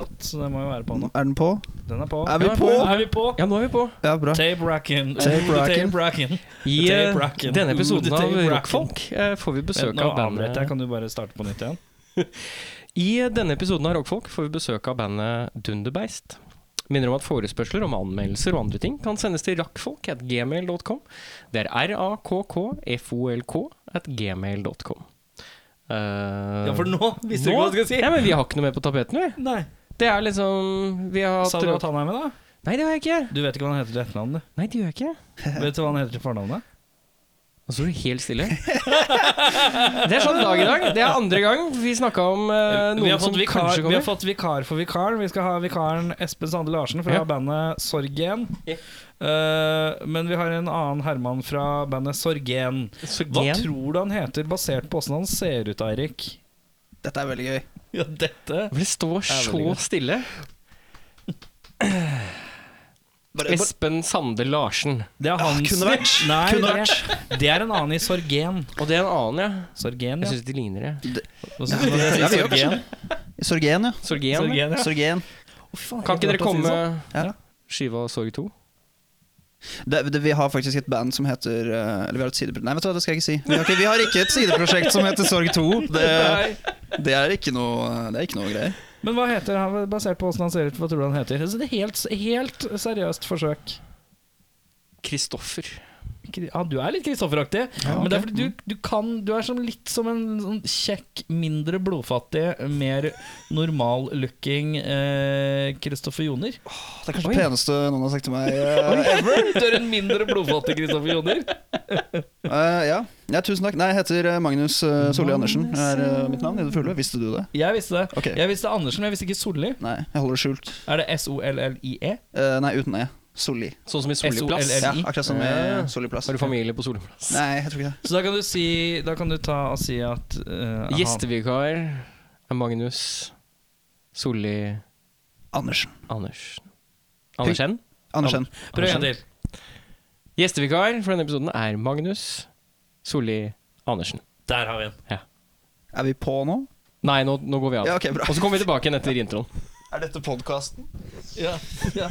alt, så det må jo være på nå. Er den på? Den er på. Er vi Ja, på? Er vi på? Ja, nå er vi på. Ja, bra. Tape racking. Tape racking. Tape racking. I Dave eh, Bracken. denne episoden Ooh, av Dave Bracken. Rockfolk eh, får vi besøk Nå av avbrøt jeg. bandet Kan du bare starte på nytt igjen? I eh, denne episoden av Rockfolk får vi besøk av bandet Dunderbeist. Minner om at forespørsler om anmeldelser og andre ting kan sendes til rakkfolk at gmail.com. Det er r-a-k-k-f-o-l-k at gmail.com. Eh, Ja, for nå visste du nå- ikke hva jeg skulle si. Nei, men vi har ikke noe mer på tapeten, vi. Nei. Det er liksom Vi har hatt Sa du at han er med, da? Nei, det har jeg ikke. Du vet ikke hva han heter til etternavn, du. Nei, det gjør jeg ikke. Vet du hva han heter til fornavnet? Og så er du helt stille. Det er sånn dag i dag. Det er andre gang vi snakka om eh, vi, noen har som fått vikar, kanskje vi har kommer. fått vikar for vikaren. Vi skal ha vikaren Espen Sande Larsen fra Ja. bandet Sorgen. Ja. Eh, men vi har en annen Herman fra bandet Sorgen. Så Hva gen. tror du han heter, basert på åssen han ser ut, Eirik? Dette er veldig gøy. Ja, dette For Det står veldig så godt. stille. Bare, bare, Espen Sande Larsen. Det er hans kunne vært. Nei, Kunne det, er, det er en annen i Sorgen. Og det er en annen, ja. Sorgen, Jeg ja. syns de ligner, jeg. Hva synes du om det? Ja, vi gjør Sorgen. Sorgen, ja. Sorgen. Sorgen, ja. Sorgen. Å, fy faen, Kan ikke jeg dere klarte å si komme det sånn. Ja. Skiva og Sorg 2? Det, det, vi har faktisk et band som heter eh, Eller vi har et sideprosjekt Nei, vet du hva, det skal jeg ikke si. Vi har ikke, vi har ikke et sideprosjekt som heter Sorg 2. Det, det, er, ikke noe, det er ikke noe greier. Men hva heter han, basert på åssen han ser ut? Hva tror du han heter? Så det er helt, helt seriøst forsøk. Kristoffer. Kri- Ja, du er litt Kristoffer-aktig. Ja, Men det er ok. fordi du, du kan Du er som litt som en sånn kjekk, mindre blodfattig, mer normal-looking eh, Kristoffer Joner. Det er kanskje Oi. det peneste noen har sagt til meg eh, ever. Du er en mindre blodfattig Kristoffer Joner. Eh, ja. ja, tusen takk. Nei, jeg heter eh, Magnus uh, Solli Andersen. er eh, mitt navn i det fulle. Visste du det? Jeg visste det. Ok. Jeg visste Andersen, men jeg visste ikke Solli. Nei, jeg holder det skjult. Er det S-O-L-L-I-E? Eh, nei, uten E. Solli. Sånn som i Soliplass. SOLL. Ja, akkurat som Ja. med Solli-plass. Har du familie på Soliplass? Nei, jeg tror ikke det. Så da kan du si Da kan du ta og si at eh, han- Gjestevikar er Magnus Solli Andersen. Andersen. Andersen? Andersen. Prøv en gang til. Gjestevikar for denne episoden er Magnus Solli Andersen. Der har vi den. Er vi på nå? Nei, nå, nå går vi av. Ja, ok, bra. Og så kommer vi tilbake igjen etter introen. Er dette podkasten? Ja, ja.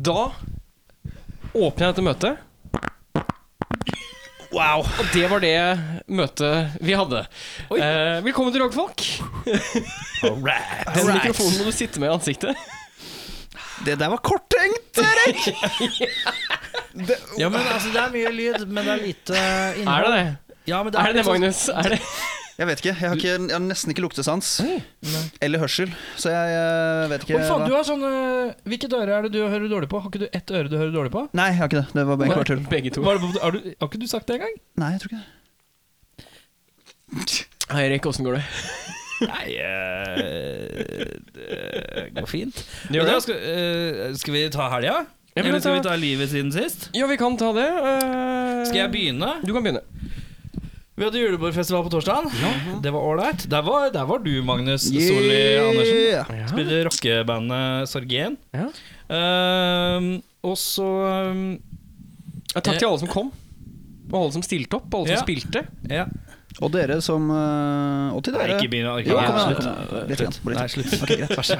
Da åpner jeg dette møtet. Wow. Og det var det møtet vi hadde. Eh, velkommen til Rockfolk. All right. Den Alright. mikrofonen må du sitte med i ansiktet. Det der var korttenkt, Erik! det, Ja, men altså, det er mye lyd, men det er lite Er innhold. det det? Ja, men Er Mm. det det, litt sånn- Magnus? Er det? jeg vet ikke. Jeg har, ikke, jeg har nesten ikke luktesans. Eller hørsel. Så jeg eh, vet ikke Oi, faen, hva- du har sånn øh, Hvilket øre er det du hører dårlig på? Har ikke du ett øre du hører dårlig på? Nei, jeg har ikke det. Det var bare en kvartull. Begge to. Var det, på- har, du, har ikke du sagt det engang? Nei, jeg tror ikke det. Hei, Erik, åssen går det? Nei eh, Det går fint. gjør det? skal, øh, skal vi ta helga? Ja, men Eller ta- skal vi ta livet siden sist? Ja, vi kan ta det. Eh, Skal jeg begynne? Du kan begynne. Vi hadde julebordfestival på torsdag. Det var ålreit. Der, var- der var du, Magnus Yeah. Solli Andersen. Ja. Spilte rockebandet Sorgen. Ja. Ehm, og så ehm, Ja, Takk til alle som kom. Og alle som stilte opp, og alle som Eh. Ja. spilte. Ja. Og dere som eh, Og til Nei, dere. ikke begynn å Jo, arke. kom Nei, igjen. slutt. kom igjen. Litt igjen. Bare Nei, litt. slutt. Ok, greit. Vær så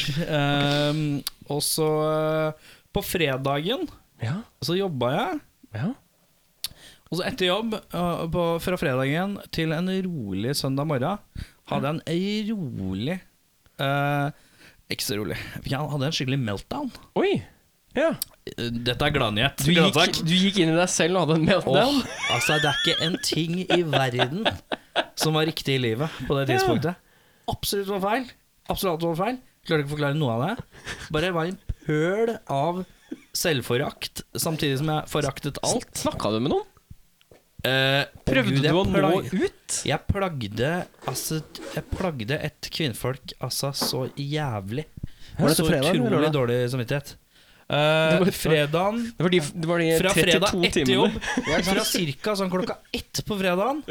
snill. Eh, ehm, og så eh, På fredagen Ja. så jobba jeg. ja. Og så etter jobb, eh, på, fra fredagen til en rolig søndag morgen, hadde jeg en rolig eh, Ikke så rolig. Jeg hadde en skikkelig meltdown. Oi. Ja. Eh, Dette er gladnyhet. Du gikk, du gikk inn i deg selv og hadde en meltdown. Åh, altså, det er ikke en ting i verden som var riktig i livet på det tidspunktet. Absolutt var feil. Absolutt alt var feil. Klarer ikke å forklare noe av det. Bare var en pøl av selvforakt, samtidig som jeg foraktet alt. Snakka du med noen? Eh, å Prøvde Gud, jeg du å nå plag- ut? Jeg plagde altså, Jeg plagde et kvinnfolk altså så jævlig. Var dette så fredag eller utrolig lørdag? dårlig samvittighet. Eh, Det var- fredagen Det var de, det var de Fra 32 fredag etter timene. jobb, ikke sant? fra cirka sånn klokka ett på fredagen,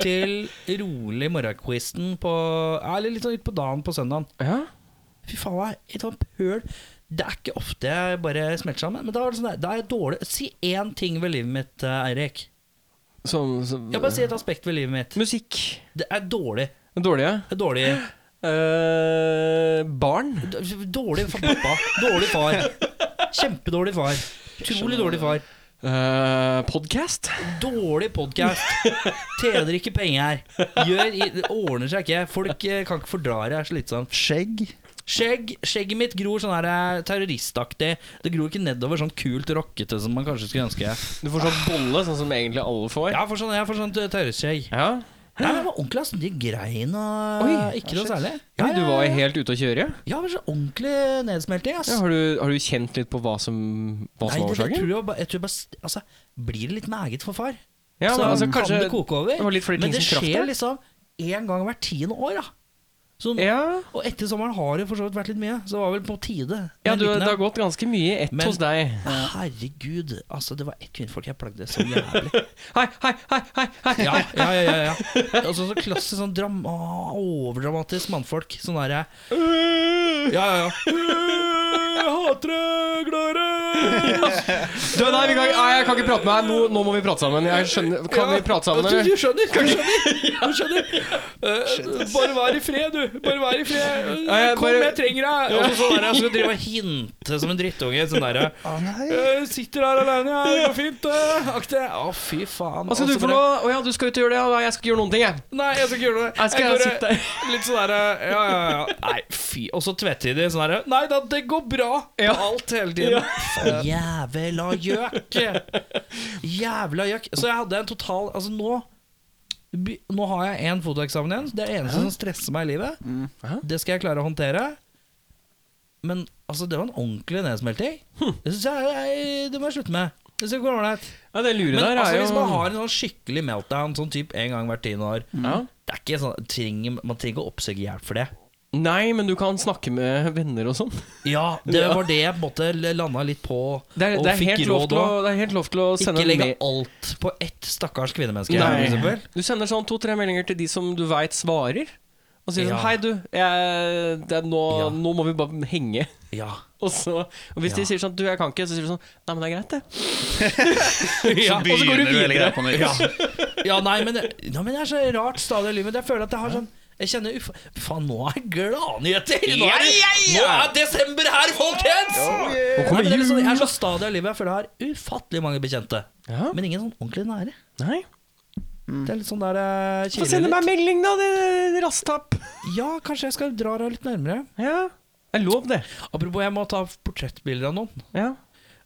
til rolig morgenquizen på Eller litt sånn ut på dagen på søndagen. Ja. Fy faen, hva er et sånt pøl Det er ikke ofte jeg bare smelter sammen. Men da er det sånn der, da er jeg dårlig Si én ting ved livet mitt, eh, Eirik. Som, som Ja, bare si et aspekt ved livet mitt. Musikk. Det er dårlig. Den dårlige. Det er dårlig Eh, barn. d- Dårlig for pappa. Dårlig far. Kjempedårlig far. Utrolig dårlig far. Uh, Podkast. Dårlig podkast. Tjener ikke penger. Gjør i, det ordner seg ikke. Folk eh, kan ikke fordra det. Det er slitsomt. Skjegg. Skjegg, skjegget mitt gror sånn her eh, terroristaktig. Det gror ikke nedover sånn kult rockete som man kanskje skulle ønske. Du får sånn bolle, sånn som egentlig alle får. Ja, for sånn, jeg får sånt eh, terroristskjegg. ja. Nei, men det var ordentlig altså, de grein og Oi, ikke noe særlig. Ja, Du var ja, ja. helt ute å kjøre? Ja, men så ordentlig nedsmelting, ass. Ja, har, du, har du kjent litt på hva som, Nei, hva som var det, jeg årsaken? tror jeg bare, jeg tror bare altså, Blir det litt meget for far, Ja, så men altså, kan kanskje det koke over. det var litt flere ting men det som traff skjer deg? liksom én gang hvert tiende år. da Sånn- Ja, Og etter sommeren har det for så vidt vært litt mye, så det var vel på tide. ja Men du, liten det har en. gått ganske mye i ett Men- hos deg. Herregud, altså det var ett kvinnfolk jeg plagde så jævlig. Hei, hei, hei, hei! hei. Ja, ja, ja, ja, ja. Altså, så klassisk sånn drama, overdramatisk mannfolk. Sånn derre Ja, ja, ja. Jeg hater deg, glad i deg. Du, nei, vi kan, nei, jeg kan ikke prate med deg. Nå, nå må vi prate sammen. Jeg skjønner, kan Ja, vi prate sammen, Du, eller? du skjønner, du skjønner. Du skjønner. Eh, bare vær i fred, du. Bare vær i fred. Eh, Ja, jeg Kom, bare- jeg trenger deg. Og så sånn der, jeg skal drive og hinte som en drittunge. Sånn der, Å Ah, nei. eh, sitter her alene, ja. Det går fint. eh, Akte. Å, fy faen. Hva skal Og du så for bare- noe? Å ja, du skal ut og gjøre det? Ja, nei, jeg skal ikke gjøre noen ting, jeg. Nei, jeg skal ikke gjøre det. Jeg skal går, sitte eh, Litt sånn derre Ja, ja, ja. Nei, fy. Og så tvetydig sånn derre Nei da, det går bra. Ja. På alt hele tiden. Faen, Jævla gjøk! Jævla gjøk. Så jeg hadde en total Altså, nå by- Nå har jeg én fotoeksamen igjen. Det er det eneste som stresser meg i livet. Mm. Det skal jeg klare å håndtere. Men altså, det var en ordentlig nedsmelting. Hm. Det syns jeg nei, det må jeg slutte med. Det synes jeg går ålreit. Ja, det lure Men der altså, er jo hvis man har en sånn skikkelig meltdown sånn typ en gang hvert tiende år ja. det er ikke sånn, trenger, Man trenger ikke å oppsøke hjelp for det. Nei, men du kan snakke med venner og sånn. Ja, Det var det jeg på en måte landa litt på. Det er, og det, er fikk helt lov råd til å, av. det er helt lov til å sende Ikke en legge mail. alt på ett stakkars kvinnemenneske. for Nei. eksempel. Du sender sånn to-tre meldinger til de som du veit svarer. Og sier Ja. sånn Hei, du. Jeg, det er nå, Ja. nå må vi bare henge. Ja. Og, så, og hvis Ja. de sier sånn Du, jeg kan ikke. Så sier du sånn Nei, men det er greit, det. Ja, og så går hele du videre. greia på nytt. Ja. ja, nei, men det, ja, men det er så rart stadig i livet. Jeg føler at jeg har sånn jeg kjenner ufa... Faen, nå er gladnyheter! Nå, er det- nå er desember her, folkens! Nå Nei, men kommer det er liksom, jul. jeg er så stadig i livet. Jeg føler jeg har ufattelig mange bekjente. Ja. Men ingen sånn ordentlig nære. Nei. Det er litt sånn der eh, Få kiler sende litt. meg melding, da, det rasstapp. Ja, kanskje jeg skal dra deg litt nærmere. Ja. Det er lov, det. Apropos, jeg må ta portrettbilder av noen. Ja.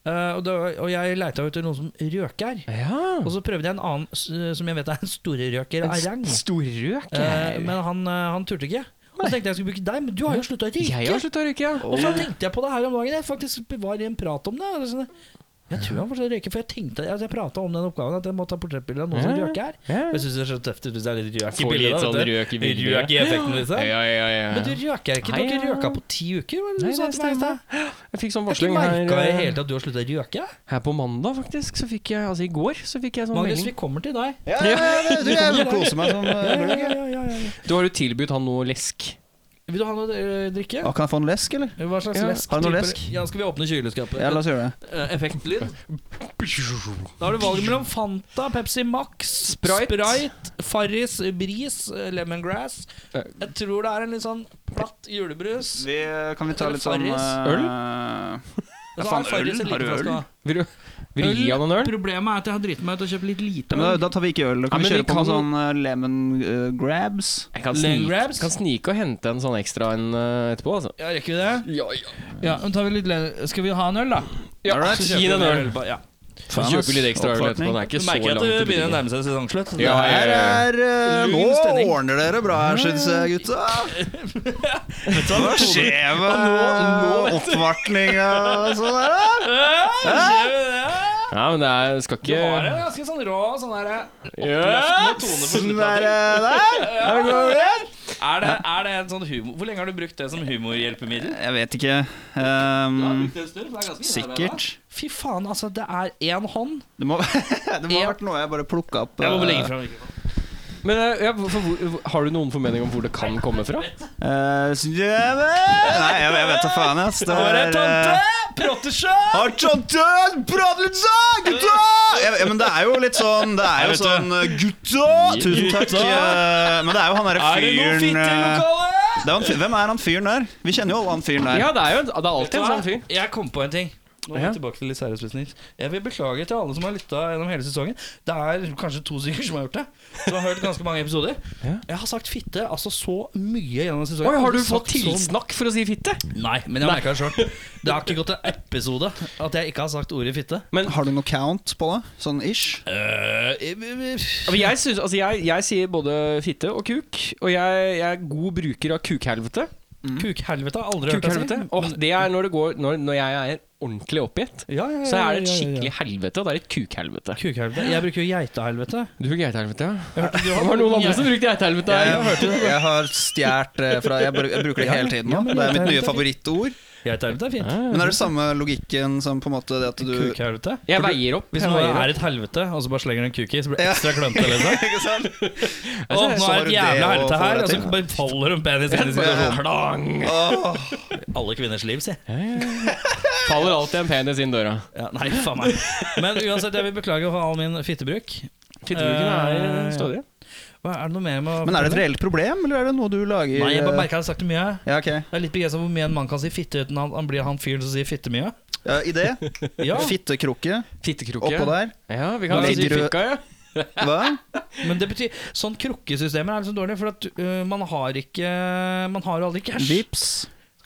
Eh, og, da, og jeg leita jo etter noen som røker. ja. Og så prøvde jeg en annen s- som jeg vet er en storrøker, En Arang. st- storrøk. Eh, men han, eh, han turte ikke. Og så tenkte jeg jeg skulle bruke deg, men du har jo slutta å jeg har røyke. slutta å røyke, ja. Og så tenkte jeg på det her om dagen. Jeg faktisk var i en prat om det. og sånn, Jeg tror han fortsatt røyker, for jeg tenkte altså, Jeg prata om den oppgaven at jeg må ta portrettbilder av noen som Ja, røyker. ja. Og Jeg syns det er så tøft ut hvis det er litt røk i Får litt bildet. da, sånn vet du. røk i bildet. Røk i effekten, liksom. Ja, ja, ja. Men du røker ikke. Du har ikke Nei, ja. røka på ti uker? Var det Nei, du sa det til meg i stemmer. stad? Jeg fikk Jeg sånn har varsling ikke merka eh, i det hele her, eh, tatt at du har slutta å røyke. her på mandag, faktisk. Så fikk jeg, altså i går, så fikk jeg sånn Magnus, vi melding. kommer til deg. Ja, ja, ja, du, jeg koser meg sånn. Ja, ja, øh, ja, ja, ja, ja. Du har jo tilbudt han noe lesk. Vil du ha noe eh, drikke? Å, Kan jeg få en lesk, eller? Hva slags Ja, lesk? har du noe typer- lesk? Ja, skal vi åpne kjøleskapet? Ja, la oss gjøre det. Eh, Effektlyd. Da har du valget mellom Fanta, Pepsi Max, Sprite. Sprite Farris, Bris, eh, Lemongrass. Eh. Jeg tror det er en litt sånn platt julebrus. Vi, kan vi ta Eller litt sånn Farris? øh, Og så faen, øl? en Har liten du øl? flaske, da. Vil du, vil du gi han en øl? Problemet er at jeg har driti meg ut og kjøpt litt lite. men da, øl. da tar vi ikke øl. Da Ja, kan vi men vi kjøre på kan med sånn øh, lemon øh, grabs. Jeg kan Lemon snike, grabs? kan snike og hente en sånn ekstra en eh, etterpå, altså. Ja, rekker vi det? Ja, men tar vi litt le- Skal vi ha en øl, da? Ja, Alright. Gi den en øl. Ja. Så kjøper vi litt ekstra øl etterpå. Den er ikke Du så merker langt at det begynner å butikken. nærme seg sesongslutt. Ja, Det ja, her ja. er øh, Lun Nå stemning. ordner dere bra her, syns jeg, gutta. Hva skjer med nå- nå, oppvartlinga og sånn der, da? Ja, skjer vi det? Ja, men det er, skal Du ikke har en ganske sånn rå sånn derre Yes! tone på Sånn slutten. der, eh, der. Er det god igjen? Er det, er det en sånn humor Hvor lenge har du brukt det som humorhjelpemiddel? Jeg vet ikke. Ehm, det en stund, for det er ganske sikkert. Fy faen, altså. Det er én hånd. Det må, det må ha vært noe jeg bare plukka opp. Jeg må eh, legge fra mikrofonen. Men eh, ja, hvorfor, hvor, har du noen formening om hvor det kan komme fra? eh, så- ja, men- Nei, jeg, jeg vet da faen, ass. Det Var det eh, tante? Prottesjø? Har tante pratet litt sånn, gutta! Ja, ja, men det er jo litt sånn Det er jo vet du. sånn eh, Gutta! Tusen takk. eh, Men det er jo han derre Er det noe fyren fitte i eh, lokalet? det er han fyr- Hvem er han fyren der? Vi kjenner jo alle han fyren der. Ja, det er jo en- det er alltid en sånn fyr. Jeg kom på en ting. Nå er Ja. vi tilbake til litt seriøst, Nils. Jeg vil beklage til alle som har lytta gjennom hele sesongen. Det er kanskje to stykker som har gjort det. Som har hørt ganske mange episoder. Ja. Jeg har sagt fitte altså så mye gjennom sesongen. Oi, Jeg har du sagt sånn? fått tilsnakk for å si fitte? Så... Nei, men jeg merka det sjøl. Det har ikke gått en episode at jeg ikke har sagt ordet fitte. Men Har du noe count på det? Sånn ish? Øh, i- i- i- Men jeg, synes, altså jeg, jeg sier både fitte og kuk, og jeg, jeg er god bruker av kukhelvete. Mm. Kukhelvete har aldri hørt Kukhelvete. deg si. Og det er når, det går, når, når jeg er ordentlig oppgitt, Ja, ja, ja, så ja, er det et ja, ja. skikkelig helvete, og det er et kukhelvete. Kukhelvete. Jeg bruker jo geitehelvete. Du fikk geitehelvete, ja? Jeg hørte du Det har- var noen andre som brukte geitehelvete. Jeg, jeg har stjålet eh, fra jeg, br- jeg bruker det hele tiden ja, nå. men Det er det mitt er nye helt- favorittord. Geitehelvete er fint. Men er det samme logikken som på en måte det at du Kukhelvete. Jeg veier opp. Hvis Jeg noe veier er opp. et helvete, og så bare slenger du en kuk i, så blir det ekstra klønete. Liksom. Ikke sant? Å, nå Så er sånn var det det et jævla det å helvete få her, det og så til. bare faller hun penis inn i situasjonen. Klang! Åh. Alle kvinners liv, si. Faller alltid en penis inn døra. Ja, nei, faen meg. Men uansett, jeg vil beklage for all min fittebruk. Fittebruken Eh, er stødig. Hva, er det noe mer med å Men er det et reelt problem, eller er det noe du lager Nei, jeg bare eh, merka jeg har sagt det mye. Ja, ok. Jeg er litt begeistra hvor mye en mann kan si fitte uten at han blir han fyren som sier fitte mye. Ja, idé? Ja, Fittekrukke Fittekrukke. oppå der. Ja, vi kan Nei, si du- fikka, ja. Hva? Men det betyr sånn krukkesystemer er liksom dårlig, for at øh, man har ikke Man har jo aldri cash. Vips.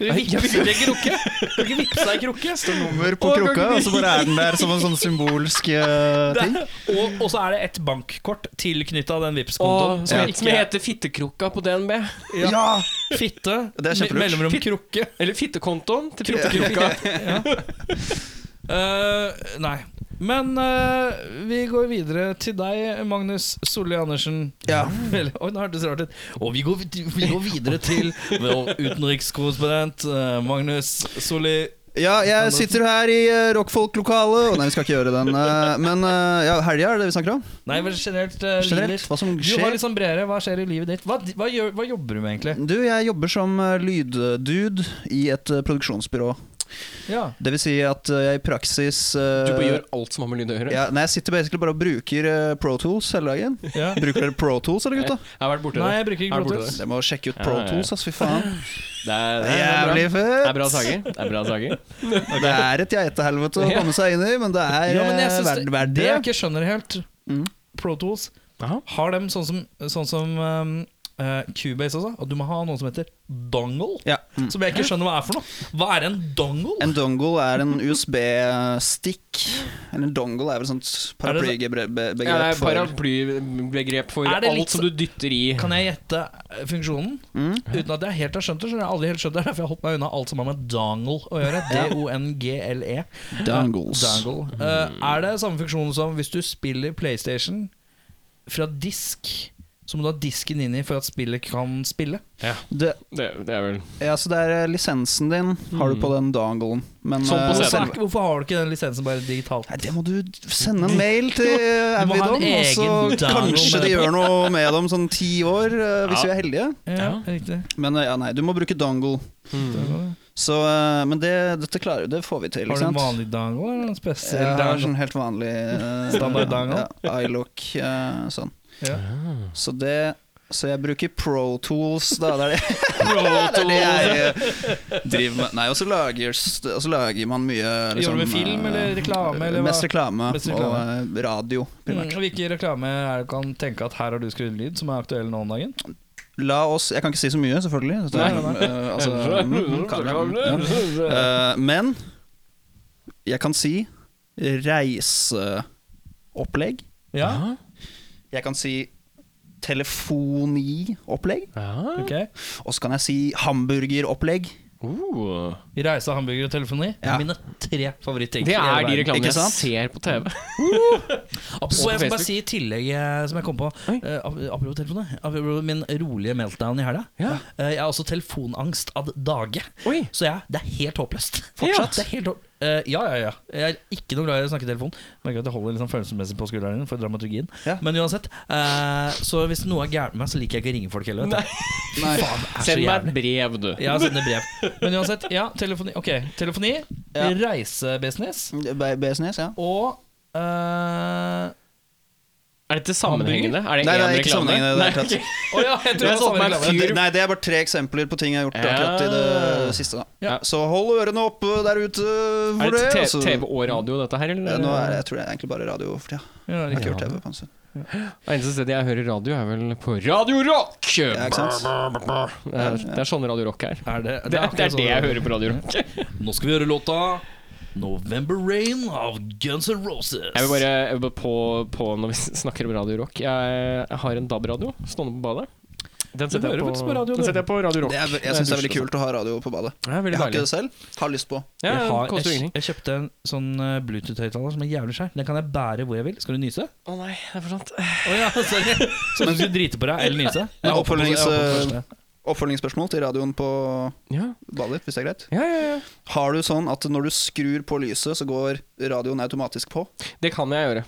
Skal du vippse i en krukke? Skal du ikke vippse deg i krukke? Nummer på Å, krukka, kan ikke og så bare er den der som en sånn symbolsk eh, ting. Og, og så er det et bankkort tilknytta den Åh, Vipps-kontoen. som, Ja. som heter Fittekrukka på DNB. Ja. Ja! Fitte, Det er kjempelurt. me- mellomrom krukke. Eller fittekontoen til Fittekrukka. Eh, nei. Men eh, vi går videre til deg, Magnus Solli Andersen. Ja. Vel, Oi, nå hørtes det rart ut. Og vi går, vid- vi går videre til vår utenrikskorrespondent eh, Magnus Solli. Ja, jeg sitter her i eh, rockfolk-lokalet og Nei, vi skal ikke gjøre den. eh, men eh, ja, helga er det vi snakker om? Nei, men generelt, eh, livet Generelt. ditt. Hva som Du har skjer? litt sånn bredere. Hva skjer i livet ditt? Hva, hva, gjør, hva jobber du med, egentlig? Du, jeg jobber som eh, lyddude i et eh, produksjonsbyrå. Ja. Det vil si at eh, jeg i praksis eh, Du bare gjør alt som har med lyd å gjøre. ja, Nei, jeg sitter basically bare og bruker eh, Pro Tools hele dagen. ja. Bruker dere Pro Tools, eller gutta? Jeg har vært borti Nei, det. jeg bruker Her ikke borte Bluetooth. Jeg må sjekke ut Ja, Pro ja, ja. Tools, ass, fy faen. Det er, det er, Jævlig bra. fett! Det er bra saker. Det er bra saker. Det er et geitehelvete å Ja. komme seg inn i, men det er eh, Ja, ja, men jeg synes det, verdt verdt det det. jeg ikke skjønner helt Mm. Pro Tools Aha. Har dem sånn som, sånn som um, eh, Cubase også At du må ha noe som heter dongle Ja. Mm. Som jeg ikke skjønner hva er for noe Hva er en dongle? En dongle er en USB-stick. Eller en dongle er vel et sånt paraplybegrep. Ja, det er for- Eh, paraplybegrep for Er det litt alt som du dytter i. Kan jeg gjette eh, funksjonen? Mm. Uten at jeg helt har skjønt det Så har jeg aldri helt skjønt det Derfor har jeg holdt meg unna alt som har med dongle å gjøre D-O-N-G-L-E Dongles. E. Dongle Mm. Eh, Er det samme funksjon som hvis du spiller Playstation Fra disk Så må du ha disken inn i for at spillet kan spille Det, Det, det er vel ja, så det er eh, lisensen din har du på Mm. den donglen. Men Sånn på eh, Hvorfor, scenen. selv- er ikke, hvorfor har du ikke den lisensen bare digitalt? Nei, det må du sende en mail til Du må ha en Avidom, og så egen dongle kanskje med de det på. gjør noe med dem sånn ti år, eh, hvis Ja. vi er heldige. Ja, Mm. riktig Men eh, ja, nei, du må bruke dongle. Så, eh, men det, dette klarer du, det får vi til. Har ikke du en sant? vanlig dango eller en Jeg spesiell har dango? sånn helt vanlig eh, Standard dangle? Ja, iLook, eh, sånn. Ja. Så det så jeg bruker Pro Tools, da. Det er det, det, er det jeg eh, driver med. Nei, og så lager, s- og så lager man mye liksom, eh, Jobber du med film eller reklame, eller hva? Mest reklame, Mest reklame. og eh, radio, primært. Mm, og Hvilke reklamer er det du kan tenke at her har du skrudd lyd, som er aktuell nå om dagen? La oss Jeg kan ikke si så mye, selvfølgelig. Dette er, Nei, eh, altså, mm, kamera, ja. Eh, men jeg kan si reiseopplegg. Ja, Jeg kan si telefoniopplegg. Ja. ok Og så kan jeg si hamburgeropplegg. Uh, Reise, hamburger og telefoni. Ja. Mine tre favorittting. det i hele er de verden. Ikke reklamene jeg sant? ser på TV. Og jeg får bare Facebook. si i tillegg eh, som jeg kom på Oi. eh, ap- Apropos telefonen. eh, Apropos min rolige meltdown i helga. Ja. Eh, jeg har også telefonangst ad dage. Oi. Så ja, det er helt håpløst. Fortsatt? Ja, det er helt håp Eh, ja, ja, ja. Jeg er ikke noe glad i å snakke i telefon. Merker at jeg holder litt sånn følelsesmessig på skulderen din for dramaturgien. Ja. Men uansett. eh, så hvis noe er gærent med meg, så liker jeg ikke å ringe folk heller. vet du. Nei. Faen, det er så Send meg jævlig. et brev, du. Ja, sende brev. Men uansett, ja. Telefoni. Ok, telefoni. Ja. Reisebusiness. B- BSNS, ja. Og eh, Er dette sammenhengende? Er Nei, det én det er reklame? ikke sammenhengende. Det, er Nei, klart. ok. Å ja, jeg tror Jeg det var så på samme meg reklame. Men fyr. det- Nei, det er bare tre eksempler på ting jeg har gjort Ja. akkurat i det siste. Da. Ja. Så hold ørene oppe der ute Er for det det. te- altså. TV og radio, dette her? Eller? Ja, nå er det, jeg tror det er egentlig bare radio for tida. Ja, Jeg har ikke riktig. hørt TV på en stund. Det eneste stedet jeg hører radio, er vel på Radio Rock! Ja, ikke sant? Det er, det er sånn Radio Rock er. Er det, Det er, det er akkurat det sånn. jeg hører på Radio Rock. Nå skal vi høre låta 'November Rain' av Guns N' Roses. Jeg vil bare, jeg vil bare på, på når vi snakker om Radio Rock. Jeg har en DAB-radio stående på badet. Den setter, hører jeg faktisk på, på radio, den du. setter jeg på Radio Rock. Det er, jeg syns det er veldig kult å ha radio på badet. Ja, Jeg veldig har ikke deilig. det selv, har lyst på. Ja, jeg, det har, koster jeg, ingenting. jeg kjøpte en sånn eh, Bluetooth-høyttaler som er jævlig skjær. Den kan jeg bære hvor jeg vil. Skal du nyse? Å Å nei, det er for sant. ja, sorry. Så du skulle drite på deg eller nyse? Men Jeg håper på- jeg oppfølgings- håper på det første. Oppfølgingsspørsmål til radioen på Ja, badet ditt, hvis det er greit. ja, ja, ja. Har du sånn at når du skrur på lyset, så går radioen automatisk på? Det kan jeg gjøre.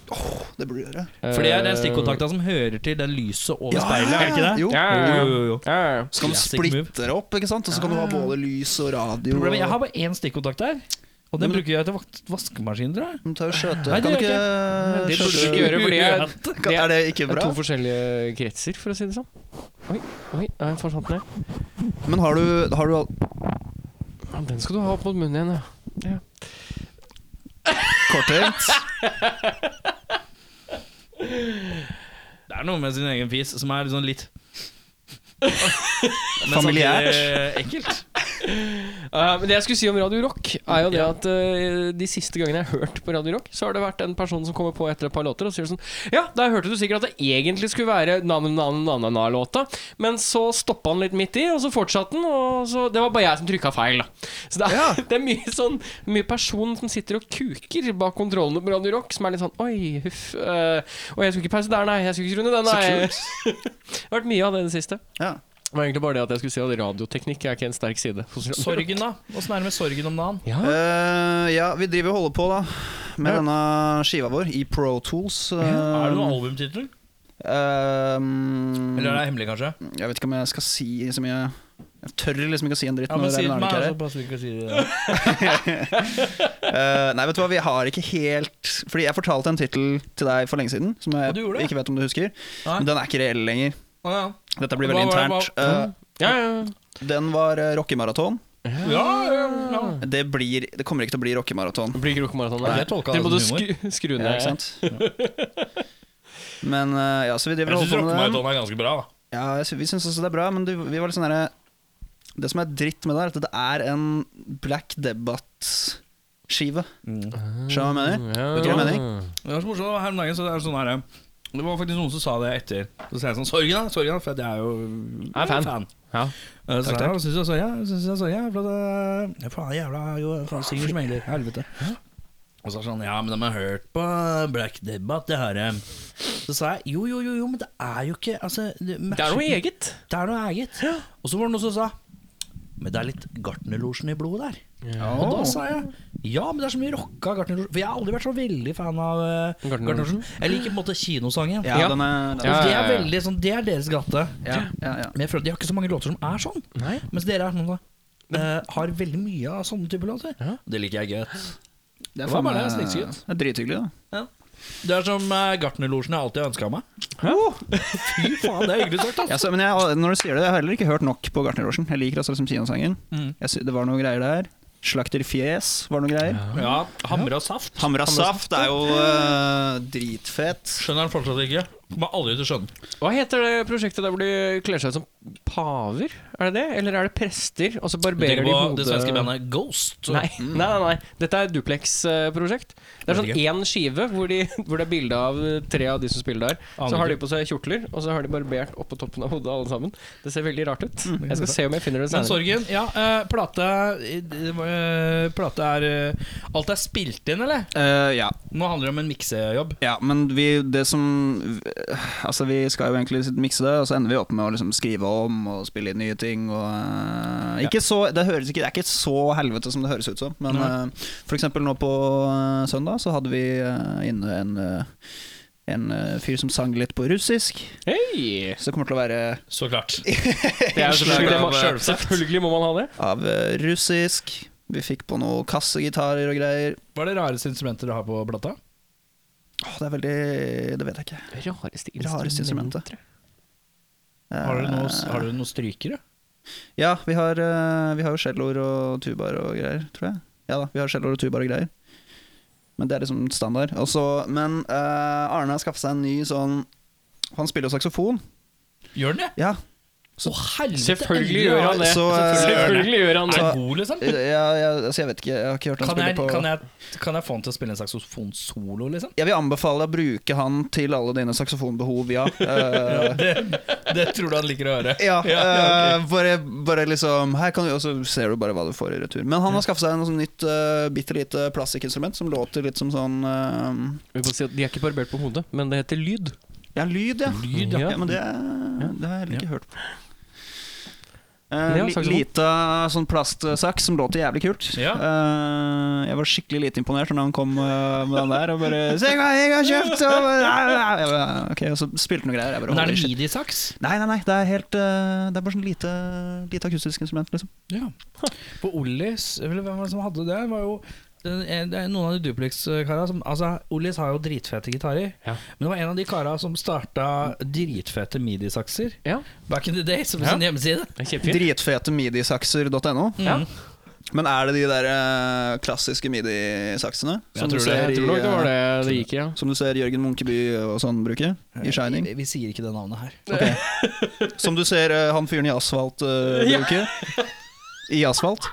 Det burde du gjøre. For det er den stikkontakta som hører til den lyset over speilet, eh, er det ikke det? Jo. Ja, ja, ja. Jo, jo, jo. ja, ja, ja. Så kan du Classic splitte det opp, ikke sant? og så kan du ha både lys og radio. Ah. Problemet, jeg har bare én stikkontakt der, og den Men- bruker jeg til vak- vaskemaskin, tror jeg. Men ta og skjøte. Nei, det Kan du gjør jeg ikke Det burde du skjøte- ikke gjøre, fordi jeg, Kan- Er det ikke Det er bra? to forskjellige kretser, for å si det sånn. Oi, oi, jeg forsvant ned. Men har du, har du al- Ja, Den skal du ha opp mot munnen igjen, ja. ja. korttenkt? Det er noe med sin egen fis som er liksom litt Men Familiært? samtidig Ekkelt. Eh, men det jeg skulle si om Radio Rock, er jo det at eh, de siste gangene jeg har hørt på Radio Rock, så har det vært en person som kommer på etter et par låter og sier sånn Ja, der hørte du sikkert at det egentlig skulle være na-na-na-na-na-låta, men så stoppa han litt midt i, og så fortsatte han, og så Det var bare jeg som trykka feil, da. Så det er, det er mye sånn Mye person som sitter og kuker bak kontrollene på Radio Rock, som er litt sånn Oi, huff. eh, og jeg skulle ikke pause der, nei. Jeg skulle ikke runde den, Så nei. kult. Det har vært mye av det i det siste. Ja. Det var egentlig bare det at jeg skulle si at radioteknikk er ikke en sterk side. hos Radio Rock. Sorgen, da. Åssen er det med sorgen om dagen? Ja. Eh, ja, vi driver og holder på da med Ja. denne skiva vår i Pro Tools. Er det noen albumtittel? Ehm, Eller er det hemmelig, kanskje? Jeg vet ikke om jeg skal si så mye Jeg tør liksom ikke å si en dritt Ja, når men det si altså. er det til meg, så en Arne her. passer vi ikke å si det. Eh, nei, vet du hva, vi har ikke helt Fordi jeg fortalte en tittel til deg for lenge siden, som Og jeg du gjorde det? ikke vet om du husker. Nei. Men den er ikke reell lenger. Å, ja. Dette blir Hva veldig var det- internt. hva- Ja, ja, Eh, den var uh, rockemaraton. Ja, ja, ja. Det, blir, det kommer ikke til å bli rockemaraton. Det blir ikke rockemaraton. Nei, jeg tolka Dere det må du som humor. skru, skru ned. Ja, ikke sant? Men eh, ja, så vi driver Jeg og syns holder på med den. rockemaraton er ganske bra. da. Ja, jeg sy- vi syns også det er bra, men du, vi var litt sånn derre Det som er dritt med det, er at det er en Black Debate-skive. Skjønner du hva jeg mener? Ah, Ja. Vet du hva jeg Det var så morsomt. det var Her om dagen så det er sånn her Det var faktisk noen som sa det etter. Så sa jeg sånn Sorgen, da. Sorgen, da. For at jeg er jo Jeg er fan. Ja. Eh, Så sa jeg syns jeg sorgen, jeg syns jeg sorgen. For at eh, Faen, jævla jo, faen, synger som engler. Helvete. Og så er det sånn Ja, men de har hørt på Black Debate, det har de. Så sa jeg jo, jo, jo, jo, men det er jo ikke Altså Det, Det er noe eget. Det er noe eget. Og så var det noen som sa Men det er litt Gartnerlosjen i blodet der. Og da sa jeg ja, men det er så mye rocka Gartnerlosjen. For jeg har aldri vært så veldig fan av eh, Gartnerlosjen. Gartnerlosjen. Jeg liker på en måte kinosangen. Ja, Ja. den er, Og den er, det ja, er ja. veldig sånn Det er deres gate. ja, ja, ja. Men jeg føler at de har ikke så mange låter som er sånn. Nei. Mens dere er sånn da eh, har veldig mye av sånne typer låter. Ja. Det liker jeg godt. Det var faen bare meg- det, snikskryt. Det er drithyggelig, da. Det er som eh, Gartnerlosjen jeg alltid har ønska meg. Fy faen, det er hyggelig sagt, Ja, altså. så, men jeg, når du sier det, jeg har heller ikke hørt nok på Gartnerlosjen. Jeg liker også liksom Kinosangen. Mm. Jeg sy- Det var noe greier der. Slakterfjes var noe greier. Ja, Hamra saft. Hamra saft er jo eh, dritfett. Skjønner han fortsatt ikke. Kommer aldri til å skjønne. Hva heter det prosjektet der hvor de kler seg ut som paver? Er det det? Eller er det prester? Og så barberer Tenk de på hodet det svenske bandet Ghost. Nei, nei, nei, nei. Dette er Duplex-prosjekt. Det er sånn Vet én skive hvor, de, hvor det er bilde av tre av de som spiller der. Aner Så har de ikke. på seg kjortler, og så har de barbert oppå toppen av hodet alle sammen. Det ser veldig rart ut. Jeg skal se om jeg finner det Mm, Men senere. sorgen, ja. eh, plate eh, Plate er eh, Alt er spilt inn, eller? Eh, ja. Nå handler det om en miksejobb. ja, men vi, det som Altså, vi skal jo egentlig mikse det, og så ender vi opp med å liksom skrive om og spille inn nye ting. Og, eh, ikke så, det, høres ikke, det er ikke så helvete som det høres ut som, men Nei. eh, for eksempel nå på eh, søndag så hadde vi eh, inne en, eh, en eh, fyr som sang litt på russisk. Hei! Så det kommer til å være Så klart. Det er jo Innslag selvfølgelig, av, må- eh, selvfølgelig må man ha det. av eh, russisk. Vi fikk på noe kassegitarer og greier. Hva er det rareste instrumentet dere har på plata? Åh, det er veldig Det vet jeg ikke. Rareste Rareste instrumentet. instrumenter. Har dere noe- Eh, har dere noen strykere? Ja, vi har, eh, vi har jo celloer og tubaer og greier, tror jeg. Ja da, vi har celloer og tubaer og greier. Men det er liksom standard. Og så- men eh, Arne har skaffet seg en ny sånn Han spiller jo saksofon. Gjør den det? Ja. Å, helvete! Selvfølgelig endelig gjør har- han det. Så, Selvfølgelig. eh, Selvfølgelig gjør han Er det. den god, liksom? ja, ja, altså jeg vet ikke, jeg har ikke hørt han Kan spille jeg, på kan, jeg, kan jeg få han til å spille en saksofonsolo, liksom? Jeg vil anbefale å bruke han til alle dine saksofonbehov, ja. Eh, Det, det tror du han liker å høre. Ja, ja, eh, bare, bare liksom Her kan du, og så ser du bare hva du får i retur. Men han har skaffet seg noe sånn nytt uh, bitte lite plastikkinstrument som låter litt som sånn eh, Vi må si at De er ikke barbert på hodet, men det heter lyd. Ja, lyd, ja. Lyd, ja. ja. men det, det har jeg heller ikke hørt på. Men ja, Uh, saksofon. lita sånn plastsaks som låter jævlig kult. Ja. Eh, jeg var skikkelig lite imponert når han kom eh, med den der og bare Se hva jeg har kjøpt! Og, jeg bare, ok, og så spilte han noen greier. Jeg bare, Men er holy det shit. midi-saks? Nei, nei, nei, det er helt eh, Det er bare sånn lite, lite akustisk instrument, liksom. Ja. For Ollis, eller hvem var det som hadde det? Var jo den, en- det er noen av de Duplex-kara som Altså, Ollis har jo dritfete gitarer. Ja. Men det var en av de kara som starta dritfete midisakser. Ja, Back in the day, som Ja. sin hjemmeside. Mm. det er kjempefint. Dritfete midisakser.no. Ja. Men er det de der eh, klassiske midisaksene? Jeg tror det. Jeg tror nok det var eh, det det gikk i, ja. Som du ser Jørgen Munkeby og sånn bruke Eh, i Shining. Vi, vi sier ikke det navnet her. Som du ser eh, han fyren i Asfalt eh, bruke. I Asfalt.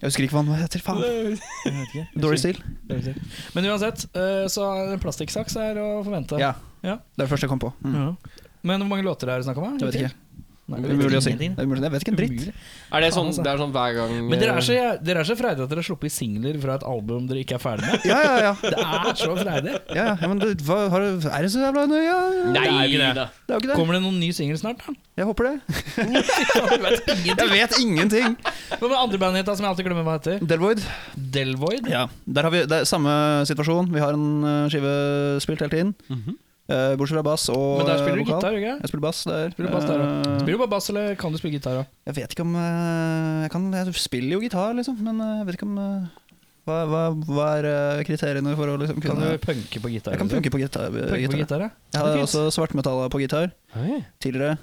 Jeg husker ikke hva han heter. Faen. Dårlig stil. Men uansett, eh, så er en plastikksaks er å forvente. Ja. Ja. Det er det første jeg kom på. Mm. Ja. Men hvor mange låter er det snakk om? her? Jeg vet ikke. Nei, Det er umulig å si. ingenting. Det er umulig. Jeg vet ikke en dritt. Umulig. Er det, sånn, Faen, altså. det er sånn hver gang Men dere er så, dere er så freidige at dere har sluppet singler fra et album dere ikke er ferdig med. Ja, ja, ja. Det er så freidig. ja, ja. Men det, hva, har, du- er det så jævla nøye? Ja, ja. Nei Det er jo ikke det. da. Det er jo ikke det. Kommer det noen ny singel snart, da? Jeg håper det. Du vet ingenting. Jeg vet ingenting. Hva med andre bandet ditt da, som jeg alltid glemmer hva heter? Delvoid. Delvoid? Ja, der har vi, det er samme situasjon. Vi har en eh, skive spilt hele tiden. Eh, bortsett fra bass og Mhm. Men der eh, spiller du vokal. gitar, gjør du ikke? Jeg spiller bass der. Spiller du bass der, Eh, Spiller du bare bass, eller kan du spille gitar òg? jeg vet ikke om eh, jeg, kan, jeg spiller jo gitar, liksom, men eh, jeg vet ikke om eh, hva, hva, hva er eh, kriteriene for å liksom Kan du kunne punke på gitar? Jeg kan liksom? punke på gitar. Eh, punke på gitar, gitar. ja. Jeg Det har er fint. også svartmetalla på gitar Oi. tidligere.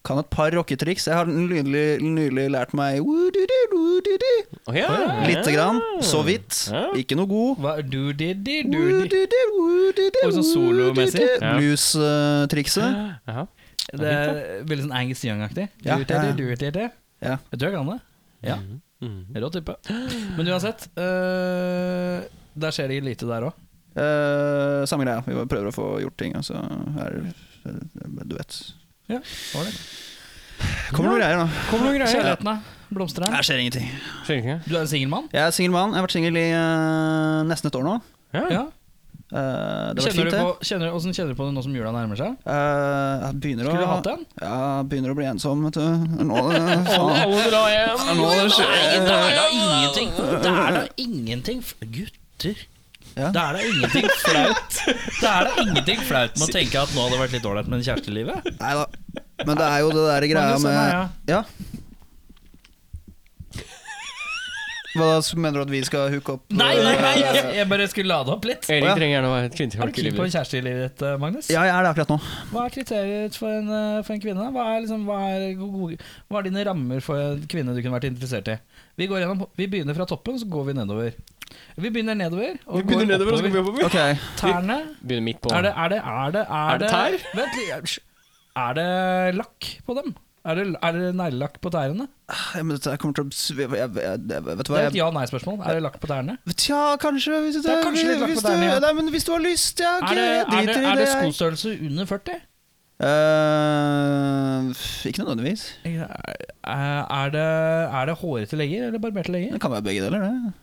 Kan et par rocketriks. Jeg har nylig, nylig lært meg woo-doo-doo, woo-doo-doo. Å ja. Lite grann. Så vidt. Ja. Ikke noe god. Hva er du-di-di-du-di? Og Og sånn solomessig. Ja. eh, Blues-trikset. Jaha. Det er veldig sånn Angus Young-aktig. Ja, ja, ja. Du-di-di-du-di-di. Ja. Jeg tror jeg kan det. Ja. Mhm. Rå type. Men uansett, øh, der skjer det lite der òg. Eh, samme greia. Vi bare prøver å få gjort ting, og så er det eh, Du vet. Kommer noen greier, da. Kommer noen greier. Kjærligheten, da? Blomstrer den? Her skjer ingenting. Skjønner ikke. Du er en singel mann? Jeg er singel mann. Jeg har vært singel i eh, nesten et år nå. Ja. Ja. Eh, det har vært Kjenner fint, du det. på, kjenner, hvordan kjenner du på det nå som jula nærmer seg? Eh, jeg begynner å Skulle du hatt en? Ja, jeg begynner å bli ensom, vet du. Nå, eh, faen. Alle drar hjem. Nå det Nei, skjer. det er da ingenting Det er da ingenting f- Gutter Ja. Det er da ingenting flaut Det er da ingenting flaut med å tenke at nå hadde det vært litt dårlig med en kjæreste i livet Nei da. Men det er jo det der greia Magnus, sånn er jeg. med Ja. Hva da, så mener du at vi skal hooke opp? Nei, nei, nei, jeg, eh, jeg bare skulle lade opp litt Erik Å, ja. trenger gjerne å være et Er kvinnefolk du i keen på en livet. kjæreste i livet ditt, eh, Magnus? Ja, jeg er det akkurat nå. Hva er kriteriet for en, eh, for en kvinne? Hva er, liksom, hva, er go- go- hva er dine rammer for en kvinne du kunne vært interessert i? Vi, går gjennom, vi begynner fra toppen, så går vi nedover Vi begynner nedover. Vi begynner nedover, og så går vi oppover. Ok, Tærne. Begynner midt på. Er det, er det, er det, Er det tær? Vent litt. ja, hysj. Er det lakk på dem? Er det, er det neglelakk på tærne? Ah, ja, men dette her kommer til å s- jeg, jeg, jeg, Vet du Det hva er et jeg, ja-nei-spørsmål. Er det lakk på tærne? Tja, kanskje hvis du, Det er kanskje litt lagt på hvis du, tærne, ja. Nei, men hvis du har lyst, ja, ok, Er det, jeg er det, driter i er det jeg. skostørrelse under 40? Eh, ikke nødvendigvis. Er eh, er det, er det hårete legger eller barberte legger? Det kan være begge deler, det.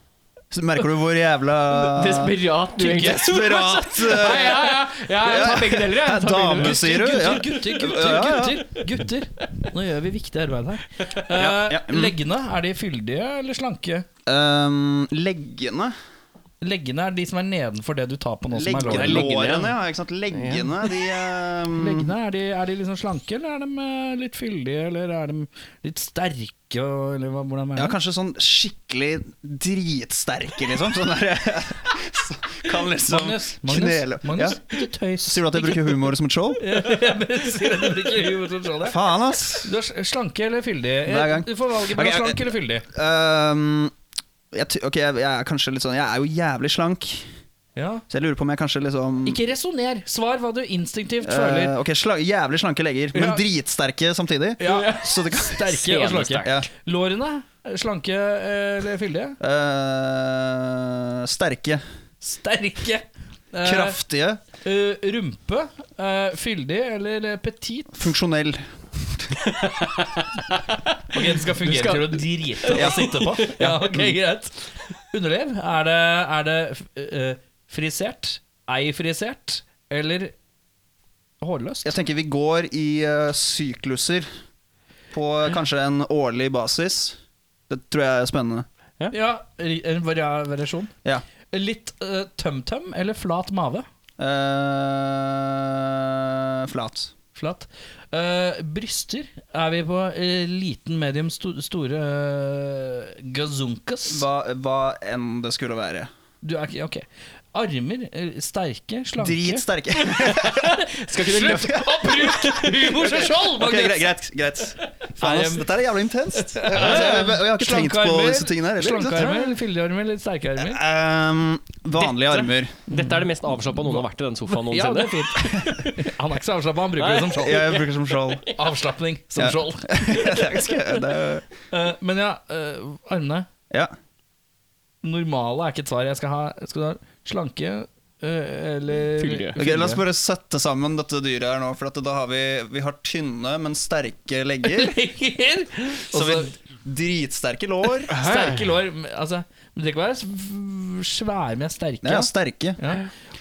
Så merker du hvor jævla Desperat, du, egentlig. Desperat, ja, eh, ja, ja, ja. Jeg tar begge deler, jeg. jeg. tar begge Dame, deler. sier du? Ja. Gutter, gutter, gutter, Ja, ja. gutter, gutter! Nå gjør vi viktig arbeid her. Eh, Ja, ja, mm. Leggene, er de fyldige eller slanke? Ehm, leggene Leggene er de som er nedenfor det du tar på nå som er Leggene, lår. lov. lårene, ja. Ikke sant? Leggene, de ehm, Leggene, er de, er de liksom slanke, eller er de eh, litt fyldige, eller er de litt sterke, og- eller hva, hvordan Ja, er det? kanskje sånn skikkelig dritsterke, liksom. Sånn der Kan liksom Magnus, Magnus, knele- Magnus Ja. ikke tøys. Sier du at jeg bruker humor som et skjold? Sier du at du bruker humor som skjold, ja? Faen, ass! Du er s- slanke eller fyldig? Eh, Hver gang. Du får valget mellom Ok, ok. slank eller fyldig. Ehm, jeg, ty- ok, jeg, jeg er kanskje litt sånn Jeg er jo jævlig slank, Ja. så jeg lurer på om jeg kanskje liksom Ikke resonner. Svar hva du instinktivt føler. Eh, ok, sla Jævlig slanke legger, men Ja. dritsterke samtidig. Ja. Så det kan Sterke og slanke. Ja. Lårene? Slanke eh, eller fyldige? Eh, sterke, Sterke. Eh, kraftige, eh, rumpe? eh, fyldig eller eh, petit? funksjonell. Ok, Det skal fungere skal- til å drite deg å sitte på. Ja, ok, greit Underliv? Er det, er det eh, frisert? Ei-frisert? Eller hårløst? Jeg tenker vi går i eh, sykluser på kanskje en årlig basis. Det tror jeg er spennende. Ja, en varia- variasjon. Ja. Litt eh, tøm-tøm eller flat mave? Eh, flat. Flat. Eh, bryster er vi på eh, liten, medium, sto store uh, gazunkas. Hva, hva enn det skulle være. Du er ikke Ok. Armer eh, sterke, slanke Dritsterke. Skal ikke du Slutt løfte å bruke humor som skjold, Ok, greit, Magnus! greit. greit. Faen, Er ass, det- dette er jævlig intenst. Jeg, jeg, jeg har ikke Slanke tenkt på armer, disse tingene her heller. Slanke armer, fyldige armer, litt sterke armer. Ehm, vanlige Dette- armer. Dette er det mest avslappa noen har vært i den sofaen Ja, det noensinne. er fint. Han er ikke så avslappa, han bruker det som skjold. Jeg bruker som skjold. Avslapning som Ja. skjold. Det er ganske- det er- Eh, men ja, eh, armene. ja. Normale er ikke et svar. Jeg skal ha, skal du ha slanke eh, eller Fyldige. Ok, La oss bare sette sammen dette dyret her nå. For at da har vi, vi har tynne, men sterke legger. Legger. Så Også- vi dritsterke lår. Altså, Sterke lår men, altså, men Det kan være sv- svære, men sterke. Ja, Ja. sterke. Ja.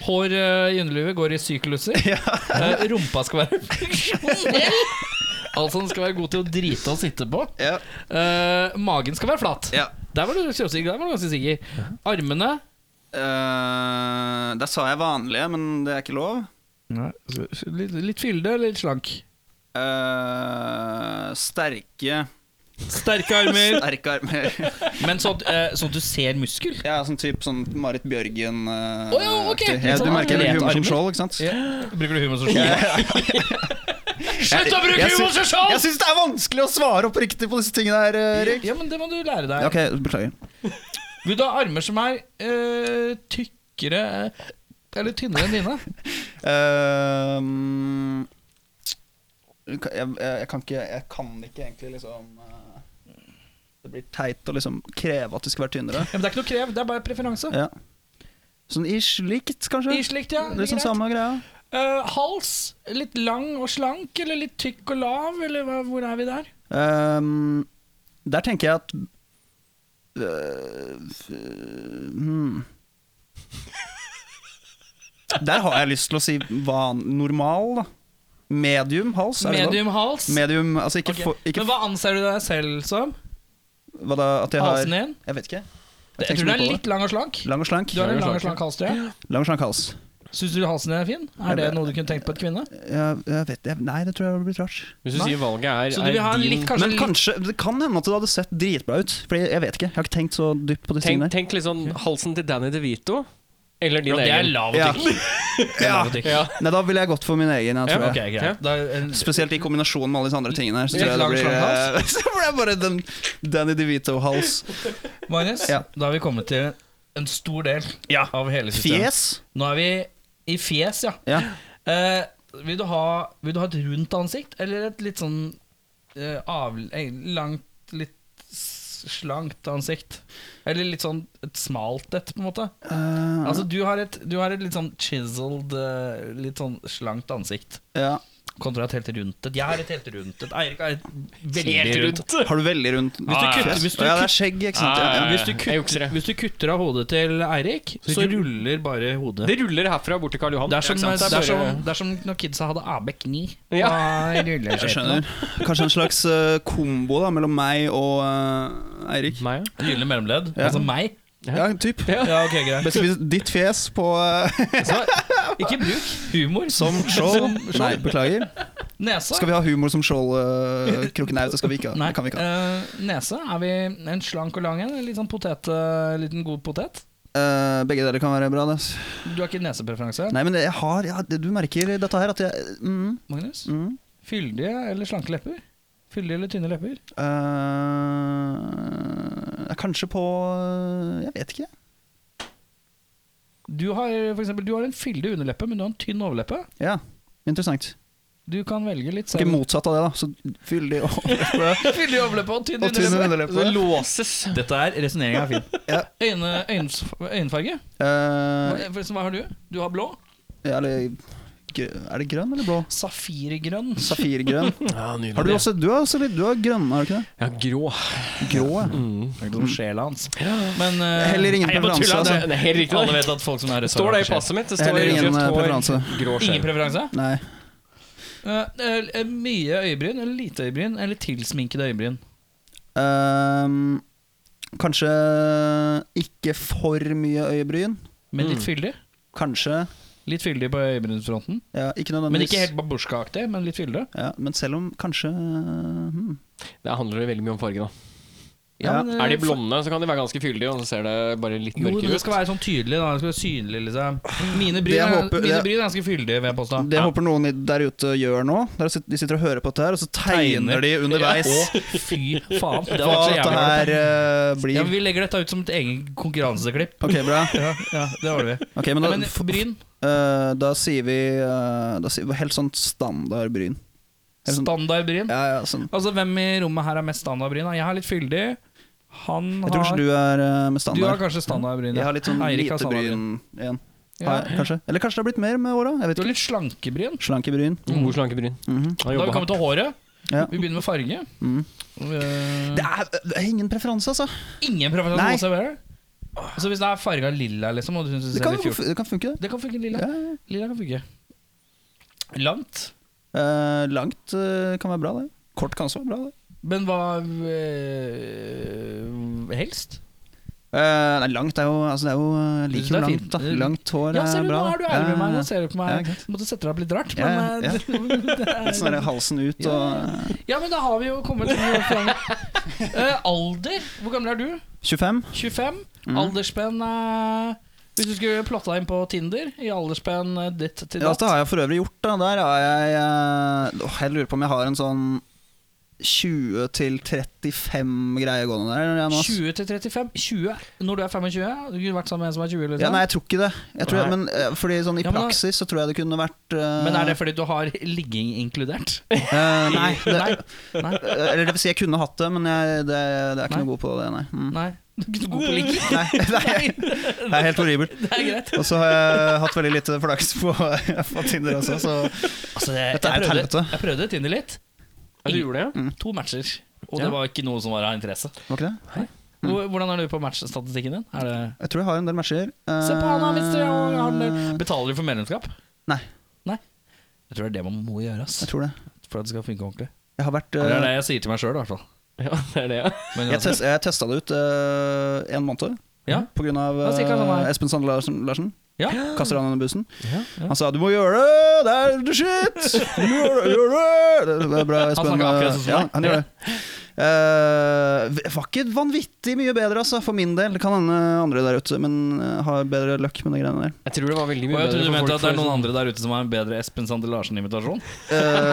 Hår eh, i underlivet går i sykluser. Eh, rumpa skal være funksjonell. Altså den skal være god til å drite og sitte på. Ja, Eh, magen skal være flat. ja. Der var du sjøsikker. Der var du ganske sikker. Armene Eh, der sa jeg vanlige, men det er ikke lov. altså, Litt, litt fylde eller litt slank? Eh, sterke Sterke armer. Sterke armer. Men sånn eh, sånn at du ser muskel. Ja, sånn type sånn Marit Bjørgen eh, Å ja, ok. aktig. ja, Du Sånn merker jeg bruker humor som atletarmer. skjold, ikke sant? Bruker du humor som skjold? Slutt å bruke Jeg sy- humor som skjold! Jeg syns det er vanskelig å svare oppriktig på disse tingene her, eh, Erik. Ja, men det må du lære deg. Ok, beklager. Vil du ha armer som er eh, tykkere eh, eller tynnere enn dine? Ehm, jeg, jeg, jeg kan ikke Jeg kan ikke egentlig liksom eh, Det blir teit å liksom kreve at det skal være tynnere. Ja, men det er ikke noe krev, det er bare preferanse. Ja. Sånn ish likt, kanskje? I slikt, ja. Litt sånn greit. samme greia. Eh, hals, litt lang og slank, eller litt tykk og lav, eller hva, hvor er vi der? Ehm, der tenker jeg at øh, f- øh, hmm. Der har jeg lyst til å si van, normal, da. Medium hals. er det lov? Medium hals. Medium, altså ikke, Ok, for, ikke Men hva anser du deg selv som? f- hva da, at jeg har Halsen din? Jeg vet ikke. Jeg, tenker tror så du mye er på litt lang og slank. Lang og slank. Du har en Lang lang og og slank hals, du. ja. Lang og slank hals. Syns du halsen din er fin? Er det noe du kunne tenkt på et kvinne? Jeg, jeg vet jeg, Nei, det tror jeg hadde blitt rart. Hvis du sier valget er, Så du vil ha en er litt, din kanskje Men litt kanskje, det kan hende at det hadde sett dritbra ut. Fordi jeg vet ikke. Jeg har ikke tenkt så dypt på disse tenk, tingene. tenk litt sånn halsen til Danny DeVito. Eller din Ja, Det er egen. lav og tykk. Det er lav og tykk. Ja. Nei, da ville jeg gått for min egen. Ja, Jeg, tror ok, jeg. greit. Da, en, Spesielt i kombinasjon med alle disse andre tingene. her Så, Litt tror jeg det lang blir, så blir det bare den Danny DeVito-hals. Magnus, Ja. da har vi kommet til en stor del Ja. av hele systemet. Fjes. Nå er vi i fjes, ja. Ja. Eh, vil, du ha, vil du ha et rundt ansikt, eller et litt sånn eh, av, eh, langt, litt s- slankt ansikt? Eller litt sånn et smalt et, på en måte? Eh, Altså, du har et, du har et litt sånn chiseled, eh, litt sånn slankt ansikt. ja. Kontra et helt rundt et. Jeg har et helt rundt et. Eirik har et veldig rundt. Har du veldig rundt Hvis du Ja, ja, ja. kutter Hvis du Ja, det kutter- er skjegg, ikke sant? Ja, ja. hvis du kutt- Jeg jukser, jeg. Hvis du kutter av hodet til Eirik, Så så ruller bare hodet. Det ruller herfra bort til Karl Johan. Det er som, Ikke sant? det Det er er som, bare- det er som når kidsa hadde AB-kni. Ja. Jeg skjønner. Kanskje en slags eh, kombo da mellom meg og eh, Eirik. Meg, ja. Gylne mellomledd. Ja. Altså meg. Ja, typ. Ja, ok, greit Beskriv ditt fjes på eh, Så, Ikke bruk humor. som skjold. Nei, beklager. Nesa. Skal vi ha humor som skjold, uh, Krokenaut? Det skal vi ikke ha. Nei, Det kan vi ikke ha. eh, nese. Er vi en slank og lang en? Litt sånn potet, eh, liten god potet? Eh, begge deler kan være bra. Det. Du har ikke nesepreferanse, Nei, men jeg har ja, det- Du merker dette her at jeg mm, Magnus? mm, Fyldige eller slanke lepper? Fyldige eller tynne lepper? eh, Kanskje på eh, Jeg vet ikke. Du har, for eksempel, du har en fyldig underleppe, men du har en tynn overleppe. Ja, Interessant. Du kan velge litt Ikke selv. motsatt av det, da. Så fyldig og overleppe Fyldig overleppe og tynn og tynn underleppe. underleppe. låses. Dette er resonneringa er fin. Ja. Øyne, øynes- øyenfarge? Eh, Hva, forresten, hva har du? Du har blå? ja, eller, grø- er det grønn eller blå? Safirgrønn. Safirgrønn. Ja, nydelig. Har du også Du har også litt Du har grønn, har du ikke det? Ja, grå. Grå, ja. Mm. Som sjela hans. Men eh, Heller ingen nei, jeg bare tuller, preferanse, altså. Det er helt riktig. Alle vet at folk som er Det står det i restaurant- passet mitt. Det Jeg står har ingen, eh, rødt hår, preferanse. Grå Ingen skjell. preferanse? Nei. Eh, eh, mye øyebryn eller lite øyebryn? Eller tilsminkede øyebryn? Ehm, kanskje ikke for mye øyebryn. Men Mm. litt fyldig? Kanskje. Litt fyldig på øyebrynfronten. Ja, ikke Men nødvendigvis. ikke helt babusjka-aktig, men litt fyldig. Ja, men selv om kanskje hmm. Det handler jo veldig mye om fargen. da Ja, men, Er de eh, blonde, så kan de være ganske fyldige, og så ser det bare litt Jo, men mørkere det skal ut. være sånn tydelig. da Det skal være synlig liksom Mine Det bryn, jeg er, håper- mine det- bryn er ganske fyldige, vil jeg påstå. Det håper noen i- der ute gjør nå. Der sit- De sitter og hører på dette her, og så tegner de underveis Å, fy faen. Det har vært hva så dette jævlig her eh, Ja, blir. men Vi legger dette ut som et eget konkurranseklipp. Ok, bra. Ja, ja, det ordner vi. Ok, men Men, da, men f- bryn? eh, da sier vi eh, Da sier vi helt sånn standard bryn. Helt sånn, Standard bryn? ja, ja, sånn. Altså, hvem i rommet her er mest standard bryn? da? Jeg har litt fyldig. Han Jeg tror har kanskje du er Du eh, med har standard. kanskje standard bryn. ja. Jeg har litt sånn Eirik har lite standard bryn igjen. Ja. Har jeg, kanskje. Eller kanskje det har blitt mer med åra. Du Jeg har Mm. vet ikke. litt slanke bryn. Slanke bryn. God Mm. slanke bryn. Mhm, Han Da har vi jobber kommet hardt. til håret. Ja. Vi begynner med farge. mhm. Eh, Det, er, det er ingen preferanse, altså. ingen preferanse Nei. noen som er bedre. Så hvis det er farga lilla, liksom, og du syns det Det ser kan, litt fjort det kan funke, det. Det kan funke lilla. Ja, ja. Lilla kan funke. Langt. Eh, langt eh, kan være bra, det. Kort kan også være bra, det. Men hva eh, helst? Eh, nei, langt er jo Altså, det er jo eh, Jeg liker Det jo er langt, fint. da. Langt hår Ja, ser er du, bra. Eh, nå er du ærlig med meg. Nå ser du på Ja, meg. ikke sant. Du måtte sette deg opp litt rart, Ja, men eh, det er- Sånn der halsen ut og eh, Ja, men da har vi jo kommet til noe fram. Eh, alder? Hvor gammel er du? 25. 25? Mm. Aldersspenn eh, Hvis du skulle plotta inn på Tinder i aldersspenn eh, ditt til Ja, altså, datt det har jeg for øvrig gjort, da. Der har jeg eh, åh, Jeg lurer på om jeg har en sånn 20 til 35 greie gående der. eller jeg nå, ass. 20 til 35? 20 når du er 25? Du kunne vært sammen med en som er 20? Liksom. Ja, nei, jeg tror ikke det. Jeg tror, jeg- Nei. men eh, fordi sånn I Ja, men da- praksis så tror jeg det kunne vært eh, Men er det fordi du har ligging inkludert? eh, Nei. Det, Nei. Nei. eh, Eller det vil si, jeg kunne hatt det, men jeg, det, det er ikke Nei. noe god på det, nei. Mm. Nei. Du er ikke så god på ligging. Nei, nei, det er helt horribelt. Det er greit. Og så har jeg hatt veldig lite flaks på, på Tinder også, så Altså, det, Dette er jeg et prøvde- helvete. Jeg prøvde Tinder litt. Ja, du gjorde det, ja? To matcher. Og Ja. det var ikke noe som var av interesse. Var ikke det? Mm. Hvor- Hvordan er du på matchstatistikken din? Er det Jeg tror jeg har en del matcher. Eh, Se på han, da, hvis du har en del. Betaler du for medlemskap? Nei. Nei? Jeg tror det er det man må gjøre ass Jeg tror det. for at det skal funke ordentlig. Jeg har vært Eller det er eh, det jeg sier til meg sjøl, i hvert fall. Ja, det er det, ja. Men Jeg, test, jeg testa det ut eh, en måned. Ja. På grunn av Ja, cirka sånn eh, her. Espen Sand Larsen. Larsen. ja. Kaster han under bussen. ja. Ja. Han sa 'du må gjøre det, det er the shit'! Du må gjøre det, gjør det! Det- Det er bra, Espen. snakker akkurat sånn som ja, deg. han gjør det. Eh, var ikke vanvittig mye bedre, altså, for min del. Det kan hende andre der ute, men eh, har bedre løkk med de greiene der. Jeg tror det var veldig Og mye jeg bedre trodde du for folk mente at det er før, noen sånn- andre der ute som har en bedre Espen Sander Larsen-invitasjon?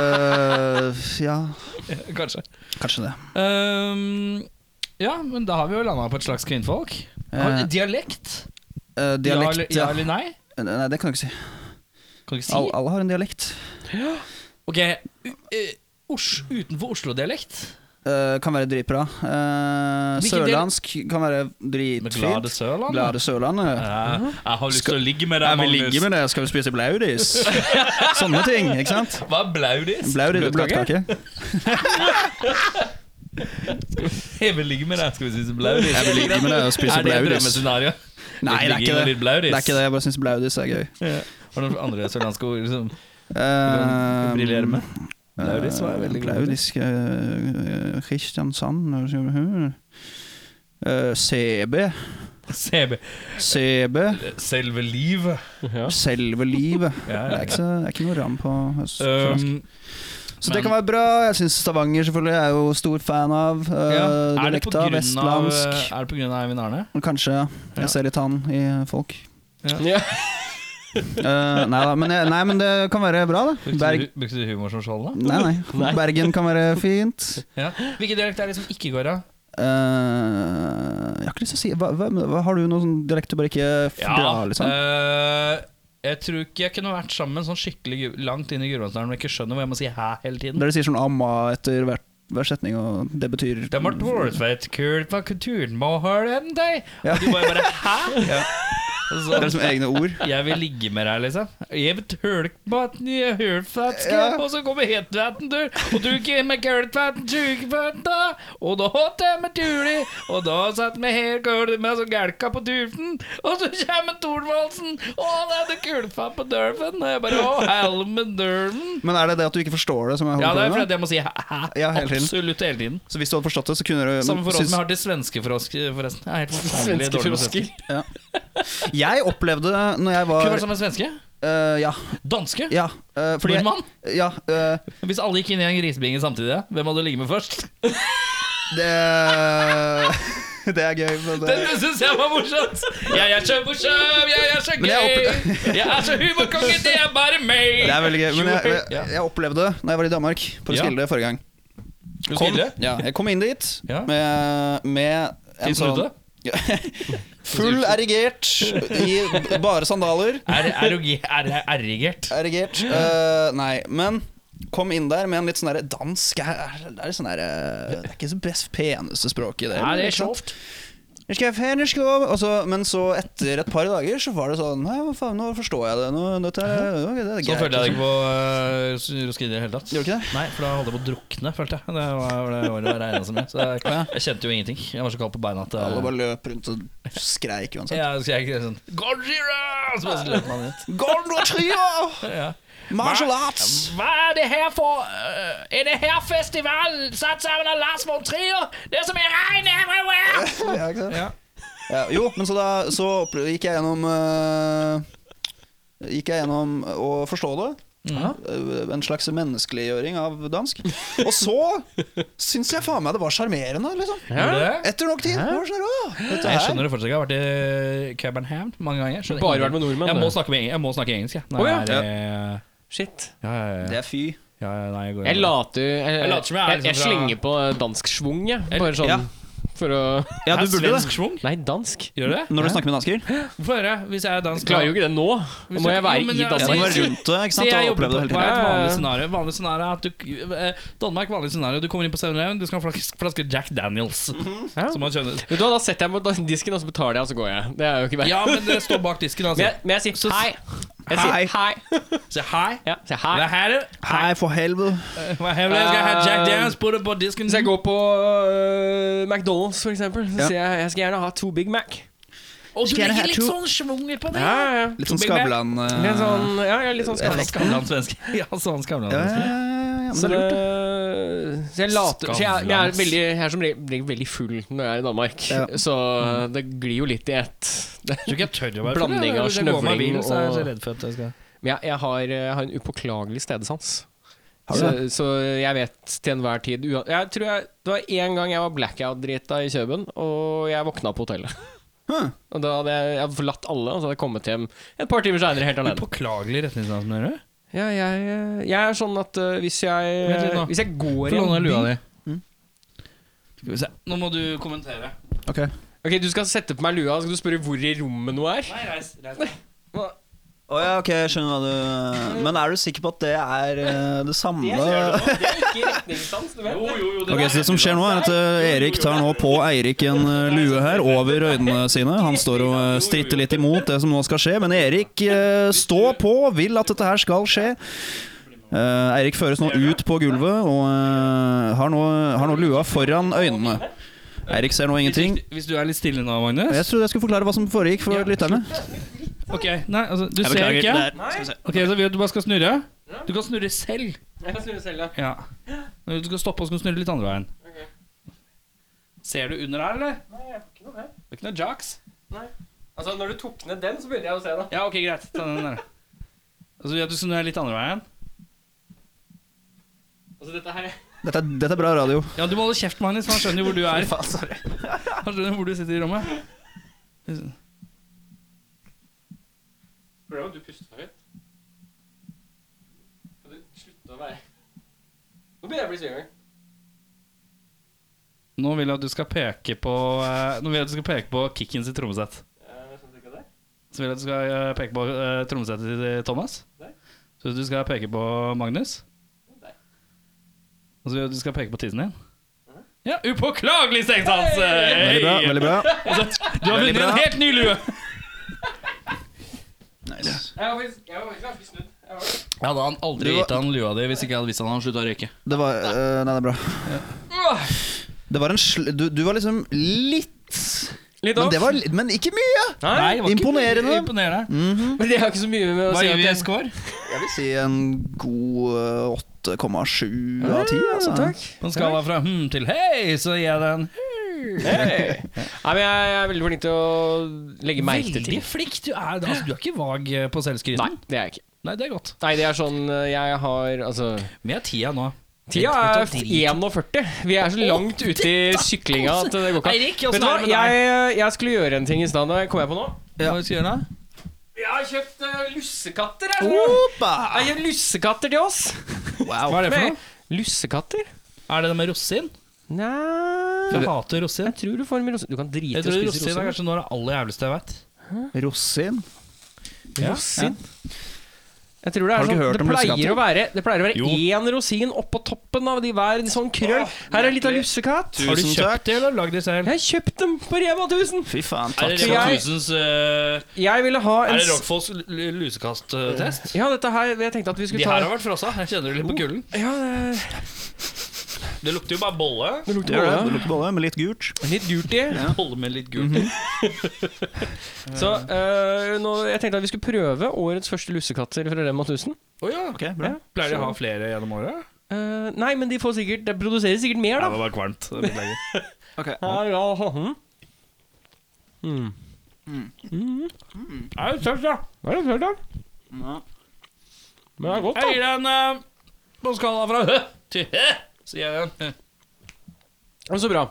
Eh, ja, Kanskje. kanskje det. Eh, Ehm, ja, men da har vi jo landa på et slags kvinnfolk. Har- Eh. Dialekt? Eh, dialekt Ja ja, Eh, eller, ja eller nei? Nei, det kan du ikke si. Kan du ikke si. Alle, alle har en dialekt. Ok, u, eh, Os utenfor Oslo-dialekt. Eh, kan være dritbra. Eh, Hvilken del- sørlandsk kan være Med glade dritfint. Sørland. Eh, Glade Sørlandet. Ja, jeg har lyst Skal- til å ligge med deg, Jeg vil ligge med det, skal vi spise blaudis? Sånne ting, ikke sant? Hva er blaudis? Blaudis, Bløtkake? bløtkake. Jeg vil ligge med deg, skal vi spise blaudis? Jeg vil ligge med deg og spise Er det et blaudis. drømmescenario? Nei, det Ligge er ikke med det. litt blaudis. Det er ikke det, jeg bare syns blaudis er gøy. Ja. Har du noen andre sørlandske ord som du Uh, briljerer med? Blaudis var veldig god. eh, Blaudis eh, Kristiansand hm? eh, CB. CB. CB. Selve livet. Ja. Selve livet. Ja, Det er ikke, så, det er ikke noe ram på øst- Um, Så men- det kan være bra. Jeg syns Stavanger selvfølgelig er jeg jo stor fan av. Uh, ja. Er det på grunn dialekta. av Vestlandsk. Er det på grunn av Eivind Arne? Kanskje. ja. Ja. Jeg ser litt han i folk. Ja. Eh, nei da, men, jeg- nei, men det kan være bra, da. Brukte, Berg du, brukte du humor som skjold, da? nei, nei. Nei. Bergen kan være fint. Ja. Hvilken dialekt er det som ikke går av? Eh, jeg har ikke lyst til å si hva, hva, hva, Har du noen sånn dialekt du bare ikke f- drar, liksom? eh, jeg tror ikke jeg kunne vært sammen med en sånn skikkelig gu- langt inn i Gudbrandsdalen og ikke skjønner hva jeg må si hæ hele tiden. Der de sier sånn amma etter hver, hver setning, og det betyr Det var dårlig kult på kulturen, må høre den deg! Ja. Og du bare bare hæ? Og Det er så- liksom egne ord. Jeg vil ligge med deg, liksom. Jeg vil tølke på at den jeg hører fra et skap, Ja. og så kommer hetvæten dør, og du gir meg gøltvæten, tjukvæten da, og da hatt jeg med tuli, og da satt meg her gølte med så gælka på turfen, og så kommer Thorvaldsen, og han hadde gøltfatt på dørfen, og jeg bare, å, helmen dørfen. Men er det det at du ikke forstår det som er Ja, det er hovedproblemet? fordi at jeg må si hæ, Ja, hele tiden. absolutt hele tiden. så hvis du hadde forstått det, så kunne du Samme men forhold som syns- jeg har til svenske frosk, forresten. Jeg er helt forferdelig Svenske dårlig med svenske. frosker. Jeg opplevde det når Kunne sånn- du jeg var vært sammen med svenske? Eh, Ja. Danske? ja eh, fordi jeg, Nordmann? ja eh, Hvis alle gikk inn i en grisebinge samtidig, hvem hadde ligget med først? det, det er gøy. Men det, Den syns jeg var morsomt! Jeg er så morsom, jeg er så Men jeg gøy! Jeg er så humorkonge, det er bare meg! Det er veldig gøy. Men jeg, Ja. jeg, jeg opplevde det da jeg var i Danmark, på Ja. Roskilde forrige gang. Du Kom- spiller? Ja, jeg kom inn dit Ja. med, med en Tissen sånn ute? Full erigert i bare sandaler. Er er- er- er- erigert? Erigert. eh, nei, men kom inn der med en litt sånn derre dansk er- er- Det er litt sånn derre Det er ikke så best peneste språket i det. Er det ikke sant? sjovt? Jeg skal fjerne sko. Og så- Men så, etter et par dager, så var det sånn Nei, hva faen, nå forstår jeg det. Nå, dette er, ok, det er Så greit. liksom.» Sånn følte jeg deg ikke på uh, Roskilde i det hele tatt. Gjorde du ikke det? Nei, for da holdt jeg på å drukne, følte jeg. Det var det året jeg regnet som med. Så jeg, jeg kjente jo ingenting. Jeg var så kald på beina at uh, Alle bare løp rundt og skreik uansett. ja, så jeg, sånn, Godzilla! Så bare løp man ut. Golden Trio! Ja. Martial arts! Hva er det her for øh, Er det her festival satt sammen av Lars von Trier? Det som er regn everywhere! Ja, ikke sant? Ja, jo, men så da så opple- gikk jeg gjennom eh, Gikk jeg gjennom å forstå det. Mm-hmm. Eh, En slags menneskeliggjøring av dansk. Og så syns jeg faen meg det var sjarmerende, liksom. Etter nok tid. Var det sånn, «Åh, dette Jeg her». skjønner det fortsatt. Jeg har vært i Caberham mange ganger. Skjønner Bare ingenting. vært med nordmenn, Jeg må du. snakke, med, jeg må snakke engelsk, jeg. Nei, Å, ja. jeg er, Shit. ja, ja, ja, Det er fy. ja, ja, nei, jeg går Jeg later Jeg, Jeg later som jeg er jeg, jeg liksom fra- slenger på dansk svung, jeg. Bare sånn Ja. for å Ja, du Hæ, burde det. Svensk schwung? Nei, dansk. Gjør du det? Når du snakker med dansker. Få høre, hvis jeg er dansk Klarer jo ikke det nå. Hvis Nå du- må jeg Jo, men være i jeg- Du må Danmark. være rundt det Se, ikke sant, jeg og jobber oppleve på det hele hva er et tiden. Ja, ja, ja. vanlig scenario. Vanlig scenario er at du, eh, Danmark, vanlig scenario. Du kommer inn på 7-Eleven, du skal ha en flaske, flaske Jack Daniels. Ja. Som man skjønner. Vet du hva, Da setter jeg meg på disken, og så betaler jeg, og så går jeg. Det er jo ikke verre. Ja, men det står bak disken, Men, altså. jeg, men jeg sier hei. Jeg Hei. sier hei. Se hei. Ja, sier Hva hei. er det? Øh, Hei, for helvete. Hva er det? Jeg skal ha Jack Daniels på det på disken. Hvis jeg går på øh, McDonald's, for eksempel, så Ja. sier jeg jeg skal gjerne ha to Big Mac. Og du Skal jeg ha legger litt to? sånn schwunger på det. Ja, ja, ja. Litt sånn Big Mac. Skavlan eh, Litt sånn, ja, ja, litt sånn Ja, skadelig. Skavlan svensk. Ja, sånn skavlan Ja, ja, svensk. ja, ja, men Så, det er lurt. det- så jeg later så jeg, men jeg, er Skavlan. veldig, jeg er som regel veldig full når jeg er i Danmark, Ja. så det glir jo litt i ett. Det- Jeg Mm. tror ikke jeg tør å være Blanding av Hvis jeg går med snøvling virus, så er jeg og- så redd for at jeg skal Men jeg, jeg, har, jeg har en upåklagelig stedsans. Har du Så, det? så jeg vet til enhver tid ua- jeg tror jeg, Det var én gang jeg var blackout-drita i Kjøben, og jeg våkna på hotellet. Huh. Og da hadde jeg, jeg hadde forlatt alle, og så hadde jeg kommet hjem et par timer seinere helt alene. Upåklagelig retningssans, mener du? Ja, jeg, jeg er sånn at øh, hvis jeg Vent litt nå. Hvis jeg Få går i låne Mm. en by lua di. Skal vi se. Nå må du kommentere. Ok. Ok, Du skal sette på meg lua, så skal du spørre hvor i rommet noe er? Nei, reis, reis. Å ja, ok, jeg skjønner hva du Men er du sikker på at det er eh, det samme Det er ikke retningssans, du vet det. Ok, så Det som skjer nå, er at eh, Erik tar nå på Eirik en eh, lue her over øynene sine. Han står og eh, stritter litt imot det som nå skal skje, men Erik eh, står på, vil at dette her skal skje. Eh, Eirik føres nå ut på gulvet og eh, har, nå, har nå lua foran øynene. Eirik ser nå ingenting. Hvis du er litt stille nå, Magnus Jeg trodde jeg skulle forklare hva som foregikk for lytterne. Ok, nei, altså, Du Jeg ser beklager, ikke? det er- Nei, Ok, så vil jeg at Du bare skal snurre? Du kan snurre selv. jeg kan snurre selv, ja. Ja. Når du skal stoppe, skal du snurre litt andre veien. Ser du under her, eller? Nei, jeg har ikke noe mer. Det er ikke noe jocks. Altså, Når du tok ned den, så begynner jeg å se, da. Ja, ok, greit. Ta den der. Altså, vil jeg at du snurrer litt andre veien? Altså, dette her Dette er, dette er bra radio. Ja, du må holde kjeft, Magnus, for han skjønner jo hvor du er. Han skjønner hvor du sitter i rommet. Prøv at du puster høyt. Kan du slutte å være Nå begynner jeg å bli svimmel. Nå vil jeg at du skal peke på eh, Nå vil jeg at du skal peke på kicken sitt trommesett. Eh, skjønte du ikke det? Så vil jeg at du skal eh, peke på eh, trommesettet til Thomas. Der. Så vil jeg at du skal peke på Magnus. Der. Og så vil jeg at du skal peke på tissen din. Ja, upåklagelig stengsans! Veldig bra. veldig bra Du har Veldig vunnet en bra. helt ny lue! nice. Jeg var faktisk jeg var faktisk ganske snudd. Jeg var det. Jeg hadde han aldri Du var- gitt han lua di hvis ikke jeg hadde visst han hadde slutta å røyke. Det var eh, Nei, det er bra. Det var en sl... Du, du var liksom litt Litt men, off. det var, li- men ikke mye! Nei, det var ikke Imponerende. imponerende. Men det har ikke så mye med å Hva si gir at vi jeg- i score? Jeg vil si en god eh, 8,7 av 10. Altså. Takk. På en skala fra hm til hei, så gir jeg hmm. den Hey. Nei, men jeg, jeg er veldig flink til å legge merke til ting. Veldig flink du er. Altså, du er ikke vag eh, på Nei, selvskryten. det er jeg ikke. Nei, det er godt. Nei, det er sånn eh, Jeg har altså Vi er tida nå. Tida er 41. Vi er så langt ute i syklinga at det går ikke. Eirik, åssen Vet du hva, er det med jeg, eh, jeg skulle gjøre en ting i stad. Det kom jeg på nå. Hva skal vi gjøre da? Jeg har kjøpt eh, lussekatter. Jeg, tror. Opa! jeg har kjøpt lussekatter til oss. Hva er det for Men- noe? Lussekatter? Er det det med rosin? Nei Jeg hater rosin. Jeg tror du får mye rosin. Du kan drite i å Jeg tror spise rosin er rosin. kanskje noe av det aller jævligste jeg vet. Rosin. Ja. Rosin? Jeg tror det Har er du ikke sånn hørt Det om pleier lussekatter? å være Det pleier å Jo. være én rosin oppå toppen av de hver sånn krøll. Her er litt av lussekatt. Har du Tusen kjøpt takk. det, eller lagd det selv? Jeg har kjøpt dem på Rema 1000. Fy faen, Er takk. det Rema for- jeg- Rosen's uh, Jeg ville ha en Er det s- Rockfolds lusekast-test? Ja, dette her Jeg tenkte at vi skulle eh, De ta her har vært frossa. Jeg kjenner det litt på kulden. Ja, det, Det lukter jo bare bolle. det Det lukter gjør det. Det bolle. lukter bolle med litt gult. Litt gult i. Bolle med litt gult. Mhm. Så øh, nå, jeg tenkte at vi skulle prøve årets første lussekatter fra Rema 1000. Å ja. Ok, bra. Pleier de å ha flere gjennom året? Eh, nei, men de får sikkert Det produseres sikkert mer, da. var kvalmt. Beklager. Ja, ja, mhm. mm. Er det tørt, ja? Det er litt søtt, da. Ja. Men det er godt, Jeg da. gir den eh, på en skala fra hø til hæ, sier jeg den. Det er Så bra.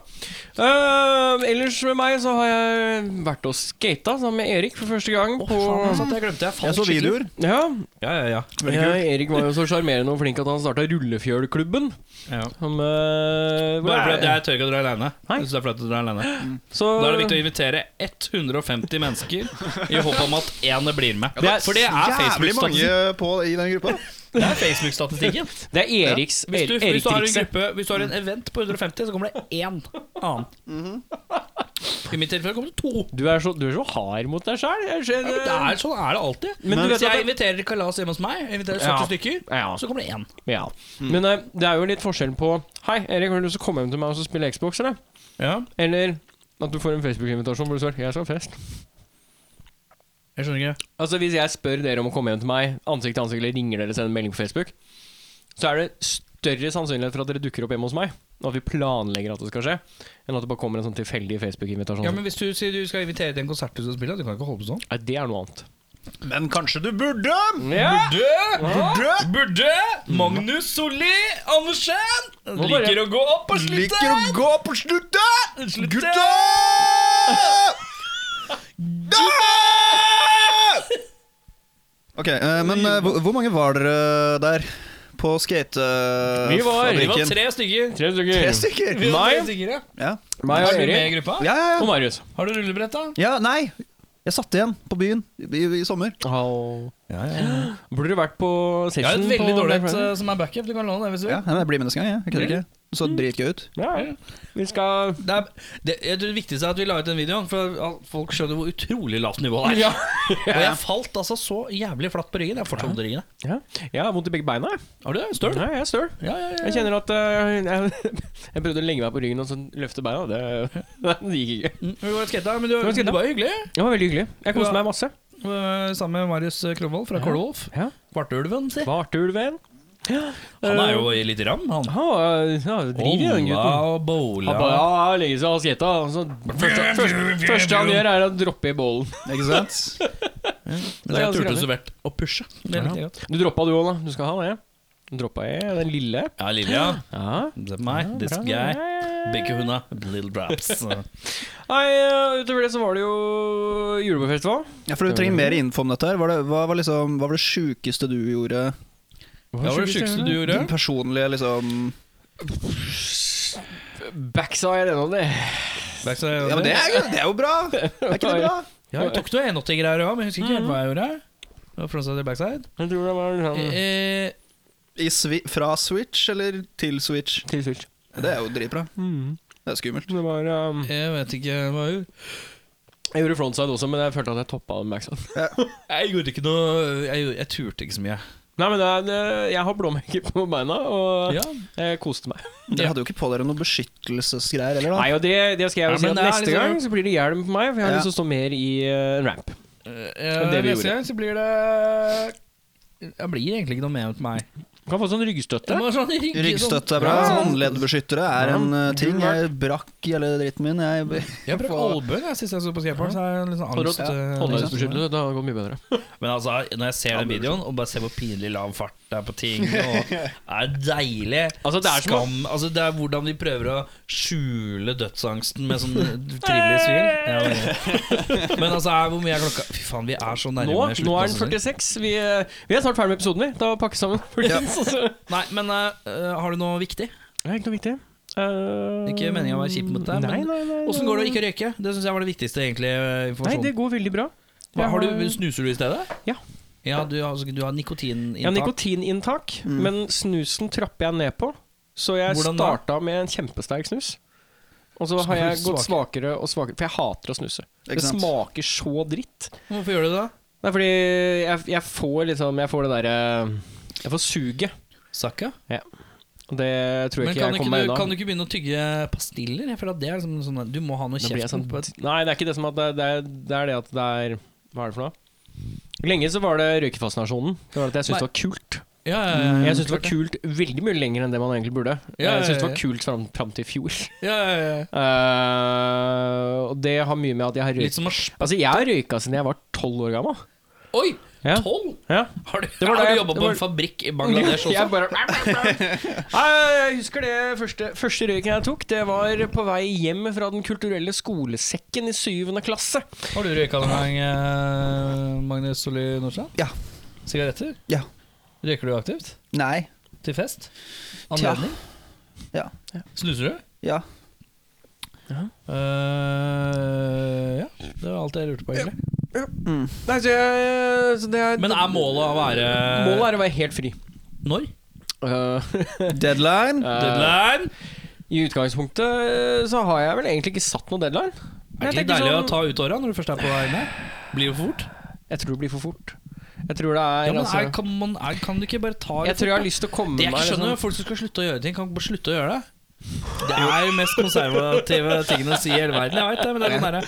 Eh, ellers med meg så har jeg vært og skata sammen med Erik for første gang på jeg glemte jeg Jeg så videoer. Ja, Ja, ja, ja. ja, Erik var jo så sjarmerende og flink at han starta Rullefjølklubben. ja. Som, eh, hvor Bare er fordi at det? jeg tør ikke å dra alene. Nei. Jeg synes det er flaut å dra alene. Så, Da er det viktig å invitere 150 mennesker i håp om at én blir med. Det er For det er Jævlig mange Facebook-statistikken. på, i den gruppa. Det er Facebook-statistikken. Det er Eriks Hvis, du- Erik- hvis du har en Erik-trikset. gruppe Hvis du har en event på 150, så kommer det én annen. Mhm. I mitt tilfelle kommer det to. Eh. Du er, så, du er så hard mot deg sjæl. Ja, men det er sånn er det alltid. Men du hvis vet at jeg det- inviterer kalas hjemme hos meg, jeg inviterer 70 Ja. stykker, Ja. så Mm. kommer det én. ja. Men eh, det er jo litt forskjell på Hei, Erik, har du lyst til å komme hjem til meg og så spille Xbox, eller? Ja, Eller at du får en Facebook-invitasjon hvor det står 'Jeg skal ha fest'. jeg skjønner ikke. Altså Hvis jeg spør dere om å komme hjem til meg, ansikt til ansikt, eller ringer dere og sender en melding på Facebook, så er det større sannsynlighet for at dere dukker opp hjemme hos meg, og at vi planlegger at det skal skje, enn at det bare kommer en sånn tilfeldig Facebook-invitasjon. Ja, men Hvis du sier du skal invitere til en konsert du skal spille, du kan ikke holde på sånn. Nei, det er noe annet. Men kanskje du burde? Ja! Burde, Burde? burde Magnus Solli Andersen bare- liker å gå opp på Liker sluttet! å gå på sluttet! Sluttet! Gutta! Da! Ok, eh, men eh, hvor, hvor mange var dere der? på skatefabrikken? Vi var- Vi var tre stykker. Tre stykker. Tre stykker! Vi var tre Meg. stykker, ja. Ja. Meg og Er du med i Erik gruppa? Ja, ja, og ja. Marius. Har du rullebrett, da? ja, nei! Jeg satt igjen på byen i, i, i sommer. Ja, ja, ja. Burde du vært på Jeg har session? et veldig på dårlig Black et Friday? eh, som er backup. Du kan låne det hvis du vil. Ja, men Jeg blir med neste gang. jeg. Jeg kødder ikke. Mm. Det så dritgøy ut. Ja, ja. Vi skal Det, er, det, jeg tror det viktigste er at vi la ut den videoen, for at folk skjønner hvor utrolig lavt nivå det er. Og jeg falt altså så jævlig flatt på ryggen. Jeg fortsatt vondt i ryggen. jeg. ja. Jeg har vondt i begge beina. jeg. Har du det? Støl? Ja, jeg er støl. Ja, ja, ja. Jeg kjenner at eh, jeg, jeg prøvde å legge meg på ryggen og så løfte beina. Det, det gikk ikke. Mm, Vi var skata, men du, var skata. det var hyggelig. Det var veldig hyggelig. Jeg koste Ja. meg masse. Eh, Sammen med Marius Kronvold fra Kålwolf. Ja. Kvartulven, si. Bartulven. Han er jo i litt ram, han. Han var- ja, driver jo, den Olla gutten. og Han bare bola. ja, legger seg og skjeta. og så- Første, første, første han gjør, er å droppe i bålen. Ikke sant? Men jeg turte så hvert å pushe. Det Ja. likte jeg godt. Du droppa du òg, da. Du skal ha det. Du droppa jeg, den lille. Ja, Lilja. Ja. Det er meg. This bra. Ja, guy. ja, ja, ja. Begge hunda. Little drops. Nei, eh, utover det så var det jo julebordfestival. Ja, for Du trenger mer info om dette. her Var det, hva, var liksom, hva var det sjukeste du gjorde? Det var det sjukeste du gjorde. Din personlige liksom Backsa jeg ennå, det. Ja, men det er, jo- det er jo bra! Er ikke det bra? Ja, jeg tok noe 180-greier òg, men jeg husker ikke Mm. helt hva jeg gjorde. Det var Frontside backside. Jeg tror det var sånn Eh, I swi fra Switch eller til Switch? til switch. Det er jo dritbra. Det er skummelt. Det var um, eh, jeg vet ikke hva jeg gjorde. Jeg gjorde frontside også, men jeg følte at jeg toppa den backside. Jeg gjorde ikke noe Jeg, gjorde- jeg turte ikke så mye. Nei, men det, er- det, jeg har blåmerker på beina, og Ja. jeg koste meg. Dere hadde jo ikke på dere noe beskyttelsesgreier heller, da. Nei, og det, det skal jeg Ja, jo si men at det er neste liksom- gang så blir det hjelm på meg, for jeg har Ja. lyst til å stå mer i uh, ramp. Eh, Det vi neste gjorde. gang så blir det Det blir egentlig ikke noe med til meg. Kan få sånn Det ryggstøtte. var sånn rygg- Ryggstøtte er bra. Håndleddbeskyttere er en eh, ting. Jeg brakk hele dritten min. Jeg, Sånn, jeg brukte albuen jeg, sist jeg så på skateboard. Så er jeg litt sånn Hold- angst, eh, Håndleddsbeskyttelse, det hadde gått mye bedre. Men altså, når jeg ser den videoen og bare ser hvor pinlig lav fart det er på ting, og det er deilig Altså, det er som å- Skam Altså, det er hvordan de prøver å skjule dødsangsten med sånn trivelig svil. Ja, men, men altså, er- hvor mye er klokka? Fy faen, vi er så Nå, nærme slutten. nå er den altså. 46. Vi, eh, vi er snart ferdig med episoden, vi. Da pakker vi sammen. folkens, og så- Nei, men eh, har du noe viktig? Det er ikke noe viktig. Eh, Ikke meningen å være kjip mot deg, nei, men nei, nei, nei. Åssen går det å ikke røyke? Det syns jeg var det viktigste, egentlig. eh, Nei, informasjonen. det går veldig bra. Hva, har du, snuser du i stedet? Ja. Ja, du, har- altså, du har nikotininntak. Jeg har nikotininntak, men snusen trapper jeg ned på. Så jeg Mm. Hvordan da? starta med en kjempesterk snus. Og så Så har jeg du gått svakere og svakere, for jeg hater å snuse. Ikke Det sant? smaker så dritt. Hvorfor gjør du det? da? Det er fordi jeg, jeg får liksom Jeg får det derre Jeg får suget. Sakka? Og Men det tror jeg ikke kan jeg du, kommer meg ikke, du, unna. kan du ikke begynne å tygge pastiller? Jeg føler at det er liksom sånn at Du må ha noe Da blir jeg kjeft sånn- på et Nei, det er ikke det som at det, det, er, det er det at det er Hva er det for noe? Lenge så var det røykefascinasjonen. Det var at Nei. jeg syntes det var kult. ja, ja, Jeg syntes det var kult veldig mye lenger enn det man egentlig burde. Ja, Jeg syntes det ja, var kult fram, fram til i fjor. Ja, ja, ja. Eh, og det har mye med at jeg har Litt røyka som å sp- Altså, jeg har røyka siden jeg var tolv år gammel. Oi! Ja. Tolv? Ja. Har du, var har da du jeg- jobba det på var- en fabrikk i Bangladesh også? Jeg bare Nei, Jeg husker det første, første røyken jeg tok. Det var på vei hjem fra Den kulturelle skolesekken i syvende klasse. Har du røyka noen gang, eh, Magnus Solli Nordstrand? Ja. Sigaretter? Ja. Røyker du aktivt? nei. Til fest? Tja. Anledning? Ja. Snuser du? Ja. Eh, ja. Det var alt jeg lurte på, egentlig. Mm. Nei, så jeg, så det er, Men er målet å være Målet er å være helt fri. Når? Deadline. Eh, Deadline? I utgangspunktet eh, så har jeg vel egentlig ikke satt noen deadline. Er Men det jeg ikke tenker deilig å sånn- ta ut åra når du først er på vei ned? Blir jo for fort. Jeg tror det blir for fort. Jeg tror det er, Ja, men er, altså, kan, man, er, kan du ikke bare ta det Jeg tror jeg har lyst til å komme Det jeg ikke meg skjønner, liksom- er folk som skal slutte å gjøre ting, kan ikke bare slutte å gjøre det. Det er jo mest konservative tingene å si i hele verden. Jeg vet det, men det er sånn derre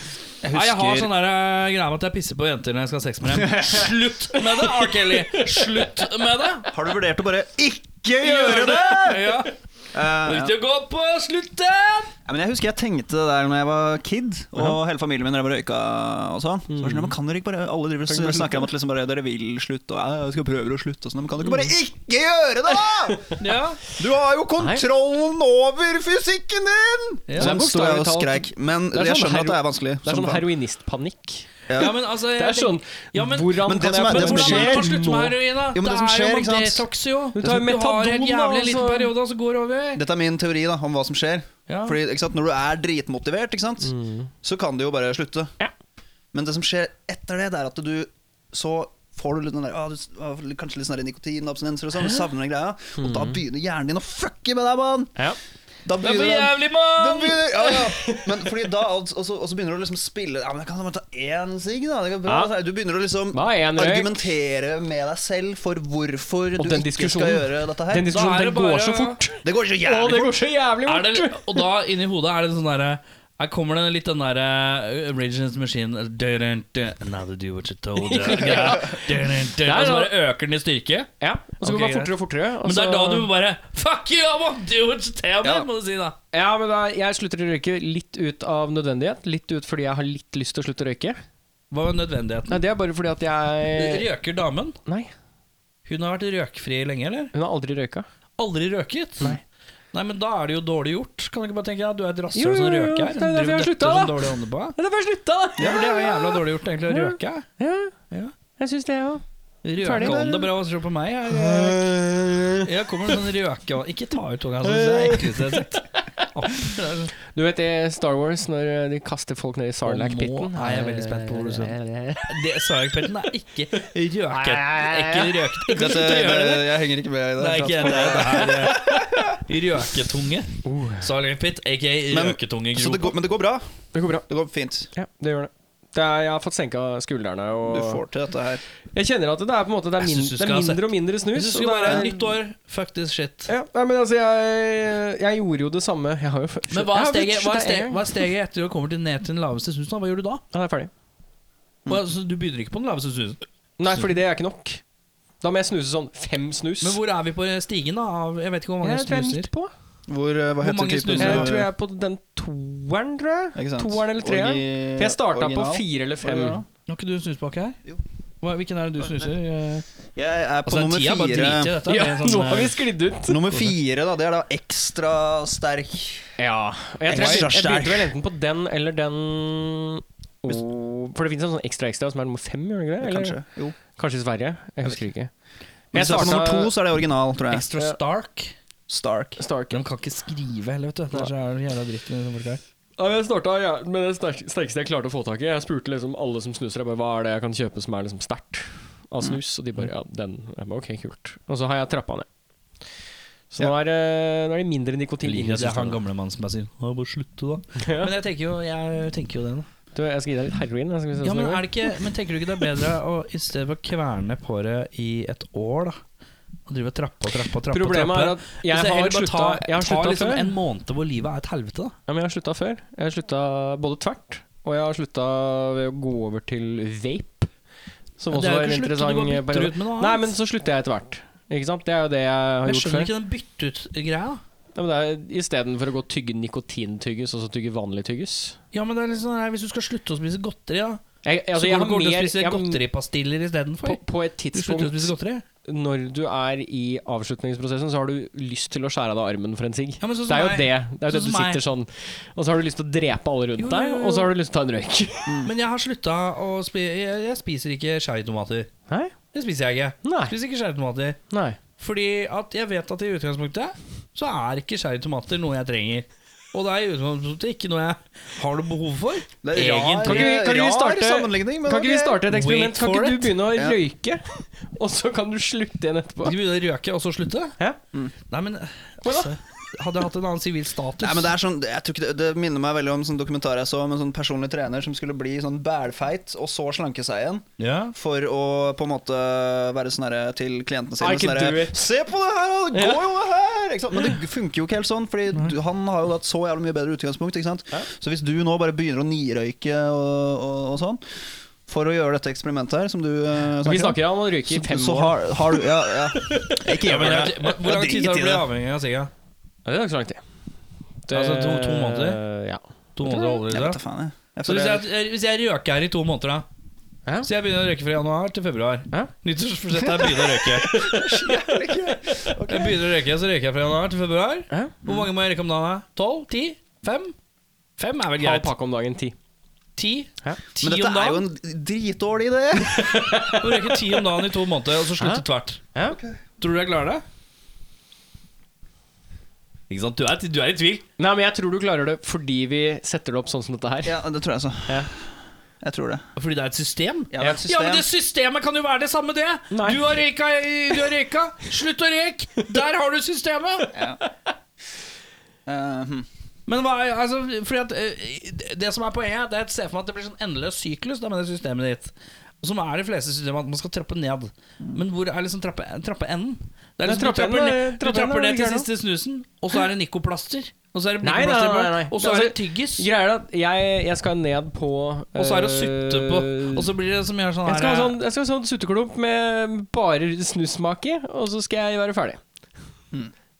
Nei, Jeg har sånn derre greie med at jeg pisser på jenter når jeg skal ha sex med dem. Slutt med det, R. Kelly! Slutt med det! Har du vurdert å bare ikke gjøre det? Ja. Eh, Ikke gå på slutten! Ja, men jeg husker jeg tenkte det der når jeg var kid, og hele familien min drev og røyka og sånn. Så var det sånn, «Ja, men kan dere ikke bare, Alle driver og snakker om at liksom bare, dere vil slutte, og ja, jeg skal prøve å slutte og sånn. Men kan dere ikke bare ikke gjøre det, da?! Ja. Du har jo kontrollen over fysikken din! Ja. Sånn sto jeg Det er og bokstavelig talt- skreik. Men er jeg sånn skjønner at det hero- er vanskelig. Det er som sånn faen. heroinistpanikk. Ja. Ja, men altså Det er sånn Ja, men- Hvordan Men det kan jeg som er- Men det som hvordan er det man skjer slutter med heroin, da? Jo, men det som skjer, er jo man ikke sant? detox, jo. Du tar jo Du har metadon, en da, jævlig liten altså. periode, og så går det over. Dette er min teori da, om hva som skjer. Ja. Fordi ikke sant, Når du er dritmotivert, ikke Mm. sant, så kan det jo bare slutte. Ja. Men det som skjer etter det, det er at du så får du litt den der, ah, du, s- ah, kanskje litt sånn der nikotinabstinenser og sånn. Du savner den greia. Og da begynner hjernen din å fucke med deg, mann! Mm. Ja. Da Det er for den- jævlig, den mann! begynner, ja, ja. Men fordi da, og og så, og så begynner du å liksom spille Ja, men jeg kan bare ta én sigg, da. Det går bra. Ja. Du begynner å liksom Da er en røyk. argumentere med deg selv for hvorfor Og du den ikke skal diskusjonen- gjøre dette her. Den Da er diskusjonen det den går bare- så fort. det går så Å, jævlig det går så jævlig Er det, fort. og da, inni hodet, er det sånn derre her kommer det litt den der uh, Rage Against the Machine uh, dun, dun, Now they do what you told you. Ja. Dun, dun, dun, Og så bare øker den i styrke. Ja, og så Ok, går det bare greit. fortere og fortere. altså- og Men det så- er da du bare Fuck you, I want to do what you tell me, Ja. må du si da. Ja, men da, jeg slutter å røyke litt ut av nødvendighet. Litt ut fordi jeg har litt lyst til å slutte å røyke. Hva var Nei, nødvendigheten? det er bare fordi at jeg Røker damen? Nei, Hun har vært røkfri lenge, eller? hun har aldri røyka. Aldri røket? Nei. Nei, men da er det jo dårlig gjort. Kan du ikke bare tenke at du er et Jo, rasshøl jo, som jo, røker? det er derfor jeg har Driver sluttet, døtter som da. dårlig ånde på deg? Men det er bare slutta, da! Ja, for det er jo jævla dårlig gjort, egentlig, å Ja. røke. Ja, Ja. jeg syns det òg. Ferdig. Røkeånde, bra. Se på meg. Jeg, jeg, jeg kommer med sånn røkeånde Ikke ta ut tunga, altså, det er det ekleste jeg har sett. Opp, det er sånn. Du vet det i Star Wars, når eh, de kaster folk ned i Og Sarlac-pitten? nå er jeg veldig spent på hvor du skal. skal. Det Sarek-pelten er ikke røket. Ikke røket. Ikke Dette, slutt å gjøre det. det, jeg henger ikke med i det. Det er ikke det er det er eh, røketunge. Oh. Sarek-pit, aka Men- Så røketungegropa. det går, men det går bra. Det går bra. Det går fint. Ja, det gjør det. det er, jeg har fått senka skuldrene. Du Og får til dette her. jeg kjenner at det er på en måte Det er, Jeg min, synes du det er skal ha mindre og mindre Hvis snus. du og skulle det være er- nytt år, fuck this shit. Ja, nei, men altså, jeg, jeg gjorde jo det samme. Jeg har jo f- Men hva er Jeg steget, har blitt hva er slutta en steget, gang. hva er steget etter du kommer til ned til den laveste susen? da? Hva gjør du da? Ja, det er ferdig. Hva, så du begynner ikke på den laveste susen. Nei, fordi det er ikke nok. Da må jeg snuse sånn fem snus. Men hvor er vi på stigen, da? av- Jeg vet ikke hvor mange jeg tror jeg er snuser. midt på. Hvor, eh, hva heter mange typen? snuser? Jeg du- tror jeg er på den toeren, tror jeg. Ikke sant? Toeren eller treeren. Orgi- For jeg starta på original. fire eller fem. Original. Har ikke du en snuspakke her? Jo. Hva, hvilken er det du snuser? Eh, Jeg er på Altså, den nummer tida bare driter i fire. dette. Ja, det er nå har vi sånn, eh, sklidd ut. Nummer fire, da. Det er da ekstra sterk. Ja. og Jeg, tror jeg, Ekstra jeg sterk. begynte vel enten på den eller den og, For det fins en sånn ekstra ekstra som er nummer fem, gjør det ikke det? Eller- Kanskje. Jo. Kanskje i Sverige. Jeg husker ikke. Hvis du er på nummer to, så er det original, tror eh, jeg. Extra Stark. Stark. Stark. De kan ikke skrive heller, vet du. Det er så jævla- jævla dritt med disse folka her. Ja, jeg starta ja, med det sterk- sterkeste jeg klarte å få tak i. Jeg spurte liksom alle som snuser, jeg bare, hva er det jeg kan kjøpe som er liksom sterkt Mm. av snus. Og de bare ja, den. Jeg bare, ok, kult. Og så har jeg trappa ned. Så nå, er, det- nå er det mindre Jeg nikotin. i liker at jeg har en systemet. gamlemann som bare sier «Å, bare slutt, du, da'. Ja. Men jeg tenker jo, jeg tenker jo det, da. Du, jeg skal gi deg litt heroin. Jeg skal vi se Ja, hvordan men, det er det ikke, men tenker du ikke det er bedre å i stedet for å kverne på det i et år, da? Og drive og trappe og trappe og går. trappe? Problemet og er trappe. at jeg har slutta jeg har ta slutta liksom før. en måned hvor livet er et helvete, da. Ja, men jeg har slutta før. Jeg har slutta både tvert, og jeg har slutta ved å gå over til vape. Som Det også er jo var en ikke slutt, interessant du bare bytter periode. ut med noe Nei, annet. men så slutter jeg etter hvert. Ikke sant? Det er jo det jeg har Jeg gjort skjønner før. ikke den bytte ut-greia. da. Ja, men det er Istedenfor å gå og tygge nikotintyggis, og så tygge vanlig tyggis. Ja, men det er liksom, sånn her, Hvis du skal slutte å spise godteri, da, Jeg, altså, så jeg går har du går du og mer spiser jeg, har- godteripastiller på, istedenfor. på et Du slutter å tidspunkt spise godteri. når du er i avslutningsprosessen, så har du lyst til å skjære av deg armen for en sigg. Ja, men sånn det er jo som det. meg. Det er jo Sånn det du som meg. sitter sånn Og så har du lyst til å drepe alle rundt Jo, deg, jo, jo. og så har du lyst til å ta en røyk. Men jeg har slutta å spise jeg, jeg spiser ikke cherrytomater. Nei? Det spiser jeg ikke. Nei. Jeg spiser ikke cherrytomater. Nei. Fordi at jeg vet at i utgangspunktet så er ikke cherry tomater noe jeg trenger. Og det er i utgangspunktet ikke noe jeg har noe behov for. Det er rar, Egentlig. Kan ikke vi- kan ikke vi rar starte- sammenligning, men Kan ikke vi ok. starte et eksperiment? Wait Kan for ikke du it. begynne å Ja. røyke, og så kan du slutte igjen etterpå? Skal vi begynne å røke og så slutte? Ja. Mm. Nei, men altså, Hadde jeg hatt en annen sivil status Nei, men det, er sånn, jeg tror ikke det, det minner meg veldig om sånn dokumentar jeg så om en sånn personlig trener som skulle bli sånn bælfeit, og så slanke seg igjen. ja. For å på en måte være sånn herre til klientene I sine. can Sånn herre, do it. Se på det her, da! det går jo det her! Ikke sant? Men det funker jo ikke helt sånn, Fordi du, han har jo hatt så jævlig mye bedre utgangspunkt. Ikke sant? Ja. Så hvis du nå bare begynner å nirøyke og, og, og sånn for å gjøre dette eksperimentet her, som du eh, Vi snakker om, snakker om å røyke så, i fem så år. har, har du Ja, ja. Ikke Ja, gjør men det. jeg- men Hvor Jeg lang tid driter tar det å i bli avhengig av sigga? Ja, det er ikke så lang tid. Eh, Altså, to- to måneder? Ja. To måneder Jeg allerede? vet da faen, jeg. jeg Så hvis føler- jeg, hvis jeg røker her i to måneder, da Ja. Så jeg begynner å røyke fra januar til februar. Ja. Nyttårsforsett er å begynne å røyke. Jeg begynner å røyke, så røyker jeg fra januar til februar. Ja. Hvor mange må jeg røyke om dagen? da? Tolv? Ti? Fem? Fem er vel Halv greit. pakke om dagen, ti. Ti. Ja. Ti Men dette om er jo dagen. en dritdårlig idé! Du røyker ti om dagen i to måneder, og så slutter tvert. Ja. Tror du jeg klarer det? Ikke sant? Du er, du er i tvil. Nei, men jeg tror du klarer det fordi vi setter det opp sånn som dette her. Ja, det tror jeg så. Ja. Jeg tror det. Fordi det er et system? Ja, det er et Ja, men det system. systemet kan jo være det samme, det! Nei. Du har røyka, i- du har røyka. Slutt å røyke! Der har du systemet! Eh, hm. Men hva er, altså, fordi at eh, Det som er poenget, det er at jeg ser for meg at det blir sånn endeløs syklus da, med det systemet ditt. Og Som er de fleste systemer, at man skal trappe ned. Men hvor er liksom trappe, trappeenden? Det er Nei, liksom, du trapper, trappeenden ned, er- du trappeenden er trapper ned til ikke her nå. siste snusen, og så er det Nicoplaster. Og så er det Nei, nei, nei, Nicoplaster, nei, nei. og så er det Altså, tyggis. Greia er at jeg, jeg skal ned på eh, Og så er det å sutte på. Og så blir det som gjør sånn jeg skal, ha her sånn, jeg skal ha sånn sutteklump med bare snussmak i, og så skal jeg være ferdig.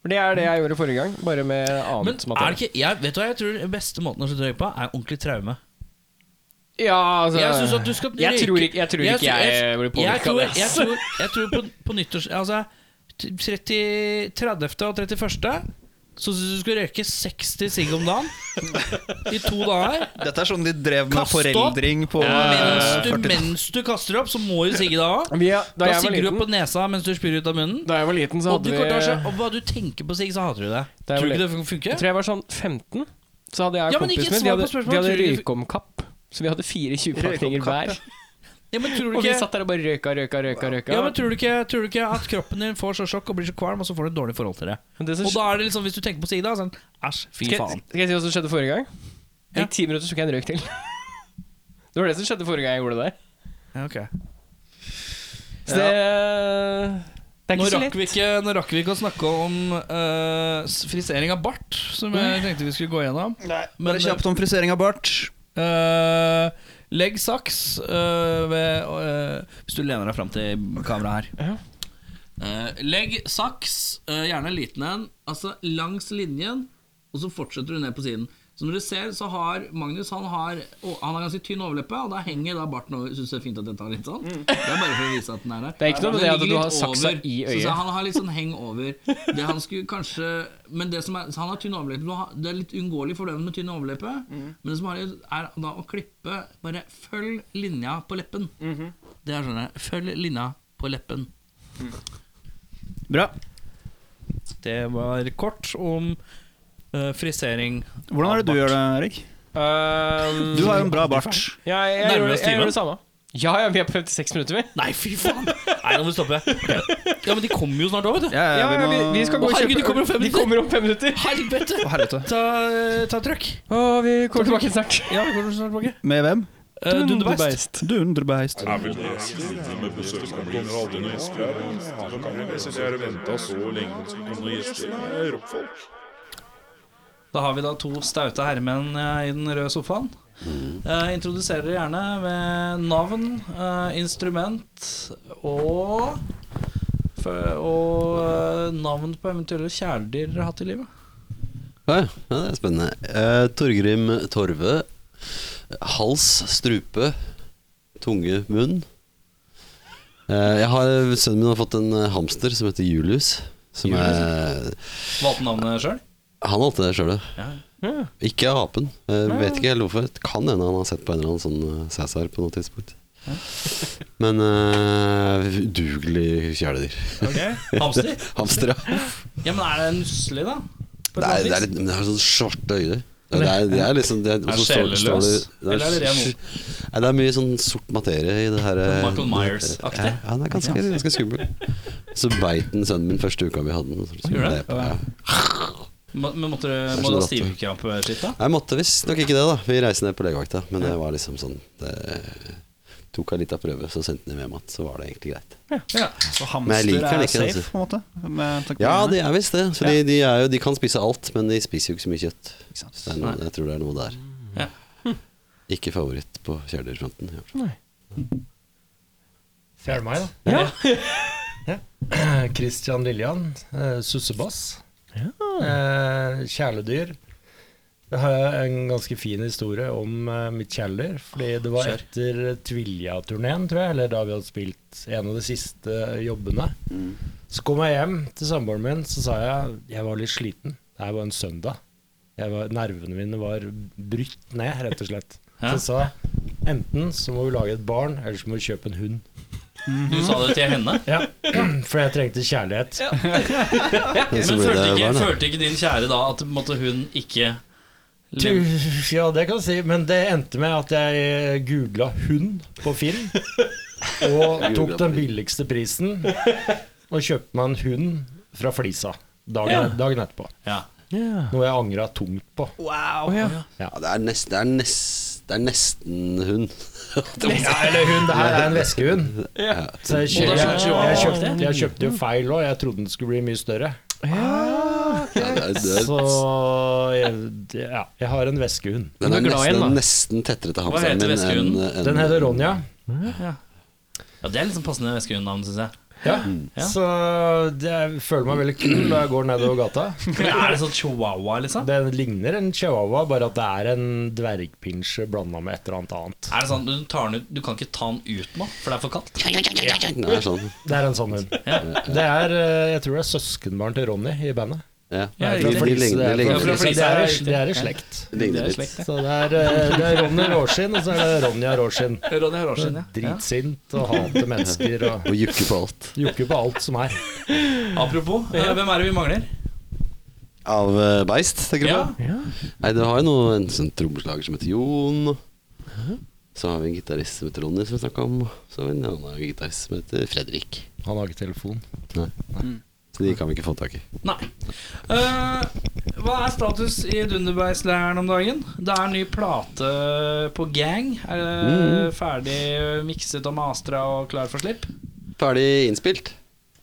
For det er det jeg gjorde forrige gang, bare med Mm. Men annet er det ikke jeg, Vet du hva jeg tror den beste måten å slutte å røyke på, er ordentlig traume. Ja, altså Jeg synes at du skal Jeg røyke- tror ikke jeg, tror ikke jeg, blir jeg påvirket tror, av det. jeg tror, jeg tror på, på nyttårs... Altså, t- 30, 30. og 31. Så synes jeg du skal røyke 60 sigg om dagen i to dager. Dette er sånn de drev med Kast opp, foreldring på Mens eh, du, 40 mens du kaster opp, så må du sigge deg av. Vi, da, Da jeg var sigger du opp liten, på nesa mens du spyr ut av munnen. da jeg var liten, så Og, du hadde vi kommer til å se- og hva du tenker på sigg, så hater du det. Da Tror du jeg var ikke det Jeg funker? tror jeg var sånn 15. Så hadde jeg Ja, og men ikke svar kompisen min De på hadde, de spørsmålet. hadde Tror du ikke- røykomkapp. Så vi hadde fire 20-pakninger Røykomkapp, hver. Ja, men tror du Og vi ikke satt der og bare røyka, røyka, røyka. røyka. Ja, men tror du, ikke, tror du ikke at kroppen din får så sjokk og blir så kvalm, og så får du et dårlig forhold til det? Men det som Og da er det liksom, hvis du tenker på Sigda, sånn Æsj, fy Skal, faen. skal jeg si hva som skjedde forrige gang? Det Ja. gikk ti minutter, så tok jeg en røyk til. Det var det som skjedde forrige gang jeg gjorde det der. Ja, ok. Så det, det er Nå ikke så rakk, lett. vi ikke, nå rakk vi ikke å snakke om eh, s- frisering av bart, som jeg tenkte vi skulle gå gjennom. Nei, Men, Bare kjapt om frisering av bart. eh, legg saks eh, ved eh, Hvis du lener deg fram til kameraet her. Ja. Eh, legg saks, eh, gjerne en liten en, altså langs linjen, og så fortsetter du ned på siden. Som dere ser, så har Magnus han har, å, han har ganske tynn overleppe, og da henger da barten over. Syns det er fint at jeg tar litt sånn? Det er bare for å vise at den er der. Det er ikke noe med det Den at du ligger har litt saksa i Så, øyet. så han har litt sånn heng over. Det han skulle kanskje Men det som er så Han har tynn overleppe. du har- Det er litt uunngåelig for den med tynn overleppe, men det som har litt, er da å klippe Bare følg linja på leppen. Det er sånn her. Følg linja på leppen. Bra. Det var kort om eh, frisering. Hvordan er det du gjør det, Erik? Ehm, Du har jo en bra bart. ja, jeg, jeg, Nærmer gjorde, oss jeg timen. Eh, gjorde det samme. Ja, ja, vi er på 56 minutter, vi. Nei, fy faen! Nei, nå må vi stoppe. Ja, Men de kommer jo snart òg, vet du. Ja, Ja, ja, ja, vi, vi, må, vi skal gå Å, og herregud, kjøpe de kommer om fem De minutter. kommer om fem minutter. Helvete! Å, helvete. Ta, ta trøkk. Å, vi kommer tilbake snart. Ja, vi kommer snart tilbake. Med hvem? Uh, Dunderbeist. Dunderbeist. Da har vi da to staute herremenn eh, i den røde sofaen. Eh, introduserer dere gjerne med navn, eh, instrument og f- og eh, navn på eventuelle kjæledyr dere har hatt i livet. Ja, ja, det er spennende. Eh, Torgrim Torve. Hals, strupe, tunge, munn. Eh, jeg har, sønnen min har fått en eh, hamster som heter Julius. Som er, Valgte navnet sjøl? han valgte det sjøl, Ja. Ja. ikke apen. Jeg vet ikke helt hvorfor. Det Kan hende han har sett på en eller annen sånn eh, Cæsar på noe tidspunkt. Men uh, udugelig kjæledyr. Hamster? Hamster, ja. Ja, men er det nusselig, da? På Det et er, eller det er annet vis? litt, men det er sånn svarte øyne. Det er, det er liksom det er, og så står- står det- det Eller er det ren ord? Nei, det er mye sånn sort materie i det her eh, Michael Myers-aktig. Ja, han er ganske, ganske skummel. Så beit den sønnen min første uka vi hadde den. Så- så- Gjorde det? det- ja. Må- Men måtte du Det er må så du ha rått, det. stivkrampeslitt, da? Jeg måtte visstnok ikke det, da. Vi reiste ned på legevakta. Men det var liksom sånn Det tok jeg litt av prøve, så sendte den hjem igjen. Så var det egentlig greit. Ja. Så Men jeg hamster liker den er ikke, safe, altså. på en måte? Med tanke på Ja, Mm. dyrene. de er visst det. For de, de, er jo, de kan spise alt, men de spiser jo ikke så mye kjøtt. Ikke sant? Så det er noe, jeg tror det er noe der. Ja. Ikke favoritt på kjæledyrfronten. i hvert fall. Fjerde meg, da. Ja. Christian Lillian, eh, sussebass. Eh, kjæledyr. Jeg har en ganske fin historie om eh, mitt kjæledyr. Fordi det var Kjør. etter Tvilja-turneen, tror jeg, eller da vi hadde spilt en av de siste jobbene. Så kom jeg hjem til samboeren min, så sa jeg jeg var litt sliten. Det her var en søndag. Jeg var, nervene mine var brytt ned, rett og slett. Hæ? Så sa jeg enten så må vi lage et barn, eller så må vi kjøpe en hund. Du sa det til henne? Ja, For jeg trengte kjærlighet. Men så Men ble følte det ikke, barn, da. følte ikke din kjære da at på en måte, hun ikke lev- Du- Ja, det kan du si, men det endte med at jeg googla hund på Finn. Og tok den billigste prisen og kjøpte meg en hund fra Flisa Ja. dagen, dagen etterpå. ja. Noe jeg angra tungt på. Ja, det, er nest, det, er nest, det er nesten hund. Det var- Ja, eller hund, det her er en veskehund. Så jeg, kjø- Og da kjøpte jeg, du jeg, også kjøpte, jeg kjøpte jo feil òg. Jeg trodde den skulle bli mye større. ja, det er, det er, Så jeg, ja, jeg har en veskehund. den er, Du er glad i den, nesten, da. nesten tettere til Hva hamsteren heter min enn veskehunden? enn- Den heter Ronja. ja, Det er liksom passende veskehundnavn, syns jeg. Ja. Mm. Ja. Så det, jeg føler meg veldig kul når jeg går nedover gata. Men er det sånn chihuahua, liksom? Den ligner en chihuahua, bare at det er en dvergpinsje blanda med et eller annet annet. Er det sånn, du, tar den ut, du kan ikke ta den ut nå, for det er for kaldt? Den er sånn. Det er en sånn hund. Ja. Det er, eh, jeg tror det er søskenbarn til Ronny i bandet. Ja. Ja, Det er de, riktig. fra de Flisa, ligner, de det er ligner fra litt. Flisa. Det er i- riktig. det er i slekt. De ligner litt. Så det er, eh, det er Ronny Råskinn, og så er det Ronja Råskinn. Ronny Haraldsen, ja. Dritsint og hater mennesker og Og jukker på alt. jokker på alt som er. Apropos, eh, hvem er det vi mangler? Av eh, beist, tenker du Ja. på? Nei, du har jo noe, en sånn trommeslager som heter Jon. og Så har vi en gitarist som heter Ronny, som vi snakka om. Så har vi en annen gitarist som heter Fredrik. Han har ikke telefon. Så de kan vi ikke få tak i. Nei. Eh, hva er status i Dunderbergsleiren om dagen? Det er en ny plate på gang. Er det Mm. Ferdig mikset og mastra og klar for slipp? Ferdig innspilt.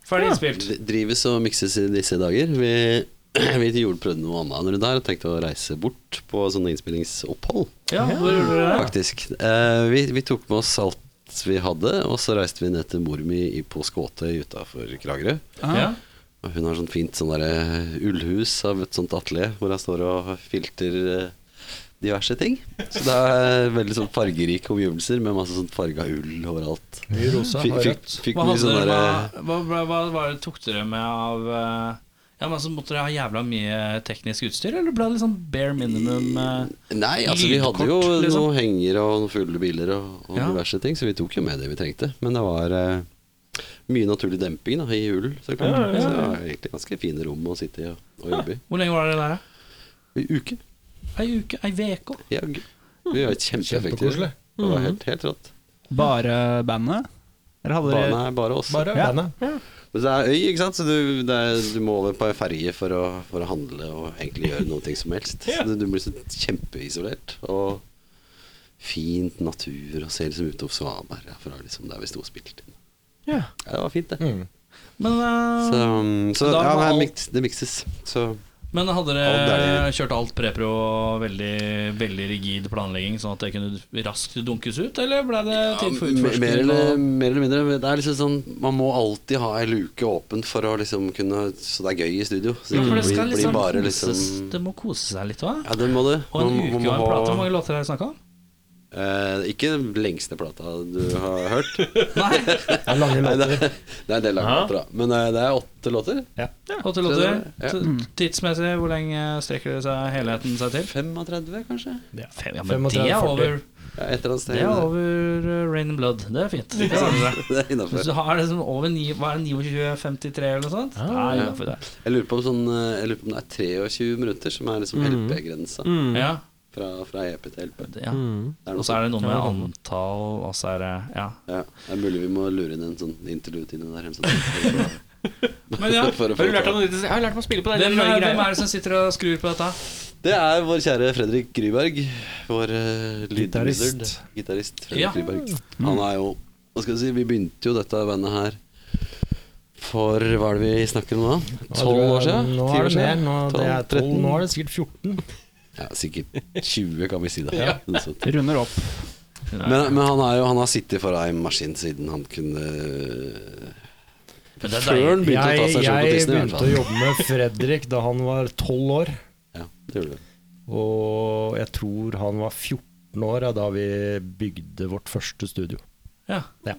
Ferdig innspilt. D- Drives og mikses i disse dager. Vi, vi til jul prøvde noe annet enn det der og tenkte å reise bort på sånne innspillingsopphold. Ja, hvor gjorde dere det? faktisk. Eh, vi, vi tok med oss alt vi hadde, og så reiste vi ned til mor mi i- på Skåtøy utafor Kragerø. Ja. Og hun har sånn fint sånn derre ullhus av et sånt atelier, hvor hun står og filter eh, diverse ting. Så det er veldig sånn fargerike omgivelser med masse sånn farga ull overalt. Mye rosa Fikk, og fikk, rødt. fikk Hva, mye hadde sånn dere, derre hva, hva, hva, hva var det tok dere med av eh, Ja, men så Måtte dere ha jævla mye teknisk utstyr, eller ble det litt sånn bare minimum? eh? Nei, altså vi hadde jo Lydkort, liksom. noen henger og noen fulle biler og, og Ja. diverse ting, så vi tok jo med det vi trengte. Men det var eh, mye naturlig demping da, i ull, så klart. Så det var egentlig ganske fine rom å sitte i og, og jobbe i. Hvor lenge var dere der? da? I uke. Ei uke? Ei veke? Ja, gøy. vi var kjempeeffektive. Kjempekoselig. Det Mm. var helt, helt rått. Bare bandet? Eller hadde dere Barna er bare oss. Bare Ja. bandet. Men det er øy, ikke sant? Så du, det er, du må over på ei ferge for, å- for å handle og egentlig gjøre noe ting som helst. Så du, du blir så kjempeisolert. Og fint natur, og ser liksom ut over Svaberg ja, fra liksom der vi sto og spilte inn. Ja. Ja, det var fint, det. Mm. Men, eh, Så, um, så Da ja, var nei, alt- miks, det mikses. Så men hadde Alt dere deilig. kjørt alt prepro og veldig, veldig rigid planlegging, sånn at det kunne raskt dunkes ut, eller ble det ja, tid for mer, mer, utforsking? eller, og- mer eller mindre. Det er liksom sånn Man må alltid ha ei luke åpen for å liksom kunne Så det er gøy i studio. Så Ja, for det blir- skal blir liksom bare koses, liksom- det må kose seg litt, hva? Ja, det må det. Og en Man- uke man og en må ha- plate, hvor mange låter har dere snakka om? Eh, ikke den lengste plata du har hørt. Nei, Det er lange Nei, det, låter. er- det er en del lange låter, da. Men eh, det er åtte låter. åtte Så låter. det- ja. Så Tidsmessig, hvor lenge strekker det seg helheten seg til? 35, kanskje? Fem, ja, men 35, det er 40. over, Ja, et eller annet sted. det er over eh, Rain and Blood. Det er fint. Det ordner seg. Det er Hvis innenfor. du har liksom over ni, hva er det, 29,53 eller noe sånt? Det er innenfor det. Jeg lurer på om, sånn, eh, jeg lurer på om det er 23 minutter som er liksom Mm. LP-grensa. Ja, Fra, fra EP til LP. det- ja. Det Og er noe så er det sånt. noe med antall, og så er det Ja. Ja, det er mulig vi må lure inn en sånn interlude inni der. en Sånn. Men ja, For å Har få du lært deg det. noe nytt? Jeg har lært meg å spille på det. hvem det er, er hvem greia. er det som sitter og skrur på dette? det er vår kjære Fredrik Gryberg. Vår eh, Gitarist. Mm. lydwizard. Gitarist Fredrik Ja. Gryberg. Han er jo Hva skal jeg si, vi begynte jo dette bandet her for hva er det vi snakker om da? Tolv år siden? eh, Nå Ti er år det mer. siden? Nå, det er 12, 12, nå er det sikkert 14. Ja, sikkert 20, kan vi si det. Noe sånt. runder opp? Men, men han, er jo, han har sittet for ei maskin siden han kunne Men det er Før deilig. han begynte å ta Jeg, seg sjøl på jeg tissen, i hvert begynte å fall. jobbe med Fredrik da han var 12 år. Ja, det gjorde du. Og jeg tror han var 14 år ja, da vi bygde vårt første studio. Ja. Ja.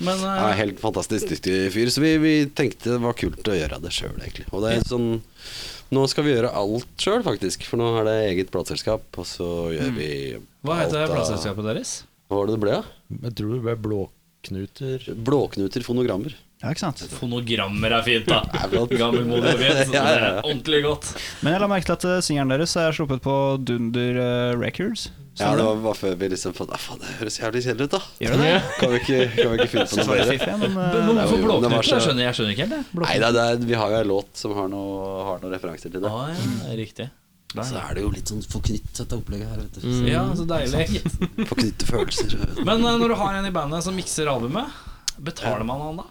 Men eh, Ja, helt fantastisk dyktig fyr. Så vi, vi tenkte det var kult å gjøre det sjøl, egentlig. Og det er sånn Nå skal vi gjøre alt sjøl, faktisk. For nå er det eget plateselskap, og så gjør vi Hva alt heter av- plateselskapet deres? Hva var det det ble, da? Jeg tror det ble blåknuter. Blåknuter fonogrammer. Ja, ikke sant? fonogrammer er fint, da. flott. Gammelmodig og fint. så Ja, det ja, er ja. Ordentlig godt. Men jeg la merke til at eh, singelen deres er sluppet på Dunder eh, Records. Ja, det var bare før vi liksom fant ah, Faen, det høres jævlig kjedelig ut, da. Gjør det det? Kan vi ikke, kan vi ikke finne på Det noe var litt bedre? fiffig, men eh, Men hvorfor jo, jo, det var blåknuter? så- Jeg skjønner, jeg skjønner ikke helt det. Nei, det er, det er, vi har jo en låt som har noen har noe referanser til det. Ah, ja, riktig. Så er det jo litt sånn forknytt, dette opplegget her. Vet du. Ja, så deilig. Forknytte følelser. vet du. Men eh, når du har en i bandet som mikser albumet, betaler man han da?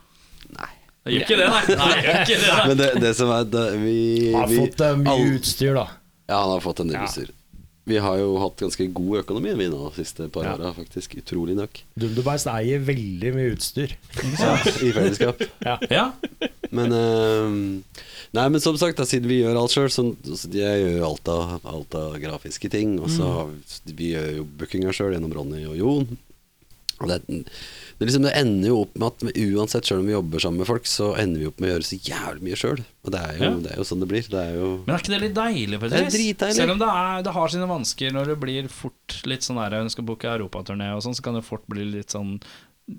Nei. Det gjør ikke det, nei. nei det gjør ikke det, nei. Men det, det som er det, Vi, Har vi fått eh, mye all- utstyr, da. Ja, han har fått en del utstyr. Vi har jo hatt ganske god økonomi vi nå de siste par åra, faktisk. Utrolig nok. Dunderbeist eier veldig mye utstyr. I fellesskap. Ja, Men eh, Nei, men som sagt, da, siden vi gjør alt sjøl, så så jeg gjør jo alt av, alt av grafiske ting. Og Mm. så har vi- vi gjør jo bookinga sjøl gjennom Ronny og Jon. Og det, det, liksom, det ender jo opp med at uansett, sjøl om vi jobber sammen med folk, så ender vi opp med å gjøre så jævlig mye sjøl. Og det er, jo, Ja. det er jo sånn det blir. Det er jo Men er ikke det litt deilig? på et Det er vis? dritdeilig. Selv om det, er, det har sine vansker når det blir fort litt sånn der, Hun skal booke europaturné og sånn, så kan det fort bli litt sånn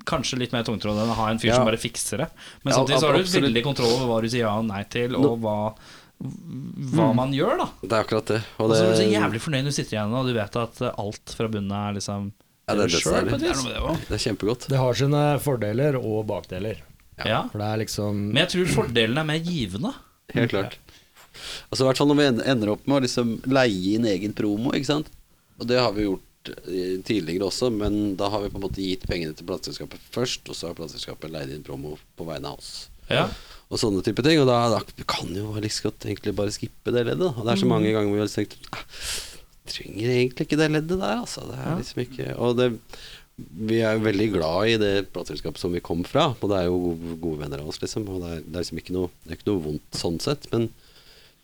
Kanskje litt mer tungtråd enn å ha en fyr Ja. som bare fikser det. Men Ja, samtidig så har du absolutt. veldig kontroll over hva du sier ja og nei til, og hva, hva man gjør, da. Det er akkurat det. Mm. Og Og det, så er du så jævlig fornøyd når du sitter igjen og du vet at eh, alt fra bunnen av er liksom Ja, det er du selv, dødsdeilig. på et vis. Det er noe med det også. det er kjempegodt. Det har sine fordeler og bakdeler. Ja. For det er liksom Men jeg tror fordelen er mer givende. Helt klart. Altså i hvert fall når vi en- ender opp med å liksom leie inn egen promo, ikke sant. Og det har vi gjort eh, tidligere også, men da har vi på en måte gitt pengene til plateselskapet først, og så har plateselskapet leid inn promo på vegne av oss. Ja. Og sånne type ting. Og da, da kan jo like så godt egentlig bare skippe det leddet. da. Og det er så mange ganger hvor vi har tenkt "Ah, trenger egentlig ikke det leddet der, altså. Det er liksom ikke Og det vi er jo veldig glad i det plateselskapet som vi kom fra, og det er jo gode, gode venner av oss, liksom. Og det er, det er liksom ikke noe, det er ikke noe vondt sånn sett, men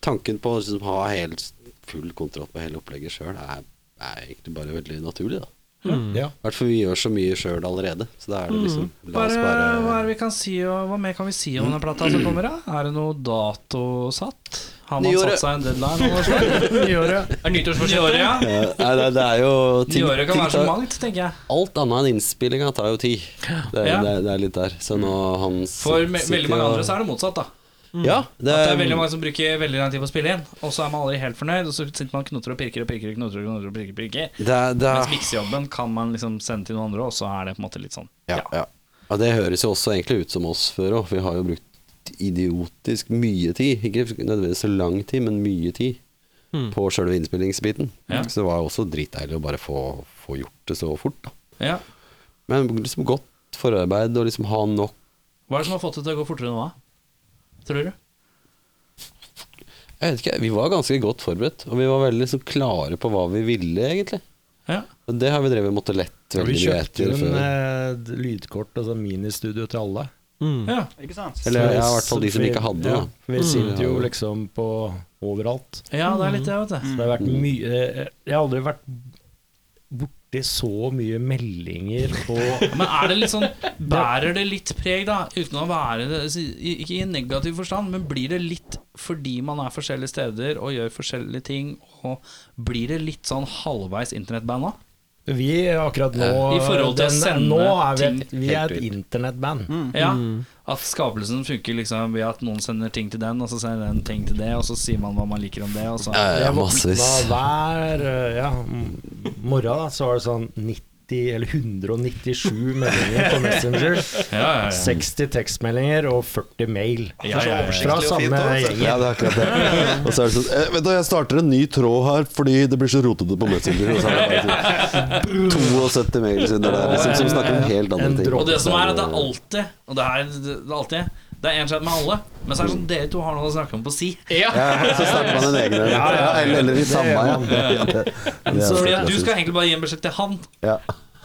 tanken på å liksom ha helt full kontroll på hele opplegget sjøl er, er egentlig bare veldig naturlig, da. Ja. I hvert fall vi gjør så mye sjøl allerede, så da er det liksom La oss Mm. Bare, hva er bare det vi kan si og, Hva mer kan vi si om denne plata som kommer? da? Er det noe dato satt? Har man Nyåret. satt seg en deadline? av noe slag? Nyåret. Er nyttårsforsettet? Nyåret, ja. Eh, Nei, det, det er jo ting, Nyåret kan ting være så tar- mangt, tenker jeg. Alt annet enn innspillinga tar jo tid. Det, er- Ja. det, er- det er litt der. Så nå han For sit- me sitter veldig mange og- andre så er det motsatt, da. Ja, det Mm. At det er, er veldig mange som bruker veldig lang tid på å spille inn, og så er man aldri helt fornøyd, og så sitter man og knoter og pirker og pirker og knoter og knoter og pirker, pirker. det er, det Mens er miksejobben kan man liksom sende til noen andre, og så er det på en måte litt sånn. ja, ja. ja, det høres jo også egentlig ut som oss før òg. Vi har jo brukt idiotisk mye tid. Ikke nødvendigvis så lang tid, men mye tid på sjølve innspillingsbiten. Mm. Ja. Så det var jo også dritdeilig å bare få, få gjort det så fort. Da. Ja. Men liksom godt forarbeid og liksom ha nok Hva er det som har fått det til å gå fortere nå, da? Tror du? Jeg vet ikke, Vi var ganske godt forberedt, og vi var veldig så klare på hva vi ville, egentlig. Ja. Og det har vi drevet måtte lett veldig Vi mye kjøpte etter jo en før. eh, d- lydkort og sånn ministudio til alle. ja. Ikke sant? Eller ja, i Så- hvert fall de som vi- ikke hadde det. ja, da. Vi sitter jo liksom på overalt. Ja, det er litt det, vet Mm. du. Det har vært mye eh, Jeg har aldri vært borti så mye meldinger og Men er det litt sånn Bærer det litt preg, da? Uten å være det Ikke i en negativ forstand, men blir det litt fordi man er forskjellige steder og gjør forskjellige ting, og blir det litt sånn halvveis internettband nå? Vi er akkurat nå I forhold til å sende Nå er vi et, ting Mm. vi er helt et ut. internettband. Ja, at skapelsen funker liksom ved at noen sender ting til den, og så sender den ting til det, og så sier man hva man liker om det, og så Ja, ja, Jeg våkna massevis. hver eh, ja, m- morgen da, så var det sånn 90 eller 197 meldinger på Messenger. ja, ja. 60 tekstmeldinger og 40 mail. Ja, ja, ja. Fra samme Ja, gjeng. det er akkurat det. Og så er det sånn eh, Vent, da, jeg starter en ny tråd her fordi det blir så rotete på Messenger. Og så er det bare sånn 72 mails under der liksom, som snakker om helt En andre ting. dropp. Og det som er at det er alltid Og det er, det er alltid Det er en skjedd med alle, men så er det sånn dere to har noe å snakke om på si. Ja, så starter man en egen en. Ja, Eller, eller i samme, ja. ja. det- det er Fordi også at du klassisk. skal egentlig bare gi en beskjed til han, Ja.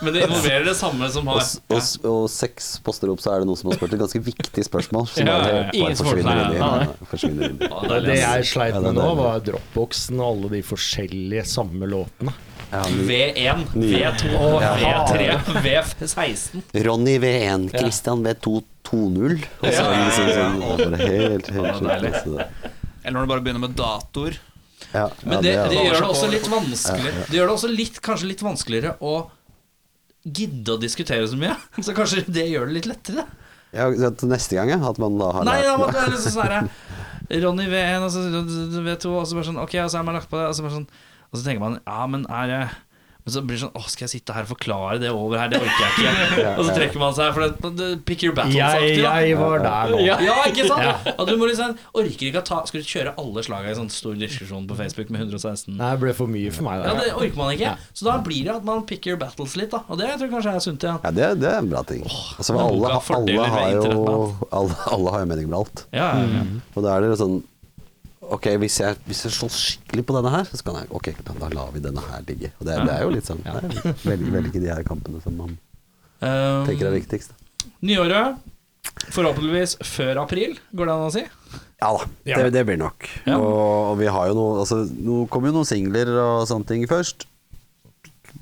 men det involverer det samme som Og, har s- og, s- og seks poster opp, så er det noen som har spurt et ganske viktig spørsmål. Som Ja, ja, bare, ja. bare Ingen som får det. forsvinner inn i- Nei, nei. nei, forsvinner inn i Ja, det er Det litt- jeg sleit Ja, det er med nå, deilig. var dropboxen og alle de forskjellige samme låtene. Ja, V1, V2, V3, V16. Ronny V1, Christian V2, 2-0. Og så er det liksom sånn det er bare helt, helt sånn. Eller når du bare begynner med datoer. Ja, ja, Men det, det er gjør det. det også litt vanskelig Det gjør det også litt, kanskje litt vanskeligere å gidde å diskutere så mye. Så kanskje det gjør det litt lettere. Ja, så til neste gang, ja. At man da har Nei, lært da måtte jeg liksom sånn herre Ronny V1 og så V2, og så bare sånn Ok, og så er man lagt på det, og så bare sånn Og så tenker man Ja, men er det men så blir det sånn Å, skal jeg sitte her og forklare det over her? Det orker jeg ikke. Og så trekker man seg, for det, det pick your Jeg, battles-aktig. da. jeg var der nå. Ja, ikke sant? Og du må liksom Orker ikke å ta Skal du kjøre alle slaga i sånn stor diskusjon på Facebook med 116 Nei, det ble for mye for meg. Ja, Der. det orker man ikke. Så da blir det at man pick your battles litt, da. Og det tror jeg kanskje er sunt igjen. Ja, det, det er en bra ting. Altså, men alle, boka har alle, fordeler har med jo, internettmat. alle, alle har jo mening om alt. Ja, ja, ja. Og da er det sånn Ok, hvis jeg, hvis jeg slår skikkelig på denne her, så kan jeg Ok, da, da lar vi denne her ligge. Og det, det er jo litt sånn det er jo velge, velge de her kampene som man Um, Mm. tenker er viktigst. nyåret, forhåpentligvis før april, går det an å si? Ja da, det, det blir nok. Og, og vi har jo noe Altså, nå kommer jo noen singler og sånne ting først.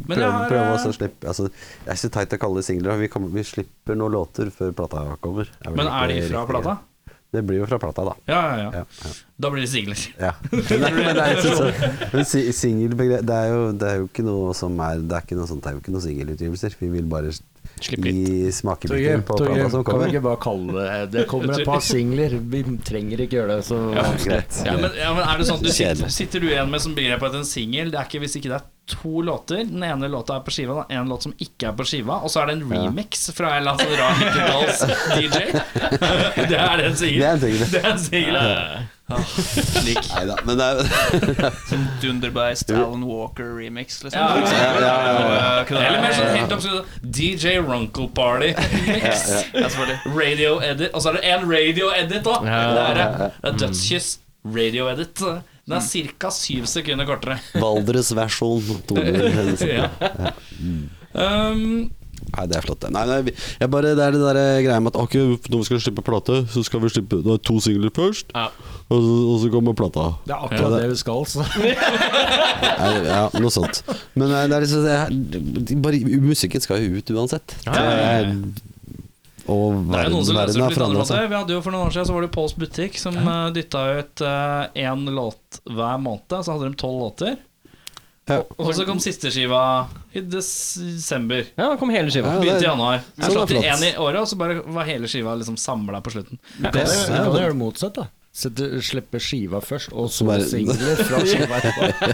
Men Prøv, jeg har, prøv eh, også å slippe altså, Jeg er så teit å kalle det singler. og Vi, kommer, vi slipper noen låter før plata kommer. Er vel men er de ikke fra riktig. plata? Det blir jo fra plata, da. Ja, ja, ja. Ja, ja. Da blir det singler. Ja. Nei, men det er ikke så- men si- singelbegrep det, er jo- det er jo ikke noe som er Det er ikke noe sånt, det er jo ikke noe singelutgivelser. Vi vil bare Slipp litt. gi Torgeir, smakebiter på plata Torgeir, som kan vi kommer. ikke bare kalle det Det kommer et par singler. Vi trenger ikke gjøre det så Greit. Ja, men, ja, men er det sånn at du sitter, Kjedelig. sitter du igjen med som begrep at en singel Det er ikke hvis ikke det er to låter. Den ene låta er på skiva, den ene låt som ikke er på skiva. Og så er det en remix fra en eller annen sånn rar Nittedals-DJ. Det er en Det er singel. en ting, det. Det er en singel. Slik Neida, men det er som Dunderbeist, Alan Walker-remix, liksom. Ja, ja, ja, ja, Eh, kunne Eller mer det- sånn helt absurd DJ Runkle Party. Ja, selvfølgelig. Radio edit. Og så er det en radio edit, da. Det er, det. det er dødskyss. Radio edit. Den er ca. syv sekunder kortere. Valdres versjon. Tone. Ja. Um, Nei, det er flott. det. Nei, nei, vi- jeg bare, det er det der eh, greia med at ok, når vi skal slippe plate, så skal vi slippe da, to singler først, Ja. og, så, og så kommer plata. Det er akkurat det vi skal. Så. Nei, ja, noe sånt. Men nei, det er liksom det er, bare, Musikken skal jo ut uansett. Det er, og det er jo verden, noen som løser verden det har på litt andre forandra måter. seg. Vi hadde jo For noen år siden Så var det jo Pauls butikk som eh, dytta ut én låt hver måned. Så hadde de tolv låter. Ja. Og, og så kom siste skiva i desember. Ja, da kom hele skiva. Ja, det- Begynte i januar. Ja, Så slapp det er de flott. én i året, og så bare var hele skiva liksom samla på slutten. Det kan jo- kan jo gjøre det motsatt, da. Sette, slippe skiva først, og så Bare- singler fra skiva etterpå.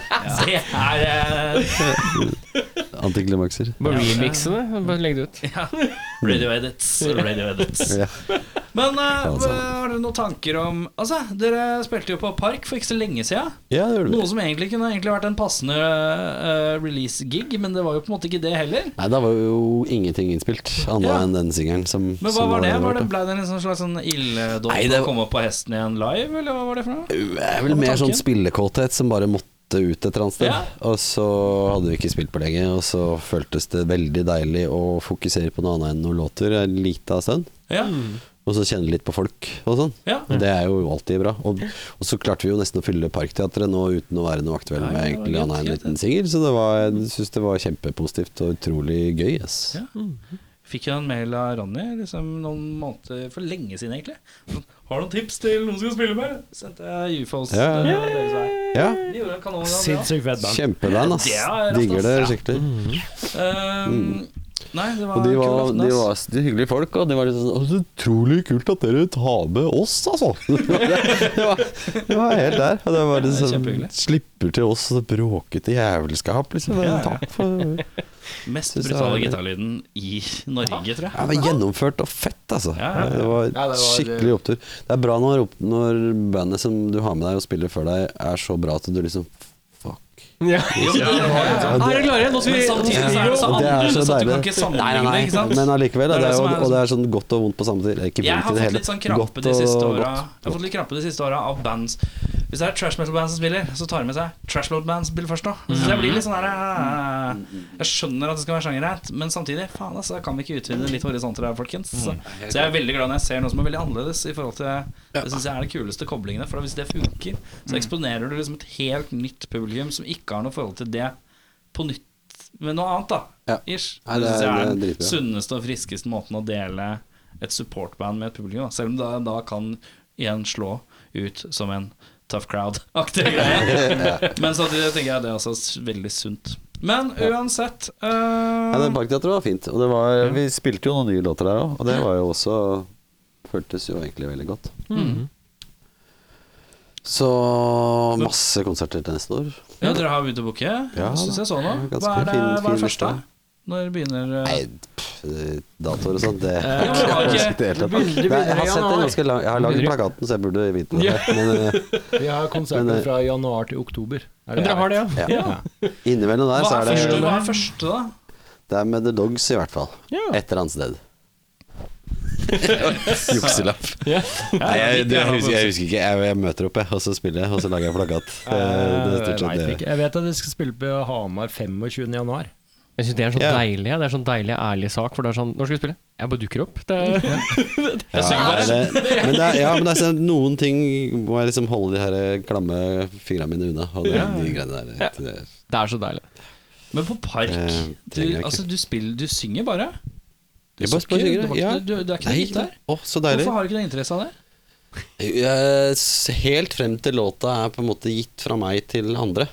Det er eh, Antiklimakser. Bare remixe det. Bare legge det ut. radio edits. Radio edits. Ja. altså. Men eh, hva- har dere noen tanker om Altså, dere spilte jo på Park for ikke så lenge siden. Ja, det gjør det. Noe som egentlig kunne egentlig vært en passende eh, release-gig, men det var jo på en måte ikke det heller. Nei, da var jo ingenting innspilt, annet Ja. enn den singelen som Men hva som var det? allerede Var det vært, da. ble det en sånn slags sånn ilddåp Nei, det å var- komme opp på hesten igjen live, eller hva var det for noe? Det er vel mer sånn spillekåthet som bare måtte ut et eller annet sted. Ja. Og så hadde vi ikke spilt på lenge, og så føltes det veldig deilig å fokusere på noe annet enn noen låter en lita stund. Ja. Og så kjenne litt på folk og sånn. Mm. Ja. Og Det er jo alltid bra. Og, og så klarte vi jo nesten å fylle Parkteatret nå uten å være noe Ja, aktuelle med det var egentlig gøy, annet enn en gøy, liten singel, så det var, jeg syns det var kjempepositivt og utrolig gøy. Yes. Ja. Fikk jo en mail av Ronny liksom noen måneder for lenge siden, egentlig. Sånn, 'Har du noen tips til noen som skal spille med?' Sendte jeg UFOs. eh, Ja. Det var deres vei. Ja. De gjorde en kanon av det, ja. Sinnssykt fett band. Kjempeband, ass. Det er rått, ass. Digger det Ja. skikkelig. Ehm, Nei, det var Mm. Og de en Ah, kul var, aften, de ass. var de hyggelige folk, og de var liksom sånn «Å, Så utrolig kult at dere tar med oss, altså! Det var, det var helt der. Og det var det er liksom, kjempehyggelig. slipper til oss og bråkete jævelskap, liksom. Men Takk for Mest Synes jeg brutale var- gitarlyden i Norge, tror Ja, jeg. det var gjennomført og fett, altså. Ja, ja, ja. Det var det var- skikkelig opptur. Det er bra når, opp, når bandet som du har med deg og spiller før deg, er så bra at du liksom Fuck. Ja. Ja, Er dere det- klare? Nå skal vi Men samtidig så er det så Og det er så annerledes at du deilig. kan ikke sammenligne, Nei, nei, nei. ikke sant? Men allikevel, Det er da, det det er, som jo, er og det er sånn godt og vondt på samme tid. Eller Ikke Jeg har vondt i fått det hele. litt sånn Godt krampe de siste og åra. godt. Jeg har fått litt krampe de siste åra av bands. Hvis det er trash metal-band som spiller, så tar de med seg trash metal-band som spiller først òg. Mm. Så jeg blir litt sånn her eh, Jeg skjønner at det skal være sjangerrett, men samtidig faen altså, kan vi ikke utvide litt horisonter her, folkens? Mm. Så, så jeg er veldig glad når jeg ser noe som er veldig annerledes i forhold til Det syns jeg er de kuleste koblingene, for hvis det Mm. funker, så eksponerer du liksom et helt nytt publikum som ikke har noe forhold til det, på nytt med noe annet, da. Ja. Ish. Nei, det synes jeg er- den det er dritbra. sunneste og friskeste måten å dele et supportband med et publikum da. Selv om det da kan igjen slå ut som en tough crowd-aktig greie. Men samtidig tenker jeg det er også s- veldig sunt. Men uansett eh, Nei, det Parkteatret var fint. Og det var, Ja. vi spilte jo noen nye låter der òg, og det var jo også Føltes jo egentlig veldig godt. Mm. Så masse konserter til neste år. ja, Dere har begynt å booke? Ja, Syns jeg så nå. det er ganske Hva er, det- fin- hva fin er det liste. første? Når begynner eh, Nei, pff, datoer og sånt, det ja, men det var Jeg ikke- husker det hele tatt. Nei, Veldig Jeg begynner i har sett den januar. ganske lang Jeg har lagd plakaten, så jeg burde vite det. Men eh, Vi har Men eh, konserter det- fra januar til oktober. Er Men dere har det, ja? ja. innimellom hva, der så er er første, det hva er første, da? Det er med The Dogs, i hvert fall. Ja. Et eller annet sted. Jukselapp. Ja. Nei, jeg, du, jeg, husker, jeg husker ikke. Jeg, jeg møter opp, jeg, og så spiller jeg, og så lager jeg plakat. Eh, Det, det er stort sett jeg, det. Eh, jeg vet at de skal spille på Hamar 25. januar. Jeg syns det er en sånn Ja. deilig Det er en sånn deilig ærlig sak. For det er sånn Når skal vi spille? Jeg bare dukker opp. Det er, Ja, det, men det er, ja, men det er sånn- noen ting må jeg liksom holde de her eh, klamme fingrene mine unna. Og det, de greiene der. Det, det er så deilig. Men på park Eh, du, trenger jeg ikke. altså, du, spiller, du synger bare? Du Jeg bare spiller sukker, og synger, det var ja. ikke- Du, du er ikke Nei, noe gitar? Å, så deilig. Hvorfor har du ikke noe interesse av det? Jeg- s- Helt frem til låta er på en måte gitt fra meg til andre,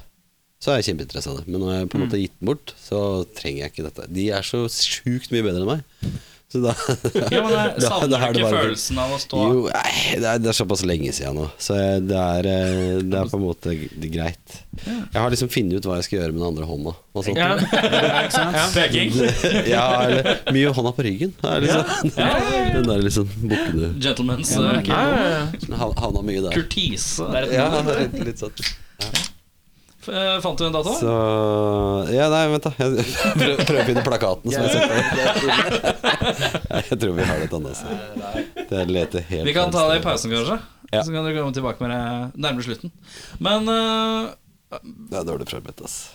så er jeg kjempeinteressert av det. Men når jeg på en måte er gitt den bort, så trenger jeg ikke dette. De er så sjukt mye bedre enn meg. Så da Ja, men jeg Da- Savner da er du det ikke bare- følelsen av å stå Jo, nei, det er, det er såpass lenge siden nå, så jeg, det, er, eh, det er på en måte g- greit. Jeg har liksom funnet ut hva jeg skal gjøre med den andre hånda. Og sånt. Ja. Peking. ja, eller mye hånda på ryggen. Er liksom, Den der liksom bukkene Gentlemans eh, Ja, ja, ja. Hav- Havna mye der. kurtise. Det er et Ja, navn. litt, litt sånn. F- eh, Fant du en dato? Så Ja, nei, vent, da. Jeg prøver, prøver å finne plakaten som jeg setter Nei, Jeg tror vi har det altså. et annet sted. Jeg leter helt Vi kan ta det i annet pausen, kanskje. Ja. Så kan dere komme tilbake med det nærmere slutten. Men eh, sted. Det er dårlig forberedt, ass.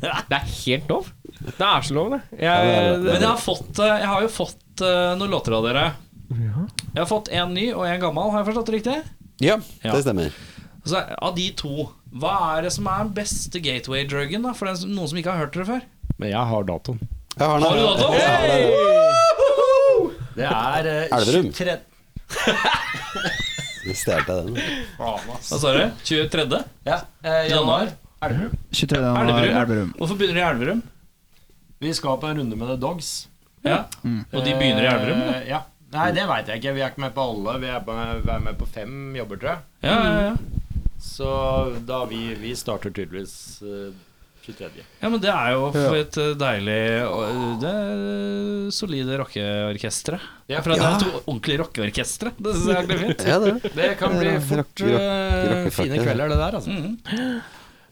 Det er helt lov. Det er så lov, det. Ja, Jeg, det er Men jeg har, fått, eh, jeg har jo fått eh, noen låter av dere. Jeg har fått en ny og en gammel, har jeg forstått det riktig? Ja, Ja. det stemmer. Så Av de to, hva er det som er den beste gateway-drugen da, for den, som- noen som ikke har hørt dere før? Men jeg har datoen. Jeg har den Har du her. dato? Jeg har den her. Det er eh, Elverum. 23. Jeg stjelte den. Hva sa du? 23.? Ja, eh, januar. Januar? 23. januar, Elverum. Hvorfor begynner de i Elverum? Vi skal på en runde med The Dogs. Ja. Og de begynner i Elverum? da? Eh, Ja. Nei, det veit jeg ikke. Vi er ikke med på alle. Vi er, på, vi er med på fem jobber, tror jeg. Ja, ja, ja. Så da vi, vi starter tydeligvis eh, 23. ja, men det er jo for et eh, deilig og, eh, Det er solide rockeorkestre. Ja. For at det er to ordentlige rockeorkestre. Det synes jeg er fint. Ja, det er det. Det kan bli fort rock- eh, rockefakta. fine kvelder, det der, altså. Mhm.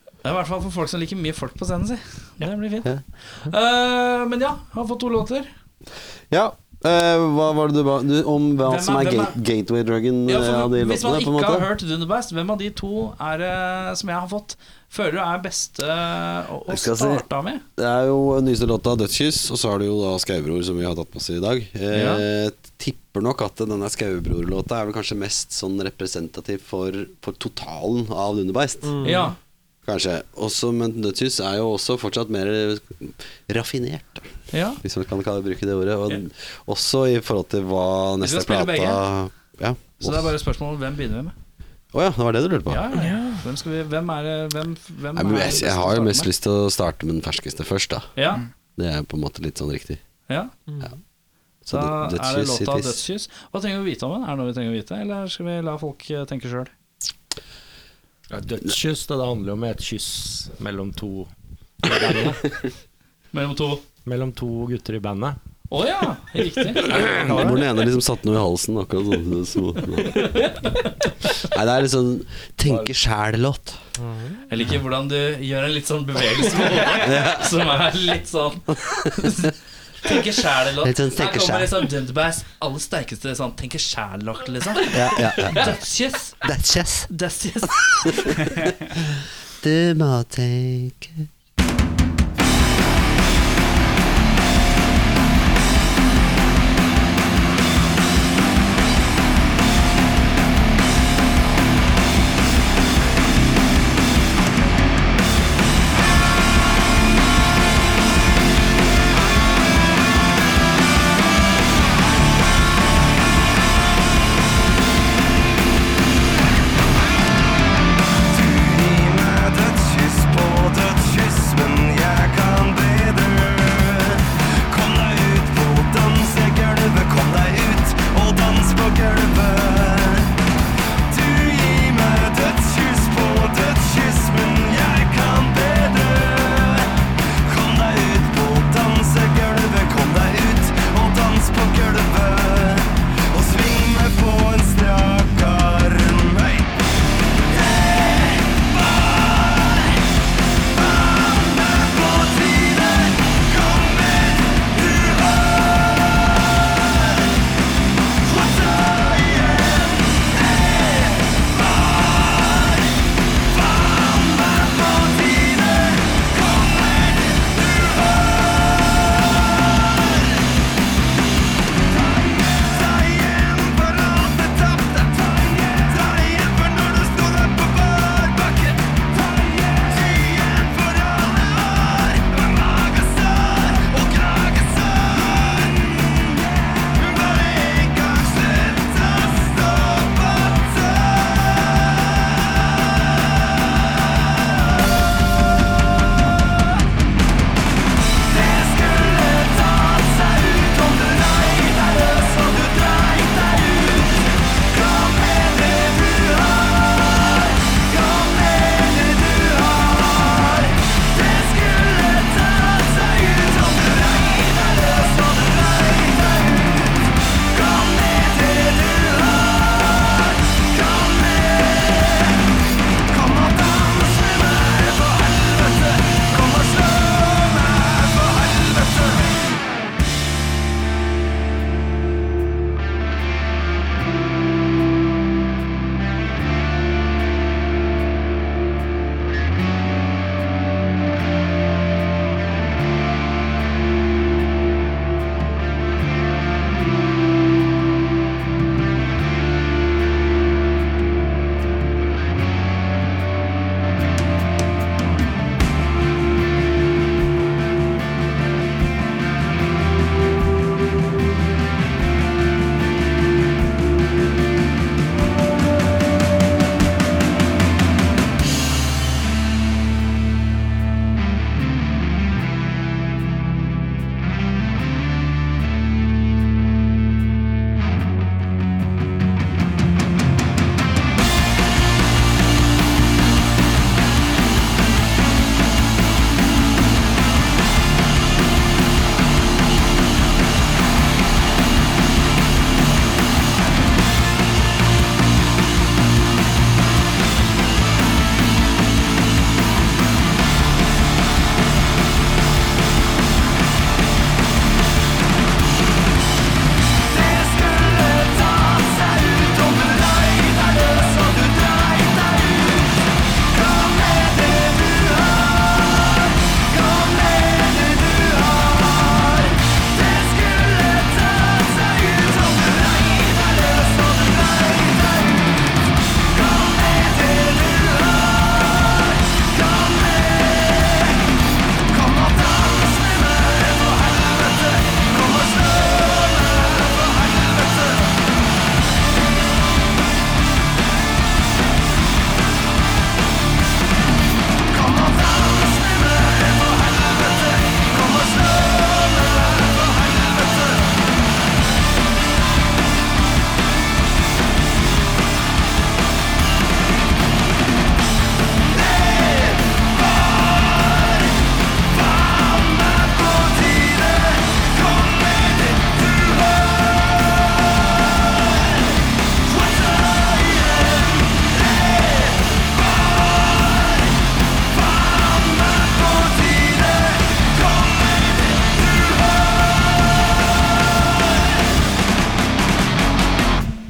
Det er i hvert fall for folk som liker mye folk på scenen si. Det blir fint. Ja. Eh, men ja, har fått to låter. Ja. eh, hva var det du ba du, om hva Hvem er- som er, hvem gate, gateway dragon Ja, eh, for av de hvis man låtene? På en ikke har måte? hørt Dunderbæsj, hvem av de to er det som jeg har fått, føler du er beste å, å Jeg skal se. starte av med? Det er jo den nyeste låta 'Dødskyss', og så har du jo da 'Skaubror', som vi har tatt med oss i dag. Eh, Tipper nok at denne Skaubror-låta er vel kanskje mest sånn representativ for, for totalen av Lundebeist. Ja. Kanskje. Også, men 'Dødskyss' er jo også fortsatt mer raffinert. da. ja. Hvis man kan kalle- bruke det ordet. Og, Også i forhold til hva Vi skal neste spille plata begge. Ja. Så det er bare spørsmålet hvem begynner vi med? Å ja, det var det du lurte på? Ja, ja, ja. Hvem, skal vi, hvem er det hvem, hvem Nei, men er det jeg, beste jeg å har jo starte mest med? lyst Mm. til å starte med den ferskeste først, da. Ja, Det er på en måte litt sånn riktig. ja. Så Da død- er det dødskyss, låta hit is. 'Dødskyss'. Hva trenger vi vite om den? Er det noe vi trenger å vite, eller skal vi la folk eh, tenke sjøl? Ja, Dødskyss, det, det handler jo om et kyss mellom to Mellom to. Mellom to gutter i bandet. Å ja, riktig. Hvor den ene liksom satte noe i halsen, akkurat sånn. som- Nei, det er liksom tenke sjæl-låt. Jeg liker hvordan du gjør en litt sånn bevegelse med hodet, som er litt sånn Tenker Litt sjæl-låt. sånn tenker Her kommer sjæl. liksom Dunderbass, aller sterkeste sånn tenker sjæl-låt, liksom. Ja, ja, ja. Dødskyss! Dødskyss. Dødskyss! Du må tenke Dødskyss.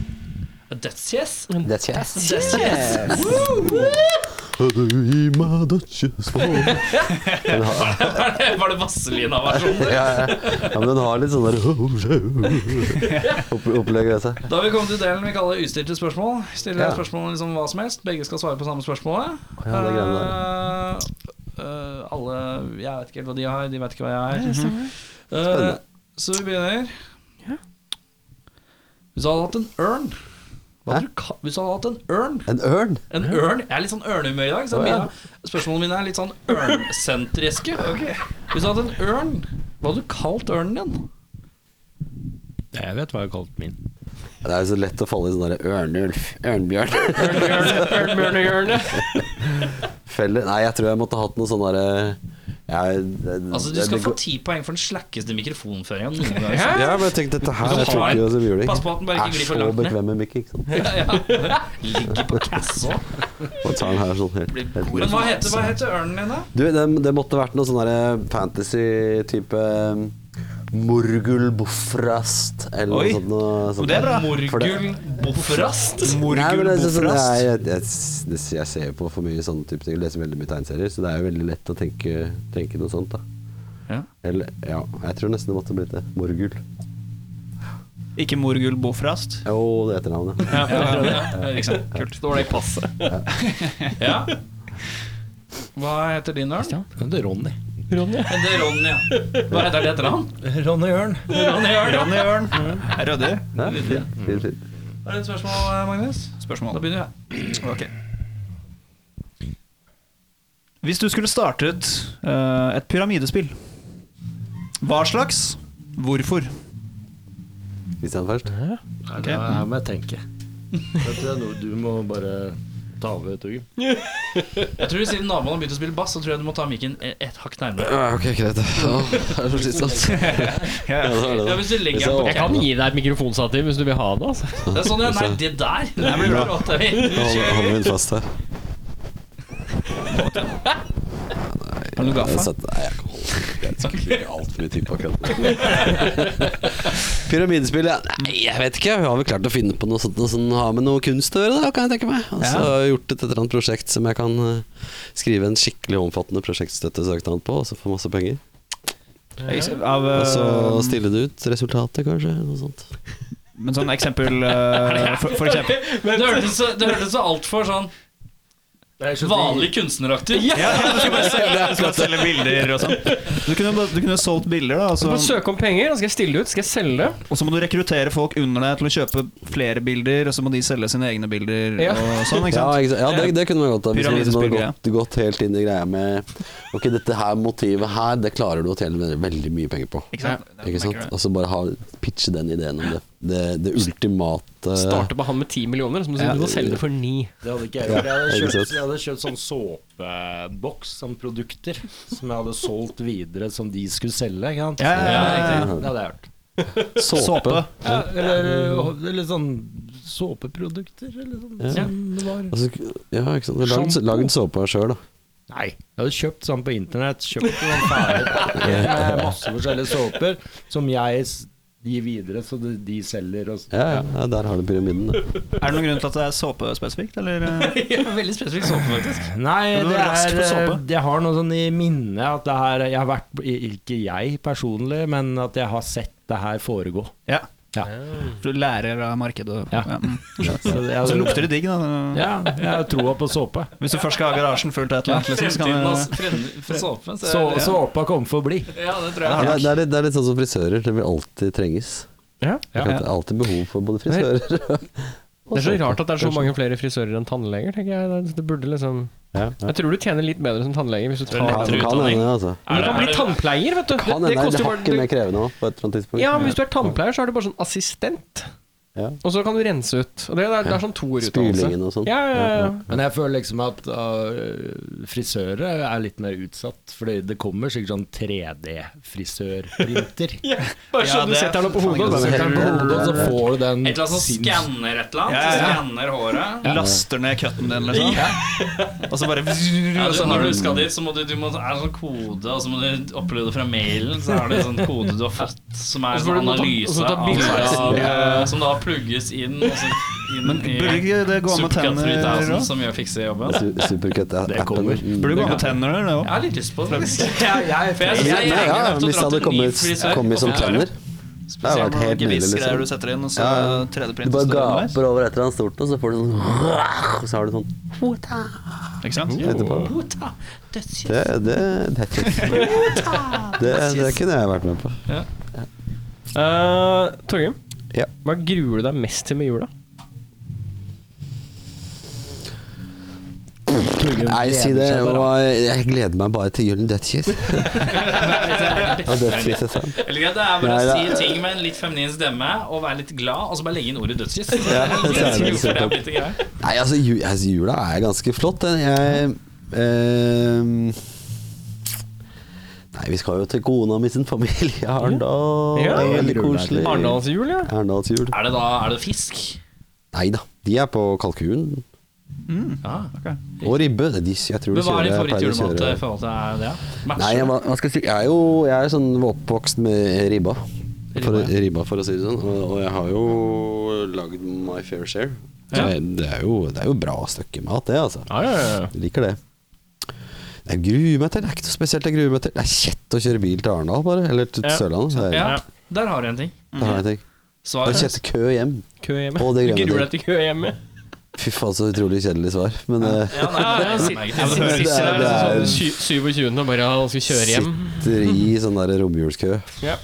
yes. That's yes. Yes, yes. Den har, Var det Vazelina-versjonen? ja, ja. ja, men den har litt sånn der opp, Opplegg ved seg. Da har vi kommet til delen vi kaller ustilte spørsmål. Stiller Ja. spørsmål om liksom hva som helst. Begge skal svare på samme spørsmålet. Ja, det er greiene Eh, eh, alle Jeg vet ikke helt hva de har, de vet ikke hva jeg har. Spennende. Eh, så vi begynner. Hvis du hadde hatt en ørn hva Hæ? hadde du ka- Hvis du hadde hatt en ørn En ørn? En ørn? Jeg er litt sånn ørnehumør i dag. Så Å, ja. mine, spørsmålene mine er litt sånn ørnsentriske. Hvis du hadde hatt en ørn, hva hadde du kalt ørnen din? Jeg vet hva jeg har kalt min. Det er jo så lett å falle i sånn derre ørnulf, ørnbjørn. Ørnbjørnehjørnet. Felle Nei, jeg tror jeg måtte hatt noe sånn derre jeg- det- Altså, Du det- skal det få går- ti poeng for den slakkeste mikrofonføringa noen gang. Hæ? Ja, men jeg tenkte dette her Hvis du jeg tror har- ikke det som juling. Pass på at den bare ikke glir for Er langt så ned. bekvem med mikk, ikke sant. Ja, ja. Ligger på kassa. Og tar den her sånn helt, Blir helt god. Men hva heter, hva heter ørnen din, da? Du, det, det måtte vært noe sånn derre fantasy-type um, Morgul Bofrast eller Oi. noe sånt. Noe, sånt. For det- Morgul Bofrast. Nei, men det er sånn- jeg, jeg, jeg, det- jeg ser jo på for mye sånne type ting. Jeg leser veldig mye tegneserier, så det er jo veldig lett å tenke, tenke noe sånt. da Ja. Eller, ja, jeg tror nesten det måtte blitt det. Morgul. Ikke Morgul Bofrast. Jo, det er etternavnet. Ja, ja, ikke sant. Kult. Står det i passet. Ja. Hva heter din ørn? Det er Ronny. Ronja. Det er Ronny. ja. Hva heter det etter han? Ronny Ørn. Ronny Ørn. ja. Ronny Ørn. Rødde. Ja, fint, fint, fint. Har du et spørsmål, Magnus? Spørsmål. Da begynner jeg. Ok. Hvis du skulle startet eh, et pyramidespill, hva slags? Hvorfor? Christian først. Nei, det her må jeg tenke. Dette er noe du må bare ta over, Torgrim. Jeg tror Siden naboen har begynt å spille bass, så tror jeg du må ta mikken et et hakk nærmere. Ja, ok, greit. det er så slitsomt. Ja, hvis du legger Hvis den på jeg- Jeg kan kant. gi deg et mikrofonstativ hvis du vil ha det. altså Det er sånn, ja. Nei, det der Det blir bra. Hold min fast her. Har du Jeg satt, nei, jeg kan holde Jeg skal ikke bruke altfor mye tid på akkurat det. Pyramidespill, ja. Nei, jeg vet ikke. Vi har vel klart å finne på noe sånt noe som har med noe kunst å gjøre, da, kan jeg tenke meg. Og så har jeg gjort et eller annet prosjekt som jeg kan eh, skrive en skikkelig omfattende prosjektstøttesøknad på, og så få masse penger. Av, eh, Og så stille det ut resultatet, kanskje. Noe sånt. men sånn eksempel eh, for, for eksempel Men det hørtes så, det hørtes så altfor sånn vanlig kunstneraktig ut. ja, du skal bare selge, du skal bare selge bilder og sånn. Du kunne, bare- du kunne solgt bilder, da, og Du må så, søke om penger, og så skal jeg stille ut. Skal jeg selge det? og så må du rekruttere folk under deg til å kjøpe flere bilder, og så må de selge sine egne bilder Ja. og sånn, ikke Ja, sant? ikke sant? ja det, det kunne man godt ha. Hvis man liksom hadde Pyramidespill, gått, gått helt inn i greia med Ok, dette her motivet her, det klarer du å tjene veldig- veldig mye penger på. Ikke sant? Ikke sant? Og så bare ha, pitche den ideen om det. Det, det ultimate Starte på han med ti millioner, og så må du, Ja. du må selge det for ni. Det hadde ikke jeg gjort. Jeg hadde Ja, ikke kjøpt, sant. jeg hadde kjøpt sånn såpeboks som produkter, som jeg hadde solgt videre, som de skulle selge. Ikke sant? Ja, ja, ja, Ja, ja, Det hadde jeg gjort. såpe. Såpe. Ja, eller, eller sånn såpeprodukter, eller sånn Ja. som det var. Altså, ja, ikke sant. Lagd, Shampoo. lagd såpa sjøl, da. Nei, jeg hadde kjøpt sånn på internett. Kjøpt noen ferdig med masse forskjellige såper som jeg s- gir videre, så de, de selger. Og s- Ja, ja, ja, der har du pyramiden. da. Er det noen grunn til at det er såpespesifikt, eller? eh? Ja, veldig spesifikk såpe, faktisk. Nei, Men du det var rask er, på såpe. eh, jeg har noe sånn i minnet at det her Jeg har vært Ikke jeg personlig, men at jeg har sett det her foregå. Ja. Ja. Du lærer av markedet. Ja. mm. Så, jeg, Så lukter det digg, da. Ja, jeg har troa på såpe. Hvis du først skal ha garasjen fullt av et eller annet, liksom, så Fremtiden kan av frem- for såpe. Så, Så, såpa kommer for å bli. ja, det tror Det, jeg. er, det, er litt, det er litt sånn som frisører. Det vil alltid trenges. Ja. Det er alltid behov for både frisører og Det er så såpe. rart at det er så mange flere frisører enn tannleger, tenker jeg. Det- Det burde liksom Ja, ja. Jeg tror du tjener litt bedre som tannlege hvis du tar Ja, det kan hende, altså. Men Du kan bli tannpleier, vet du. Det, Kan hende det det koster er jo hakket bare mer krevende òg, på et eller annet tidspunkt. Ja, men hvis du er tannpleier, så er du bare sånn assistent. Ja. Og så kan du rense ut. Og det, det, er, det er sånn Spylingen toerutdannelse. og sånn. Ja, ja, ja. Men jeg føler liksom at øh, frisører er litt mer utsatt, for det kommer sikkert sånn 3D-frisørprinter. Bare Ja, sånn du det er setter den opp på faen hodet. ikke og Så bare- setter den på hodet, og så får du den Et eller annet sånn som sinns- skanner et eller annet. Ja, ja, ja. Skanner håret. du laster ned cutten din, liksom. Og så bare Ja, og du, så har når du du skal dit, så må du, du må, er det sånn kode, og så må du oppleve det fra mailen. Så er det sånn kode du har fått, som er Og så sånn får du ta- og analyse så ta bilder av av- sveisen, som da plugges inn. Og så inn Men i burde ikke det gå an med Supercat 3000, tenner òg? som gjør fikse jobben. Det kommer. Supercut-appen. Burde gå an med tenner der, Jeg det òg. har litt lyst på det, faktisk. Jeg, jeg, for jeg, Ja, jeg, jeg, ja, ja, jeg, hvis det hadde kommet, kommet som tenner. Det hadde vært helt nydelig. Gevissgreier du Liksom. setter inn, og så Ja, ja. 3D-print. Du bare gaper over et eller annet stort, og så får du sånn Så har du sånn Ikke sant? etterpå. Det, det, det, er ikke- det, det kunne jeg vært med på. Uh, Torgrim, Ja. hva gruer du deg mest til med jula? Nei, si det. og Jeg gleder meg bare til julen dødskys. Og dødskys er sant. Eller greit, det er bare Nei, å det- si ting med en litt feminin stemme og være litt glad, og så bare legge inn ordet dødskyss. Ja, det er Jeg veldig tror det er sant. blitt en greie. Nei, altså, ju- altså jula er ganske flott. den. Jeg ehm, Nei, vi skal jo til kona mi sin familie i Arendal. Ja. det er veldig koselig. Arendalsjul, ja. Arendalsjul. Er det da er det fisk? Nei da, de er på kalkun Ja. og ribbe. De, jeg tror de Men hva er din kjører- pleier å favorittjulemat eh? i kjøre- forhold til er det? ja? Nei, Matcher? jeg, hva- hva skal jeg, si? jeg er jo jeg er sånn oppvokst med ribba. For, Ribba, ribba, for å si det sånn. Og, og jeg har jo lagd my fair share. Så Ja. jeg, det, er jo, det er jo bra stykke mat, det, altså. Ja, ja, ja. Jeg liker det. Jeg gruer meg til. Det er ikke noe spesielt jeg gruer meg til. Det er kjett å kjøre bil til Arendal, bare. Eller til Ja. Sørlandet. Det er, Ja, der har du en ting. det har jeg tenkt. Svar. Det er kjett kø hjem. Kø hjemme. Å, det du gruer jeg gruer deg meg til kø hjemme? Fy faen, så utrolig kjedelig svar. Men eh, Ja, nei, det er meget. det er- Sitter der det er- sånn sy- 27. og bare ja, skal kjøre hjem. sitter i sånn der romjulskø. Ja.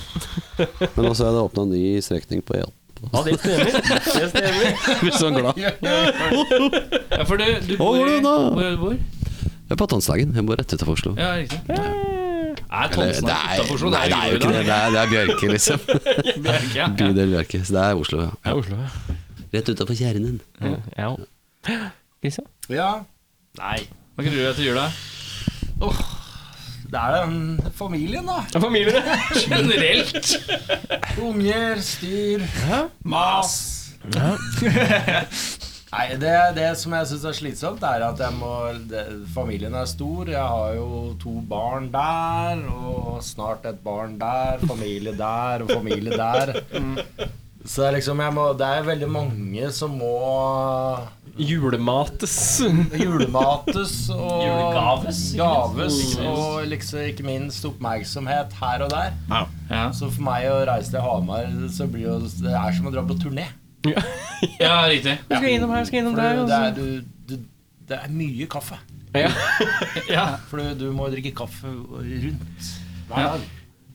Men også er det åpna ny strekning på E18. Ja, det stemmer. Det stemmer. Blir sånn glad. Ja, for du, du Hvor bor i er du da? Hvor er det du bor? Jeg er på Tonsdagen. Jeg bor rett utenfor Oslo. Ja, riktig. Er Eller, Thomsen utafor Oslo? nei, det er jo ikke det. Det er, det er Bjørke, liksom. Ja. Bydel Bjørke. Så det er Oslo, ja. Ja, Oslo, ja. Rett utafor kjernen. ja. Christian? Ja, Nei. Hva gruer du deg til jula? det er den familien, da. Ja, familie. Generelt. Unger, styr, mas. Nei, det, det som jeg syns er slitsomt, er at jeg må det, Familien er stor. Jeg har jo to barn der, og snart et barn der. Familie der og familie der. Mm. Så det er liksom jeg må, Det er veldig mange som må Julemates. julemates og Julegaves, ikke gaves og liksom ikke minst oppmerksomhet her og der. Ja. Så for meg å reise til Hamar så blir jo, det er som å dra på turné. ja, riktig. Jeg skal innom her, jeg skal innom For der. du- og det, så- er, du, du, det er mye kaffe. Ja. Ja. For du, du må jo drikke kaffe rundt hver Ja. dag.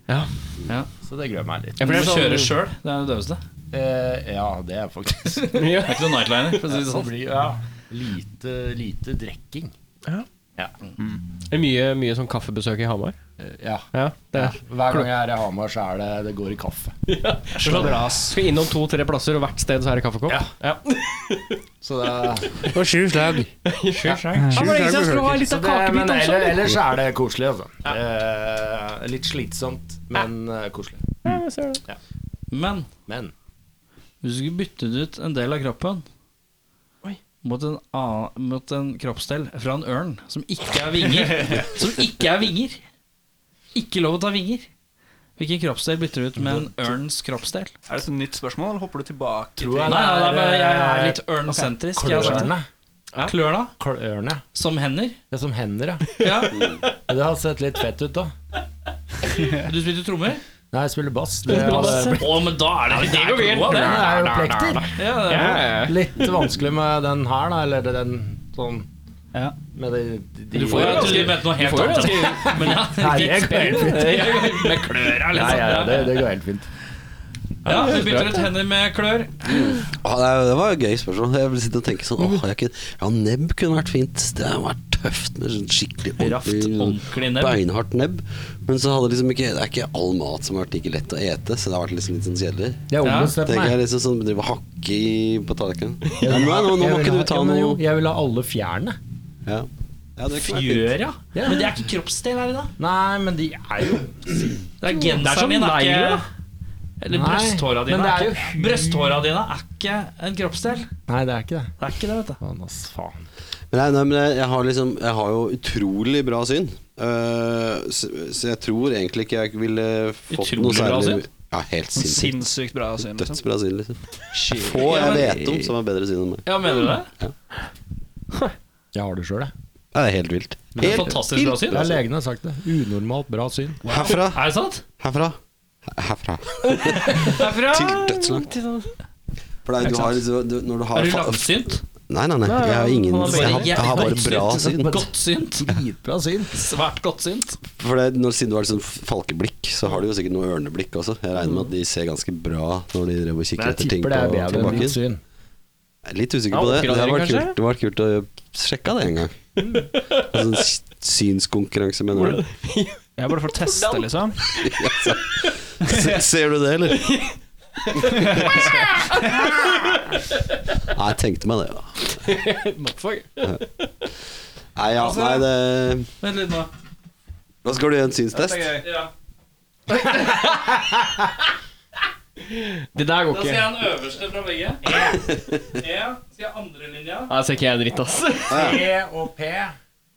Ja. Ja. Så det gruer meg litt. Du for må det er kjøre sånn- sjøl. Det er det døveste. Det Eh, ja, det er faktisk Ja. er ikke noe nightliner. For å si det Det sånn. blir ja, lite, lite drikking. Det er mye, mye sånn kaffebesøk i Hamar. Eh, ja. Ja, det er. Hver gang jeg er i Hamar, så er det det går i kaffe. Skal innom to-tre plasser, og hvert sted så er det kaffekopp. Ja. Ja. Så det, Og sju slag. Han var liksom slå av litt så av det, men kakebit også. ellers, ellers er det koselig, altså. Eh, litt slitsomt, men eh, koselig. Ja, jeg ser det. Men Men hvis du skulle byttet ut en del av kroppen Oi. mot en, annen, mot en kroppsdel fra en ørn som ikke er vinger Som ikke er vinger! Ikke lov å ta vinger. Hvilken kroppsdel bytter du ut med en ørns kroppsdel? Er det et nytt spørsmål, eller hopper du tilbake? Nei, tror jeg nei, nei, det men jeg er er litt ørnsentrisk. jeg har skjønt det. klørne. Klørne? Klørne. Som hender? Det er som hender, ja. Ja. Det har sett litt fett ut, da. Du spilte trommer? Nei, jeg spiller bass. Det hadde- Å, men da er det det er kloa, det det. er jo plekter. Ja, det er. Litt vanskelig med den her, da. Eller den sånn Ja. Med de, de, Du får jo ganske ment noe helt annet. Men ja, Nei, ditt jeg spill, går helt jeg går med kløra, Nei, ja, ja, liksom. det, det går helt fint. Ja, du bytter ut hender med klør. Ah, nei, det var et gøy spørsmål. Jeg vil sitte og tenke sånn Åh, jeg kunne, Ja, nebb kunne vært fint. Det hadde vært tøft med sånn skikkelig Raft, ordentlig nebb. beinhardt nebb. Men så hadde liksom ikke Det er ikke all mat som har vært like lett å ete, så det har vært liksom litt sånn kjedelig. Jeg ombestemte Tenker meg. jeg liksom sånn Drive og hakke i på tallerkenen. Jeg Ja, vil nå, ha- nå, nå jeg må vil ikke ha- du ta ja, men jo, noe Jeg vil ha alle fjærene. Ja, ja det kunne vært fint. Gjør, ja. Men det er ikke kroppsdel, er det da? Nei, men de er jo Det er Det er som genseren din, er negler, ikke da. Eller Nei, brysthåra dine. men det er er jo ikke- Brysthåra dine er ikke en kroppsdel. Nei, det er ikke det. Det er ikke det, vet du. Faen, ass, faen. Men Nei, nei, men jeg, jeg, har liksom, jeg har jo utrolig bra syn. Eh, så, så jeg tror egentlig ikke jeg ville fått Utrolig noe bra særlig syn? Ja, helt sinnssykt. Sinnssykt bra syn. Liksom. Dødsbra syn, liksom. Få jeg vet om som har bedre syn enn meg. Ja, mener du det? Jeg har det sjøl, jeg. Ja, det er helt vilt. Det er fantastisk bra syn. Det er Legene har sagt det. Unormalt bra syn. Herfra, Er det sant? herfra, herfra. Herfra Til dødslangt. For det er- du har, liksom- du, når du har Er du fa- langsynt? Nei, nei, liksom. nei. Jeg har ingen Han har Jeg har, bare- jeg har bare bra syn. Godtsynt? Dritbra syn. Svært godtsynt? For det, når, Siden du har sånn falkeblikk, så har du jo sikkert noe ørneblikk også. Jeg regner med at de ser ganske bra når de driver og kikker Jeg etter ting på tipper det er bedre enn ditt tilbakken. syn. Jeg er litt usikker Ja, på det. Det hadde oppgradering, vært kult, det hadde vært kult å sjekke det en gang. En sånn s- synskonkurranse, mener du? Jeg bare for å teste, liksom. Se- Ser du det, eller? Nei, jeg tenkte meg det, ja. Motherfucker. Nei, Altså, ja, nei, det Vent litt nå. Hva skal du gjøre en synstest? Ja. Det der går Da skal ikke. jeg ha den øverste fra begge. E. e. Skal jeg ha andre linja? Nei, ser ikke jeg dritt, ass. P og P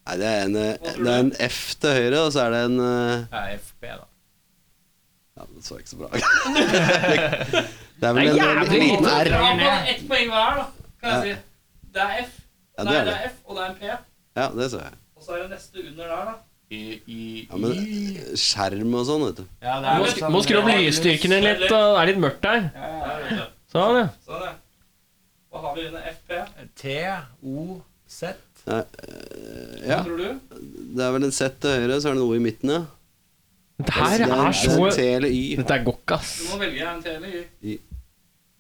Nei, det er, en, eh, det er en F til høyre, og så er det en eh, er FP, da. Ja, det så ikke så bra Det er vel Det en, er en jævlig liten R. Ja, men Ett poeng hver, da. Kan jeg si. Det er F. Ja, Nei, det er det det. er F, og det er en P. Ja, det så jeg. Og så er det neste under der, da. Ja, men eh, skjerm og sånn, vet du. Ja, det Du er må, litt sk- sånn- må skru opp lysstyrken din litt. da. Det er litt mørkt der. Sånn, ja. Sånn, ja. Hva har vi under FP? T, O, Z. Ja, Tror du? det er vel en Z til høyre, så er det en O i midten, ja. Dette Det her er en- er så det er en sånn- T eller Y. Dette går ikke, ass. Du må velge en til eller Y. Y.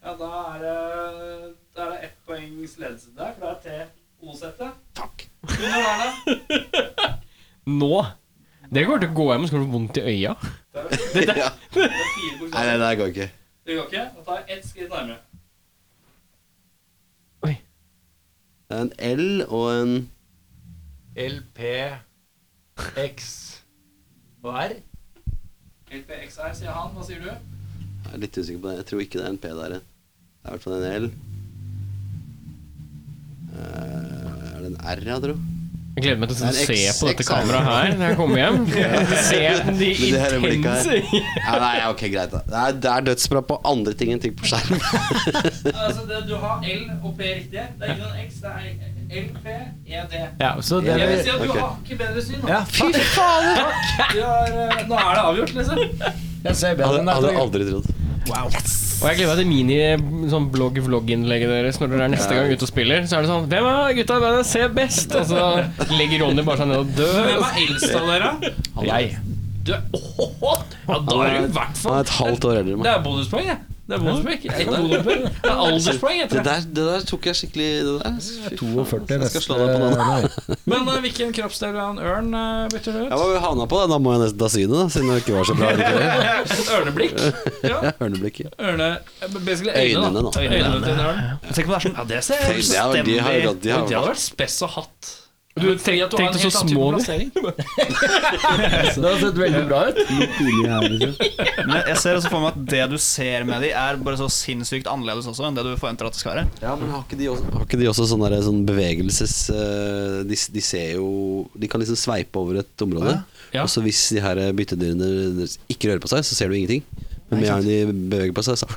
Ja, da er det Da er det ett poengs ledelse der, for det er T O-settet. Takk. Under der, da. Nå. Dere kommer til å gå hjem og så kommer du få vondt i øya. Ja. Det er fire Nei, det bokstaver. der går ikke. Det går ikke. Da tar jeg ett skritt nærmere. Det er en L og en L, P, X og R. LPXR, sier han. Hva sier du? Jeg er litt usikker på det. Jeg tror ikke det er en P der. jeg. Det er i hvert fall en L. Eh, er det en R, jeg tror? Jeg gleder meg til å Det er se en X- på dette X- kameraet her når jeg kommer hjem. Se de Med det her blikket intense her. Ja, nei, ok, greit. da. Det er, det er dødsbra på andre ting enn ting på skjerm. Altså, det, du har L og P riktig. Det er ikke noen X. Det er LP, ED. Ja, så det Jeg vil si at du Ok. har ikke bedre syn. da. ja, Fy faen! Du har, eh, nå er det avgjort, liksom. Jeg ser bedre Hadde, enn deg. hadde aldri trodd. Og jeg gleder meg til mini-blogg-vlogg-innlegget deres når dere er neste gang ute og spiller. Så er det sånn Hvem av gutta i bandet ser best? Og så legger Ronny bare seg ned og Hvem dør. er eldst av dere? Og jeg. Du er Åhåhå! Ja, da er du i hvert Han fall er et halvt år eldre enn Det meg. er bonuspoeng, jeg. Det er bonuspoeng. Det er bonuspoeng. Det er alderspoeng, jeg Det tror jeg. der, det der tok jeg skikkelig Det der. Fy faen, altså. 42 Jeg skal slå deg på den. neste Men eh, hvilken kroppsdel av en ørn eh, bytter du Jeg ut? var havna på den, da må jeg nesten ta synet, da, siden det ikke var så bra. likevel. Et ørneblikk. Ja, Ørneblikket. Ørne... eh, Basically Øynene, øynene, da. da. Øynene til en ørn. Tenk på det er sånn Ja, det ser Tenk, det er- sånn- de har- de har- Det hadde vært spess å hatt. Du tenk- har en tenkte så helt annen type små du. plassering. Det har sett veldig bra ut. Men jeg ser også for meg at det du ser med de, er bare så sinnssykt annerledes også enn det du forventer at det skal være. Ja, men har ikke de også, har ikke de også sånn derre sånn bevegelses eh, de, de ser jo De kan liksom sveipe over et område. Ja. Og så hvis de her eh, byttedyrene ikke rører på seg, så ser du ingenting. Men med en gang de beveger på seg, så, så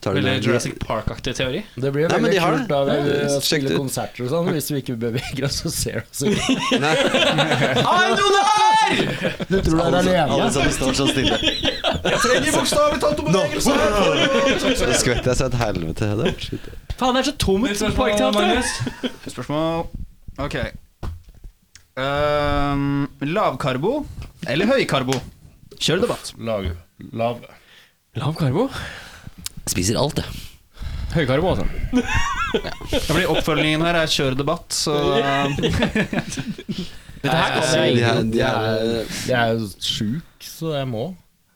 tar de Veldig den- Jurassic Park-aktig teori. Det blir jo Nei, men de veldig har kult det. da Ja, vi eh, sjekk det spiller ut. konserter og sånn. Hvis vi ikke beveger oss, så ser du oss ikke. Nei, Du tror du er alle, alle alene. sammen står så stille. Så skvetter jeg seg et helvete. Det er shit. Faen, det er så tomt på Parkteatret. Spørsmål Ok Ehm, Lavkarbo eller høykarbo? Kjør debatt. Lag. Lav. Lav karbo. Spiser alt, jeg. Høy karbo, altså. Ja, fordi Oppfølgingen her er kjør debatt, så Dette her Altså, kan de jeg er, de Jeg er, jeg er jo sjuk, så jeg må.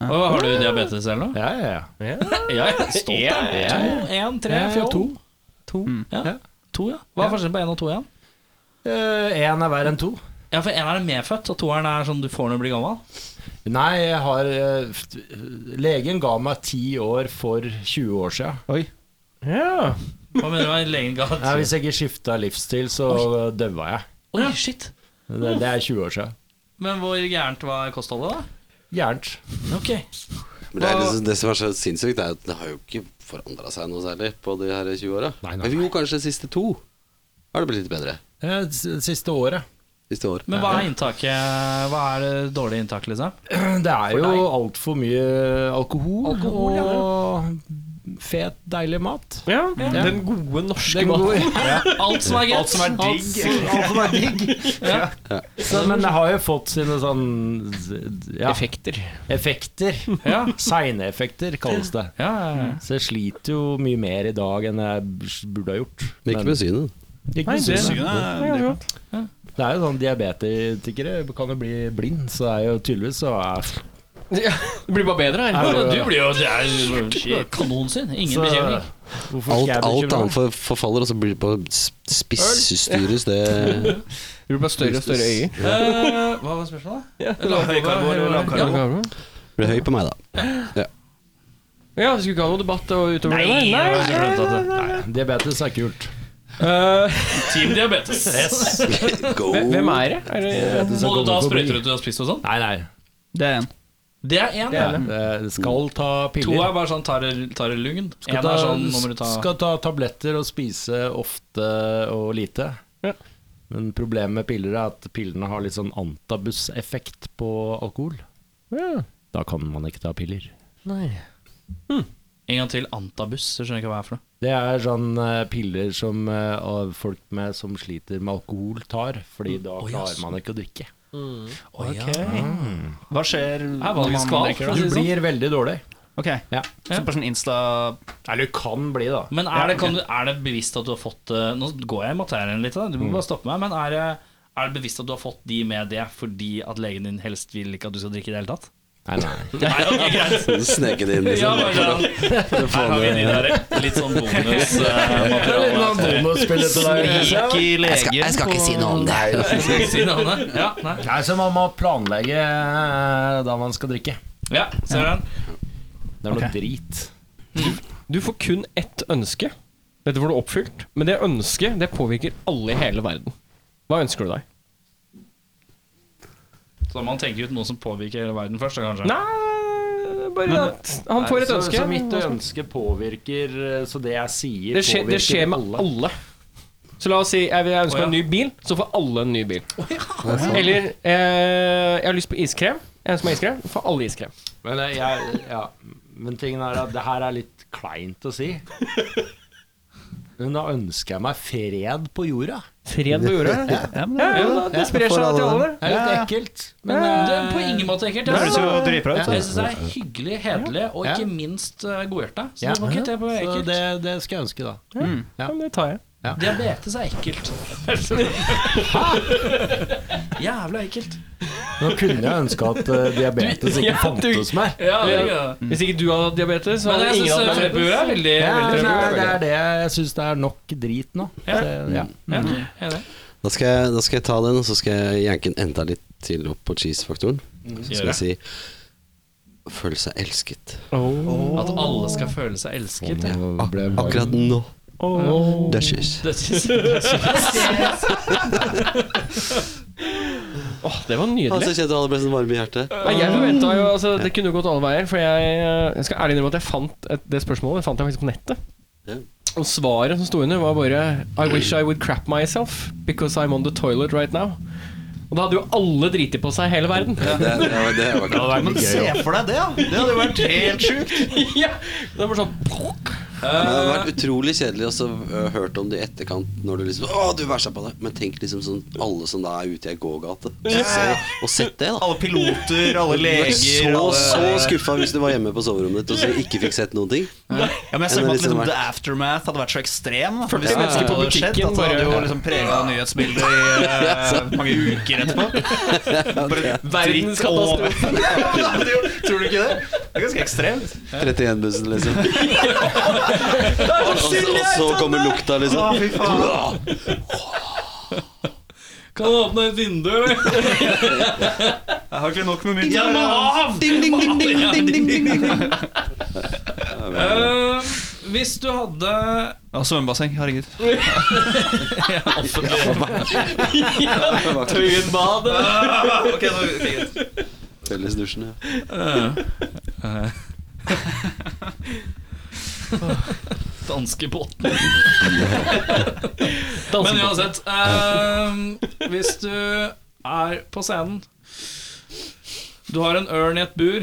Og har du diabetes eller noe? Ja, ja, ja. Ja, jeg er stolt. Ja, jeg. ja, ja. To, en, tre, Ja, fjoll. to. To. Mm. Ja. to, ja. Hva er forskjellen på én og to igjen? Én Eh, er verre enn to. Ja, for én er medfødt, og toeren er sånn du får når du blir gammel. Nei, jeg har eh, f- Legen ga meg ti år for 20 år siden. Ja. Hva mener du med legen ga Nei, hvis jeg ikke skifta livsstil, så daua jeg. Oi, shit. Det, det er 20 år siden. Men hvor gærent var kostholdet, da? Gærent. Ok. Men det, er liksom, det som er så sinnssykt, er at det har jo ikke forandra seg noe særlig på de her 20 åra. Nei, nei, Men jo, kanskje de siste to har det blitt litt bedre. Eh, s- Siste året. Siste år. Men hva er inntaket? Hva er det dårlige inntaket, liksom? Det er jo altfor mye alkohol, Alkohol, ja. og fet, deilig mat. Ja, Den gode norske Den maten. gode- Alt som er greit. Alt som er digg. Alt som er digg. Ja. Så, men det har jo fått sine sånn ja, Effekter. effekter. Ja. Seineffekter kalles det. Ja, ja, ja. Så jeg sliter jo mye mer i dag enn jeg burde ha gjort. Men ikke med synet. Ikke Nei, med det- synet. Ja, ja. Det er jo sånn diabetikere kan jo bli blind, så det er jo tydeligvis så er Ja, Det blir bare bedre her. Ja, Du blir jo det er jo kanonsyn. Ingen så, bekymring. Hvorfor Alt, skal jeg alt bekymre annet meg? for, forfaller, og så blir det på spisstyres det Det blir bare større og større øyne. Eh, hva var spørsmålet? Ja, Lavkarbo. Blir høy på meg, da. ja, vi skulle ikke ha noe debatt og utover det? der? Nei, Ja, jeg glemte at det- Diabetes er kult. Eh, Team diabetes. Go. hvem er det? Er det Må du da sprøyter ut du har spist og sånn? Nei, nei. Det er en. Det er én. Ja, ja. det skal To ta piller. er bare sånn tar det tar det lugn. Én Skal er ta, sånn nå må du ta skal ta tabletter og spise ofte og lite. Ja. Men problemet med piller er at pillene har litt sånn antabus-effekt på alkohol. Ja. Da kan man ikke ta piller. Nei. En gang til antabus. Jeg skjønner ikke hva det er for noe. Det er sånn eh, piller som eh, av folk med, som sliter med alkohol tar, fordi da klarer man ikke å drikke. Hva skjer er vanligvis når man kvalm, drikker, for å da? si Du det sånn. blir veldig dårlig. Ok, Ja. så bare sånn Insta Eller du kan bli, da. Men er det, kan du, er det bevisst at du har fått eh, Nå går jeg i materien litt, da. du må bare stoppe meg. Men er det, er det bevisst at du har fått de med det fordi at legen din helst vil ikke at du skal drikke i det hele tatt? Nei, nei. Nei, ok, greit. Sneke det inn, Ja, liksom. bare sånn. Her har vi de der litt sånn eh, bonusmateriale. Sniker legen på- om det. Jeg skal ikke si navnet. Ja, nei. Nei, så man må planlegge eh, da man skal drikke. ja, ser du den? Det er noe drit. Du får kun ett ønske. Dette får du oppfylt. Men det ønsket det påvirker alle i hele verden. Hva ønsker du deg? Så da må man tenke ut noe som påvirker hele verden først, da, kanskje. Nei bare at han får et Nei, ønske. eh, Så, så mitt ønske påvirker eh, Så det jeg sier, det, skjer, det påvirker skjer med alle. alle. Så la oss si jeg, vil- jeg ønsker meg en ny bil, så får alle en ny bil. Eller eh, jeg har lyst på iskrem. Jeg ønsker meg iskrem, får alle iskrem. Men, eh, jeg, ja. Men tingen er at det her er litt kleint å si. Men da ønsker jeg meg fred på jorda. Fred på jorda. Ja, Ja, men det ja, er da, det sprer får seg til alle alle. Det er litt ekkelt. Men Det eh, er på ingen måte ekkelt. Det Jeg høres synes- jo dritbra ut. Jeg syns det er hyggelig, hederlig og Ja. ikke minst eh, godhjerta. Så Ja. det var ikke det på så ekkelt. det, det skal jeg ønske, da. Ja, men det tar jeg. Diabetes er ekkelt. Jævla ekkelt. Nå kunne jeg ønske at eh, diabetes ikke Ja, du- fantes mer. Ja, det er Mm. Mm. Hvis ikke du hadde diabetes, Men så hadde jeg eh, ingen syns hatt Fredbue diabetes. er veldig, Ja, veldig nei, bra. det er det jeg syns det er nok drit nå. Ja. Så, ja. Ja, det. Da skal, jeg, da skal jeg ta den, og så skal jeg janke den enda litt til opp på cheese-faktoren. Så skal jeg si Føle seg elsket. At alle skal føle seg elsket. Ja, ak akkurat nå. Duchess. Det synes jeg. Åh, det var Han Altså, nydelig. som kjente aller best en varme i hjertet. Nei, Mm. jeg forventa jo altså, Det kunne jo gått alle veier. For jeg, eh, jeg skal ærlig innrømme at jeg fant et, det spørsmålet fant jeg faktisk på nettet. Ja. Og svaret som sto under, var bare I wish I would crap myself because I'm on the toilet right now. Og da hadde jo alle driti på seg i hele verden. Det, det, var- det var klart. Men se for deg det, da! Det hadde jo vært helt sjukt. ja, det var sånn plukk. Men det hadde vært utrolig kjedelig også øh, hørt om det i etterkant. Når du liksom Å, du versa på det. Men tenk liksom sånn alle som da er ute i ei gågate. Og se, og sett det, da. Alle piloter, alle Du er leger så, alle... så skuffa hvis du var hjemme på soverommet ditt og så ikke fikk sett noen ting. Ja, men jeg ser for meg at Enn det liksom liksom, The Aftermath hadde vært så ekstrem. da. 40 Hvis det mennesker på hadde skjedd, at Det butikken hadde bare- jo liksom prega nyhetsbildet i eh, mange uker etterpå. Bare Verdens dritt over. Ja, det hadde gjort- Tror du ikke det? Det er ganske ekstremt. 31-bussen, liksom. og, så, og så kommer lukta, liksom. Å, fy faen. Kan du åpne et vindu, eller? Jeg har ikke nok med min Jeg må av! Eh, Hvis du hadde Og svømmebasseng. Herregud. Tøyenbad Ok, nå Fellesdusjen, ja. Danskebåten. Men uansett eh, Hvis du er på scenen Du har en ørn i et bur.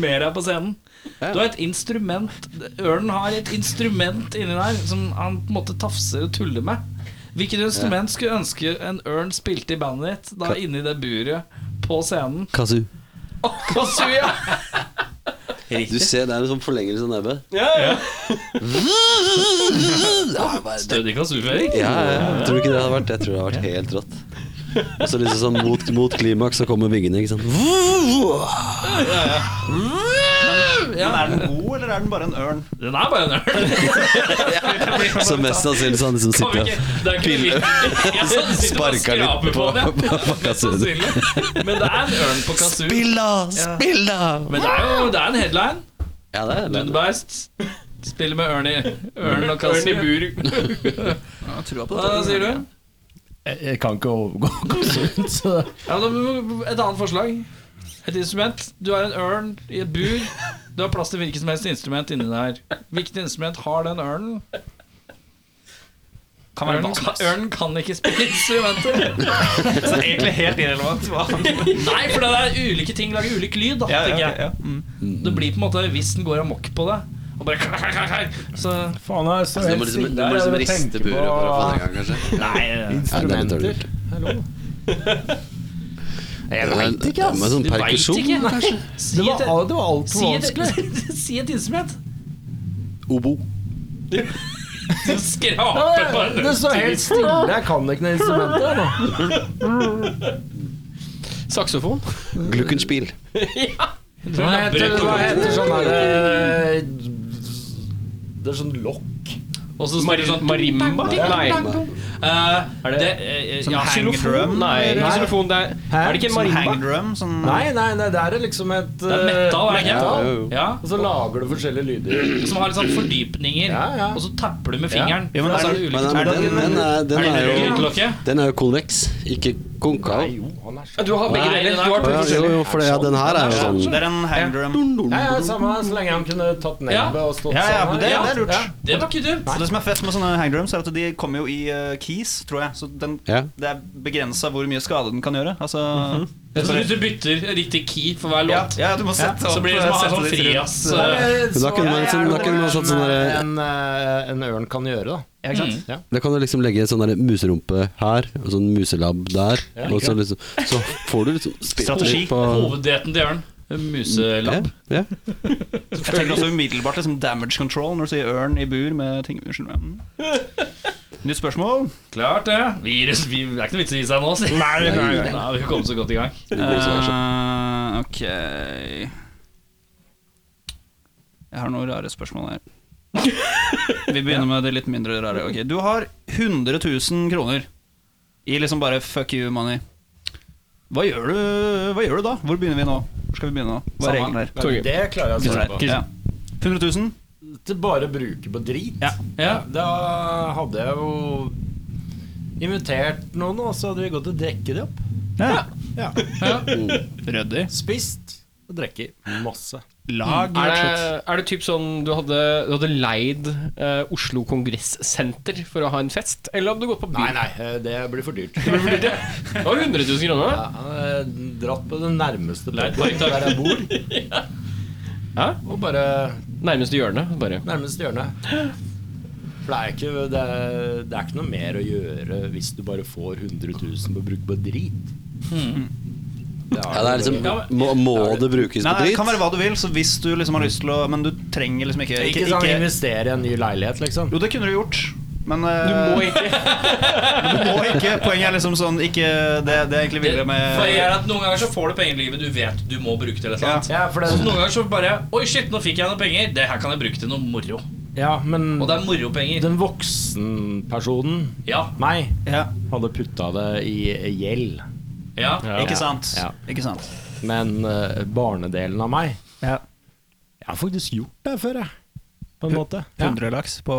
Mer er på scenen. Du har et instrument Ørnen har et instrument inni der som han på en måte tafser og tuller med. Hvilket instrument skulle ønske en ørn spilte i bandet ditt da inni det buret på scenen? Kazoo. Å, Kazooie! Du ser det er en sånn forlengelse av nebbet. Ja, ja. Stødig kazoo-feiring. Ja, ja, jeg tror ikke det hadde vært Jeg tror det hadde vært helt rått. Og så liksom sånn mot, mot klimaks så kommer vingene, ikke sant. Men er den god, eller er den bare en ørn? Den er bare en ørn. Så mest sannsynlig så han liksom Kan vi sitter ikke Det er ikke Pille. Jeg sitter bare og Sparker litt skraper på på- den, ja. på- på Mest sannsynlig. Men det er en ørn på kazoo. Spill da! Spill da! Men det er jo det er en headline. Ja, det er det. Dunbeist spiller med ørn i ørn og kazoo. Ørn i bur. Hva sier du? Jeg, jeg kan ikke overgå konsult, så Ja, da, et annet forslag. Et instrument. Du har en ørn i et bur. Du har plass til hvilket som helst instrument inni der. Hvilket instrument har den ørnen? Kan være Ørnen, hva som kan- helst. ørnen kan ikke spille instrumenter. Så det er egentlig helt irrelevant. Hva han Nei, for det er ulike ting lager ulik lyd. Da, tenker jeg Mm. Det blir på en måte hvis den går amok på det. Og bare klar, klar, klar, Så Faen, jeg står Du må helt liksom, stille. du må liksom Jeg riste tenker buret for å få det i på gang, kanskje. Ja, det er litt instrumenter. dårlig. Hallo. Jeg veit ikke, ass. Med sånn du veit perkusjon, ikke. Nei. Si Det et, var, det var altfor si, vanskelig. et, si et instrument. obo. Du skraper bare Det står helt stille. Jeg kan ikke noe instrument. jeg, nå. Saksofon. Glukkenspiel. Hva heter, hva heter sånn her eh, Det er sånn lokk. Og så spiller du sånn Marimba? Nei. Eh, Er det, det eh, Sånn ja, hang xylofon. drum? Nei, Nei. ikke xylofon. Det er, Hæ? er det ikke en Sånn marimba? hang drum? Sånn, Nei, nei, nei, det er liksom et Det er metal, er det ikke? metal. jo, jo. Ja, Og så lager du forskjellige lyder. som har litt sånn fordypninger. Ja, ja. Og så tapper du med fingeren. Ja, men og så er er det Men ulike den, den, den, er, den, er jo, klokke. den er jo konveks, ikke konkav. jo, han er Du har begge Nei, deler. den er Du har Å, to Ja, jo, forskjellige. jo, for det, ja, den her er jo sånn Det er en hang drum. Ja, ja, samme så lenge han kunne tatt nebbet og stått Ja, ja, men sånn. det, her. det er lurt. Ja. Det var ikke dumt. Så Det som er fett med sånne hang drums, er at de kommer jo i eh, keys, tror jeg. Så den, Ja. det er begrensa hvor mye skade den kan gjøre. Altså Mhm. Så hvis du bytter riktig key for hver ja, låt, ja, du må sette så blir det som å ha sånn frias. Ja, eh, men da så kunne man er sånn- det da kunne man noe sånn sånn der- en, eh, en ørn kan gjøre, da. Ja, ikke sant? Ja. Da kan du liksom legge sånn der muserumpe her, og sånn muselabb der. og så, liksom, så får du liksom spilt Strategi. litt på Hoveddietten til ørn. Muselapp. Ja, ja. Jeg tenker også umiddelbart liksom damage control når du sier ørn i bur med ting Unnskyld meg. Mm. Nytt spørsmål. Klart det. Virus, vi, det er ikke noe vits i å gi seg nå, si. Nei, nei, nei. vi har kommet så godt i gang. Eh, ok Jeg Eh, har noen rare spørsmål her. Vi begynner med det litt mindre rare. Ok, Du har 100 000 kroner i liksom bare fuck you money. Hva gjør du, hva gjør du da? Hvor begynner vi nå? Hvor skal vi begynne nå? Hva er Samme. reglene her? Men Det klarer jeg å svare på. Ja. 100 000? Til bare å bruke på drit. Ja. Ja. Da hadde jeg jo invitert noen, og så hadde vi gått og drukket det opp. ja. Oh. Ja. Ryddig. Spist og drukket masse. Lag Er det, er det typ sånn du hadde, du hadde leid eh, Oslo Kongressenter for å ha en fest? Eller hadde du gått på Nei, byen? nei, eh, det blir for dyrt. Det var 100 000 kroner. Ja, han er dratt på den nærmeste Leid puben parktak. der jeg bor. Hæ? Og bare Nærmeste hjørne. Bare. nærmeste hjørne. For det er, ikke, det, er, det er ikke noe mer å gjøre hvis du bare får 100 000 på bruk på drit. Det ja, det er liksom Må, må det brukes på Nei, det drit? kan være hva du vil, så hvis du liksom har lyst til å Men du trenger liksom ikke Ikke sånn investere i en ny leilighet, liksom. Jo, det kunne du gjort, men eh, Du må ikke du må ikke. Poenget er liksom sånn ikke Det, det er egentlig ville For jeg er med at Noen ganger så får du penger i livet du vet du må bruke til et eller annet. Ja, for Så det, noen ganger så bare Oi, shit, nå fikk jeg noen penger. Det her kan jeg bruke til noe moro. ja, men Og det er moropenger. den voksenpersonen, Ja. meg, ja, hadde putta det i gjeld. Ja. Ikke sant? Ja. Ikke sant? Men eh, barnedelen av meg Jeg har faktisk gjort det før, jeg. På en måte. Ja. 100 laks på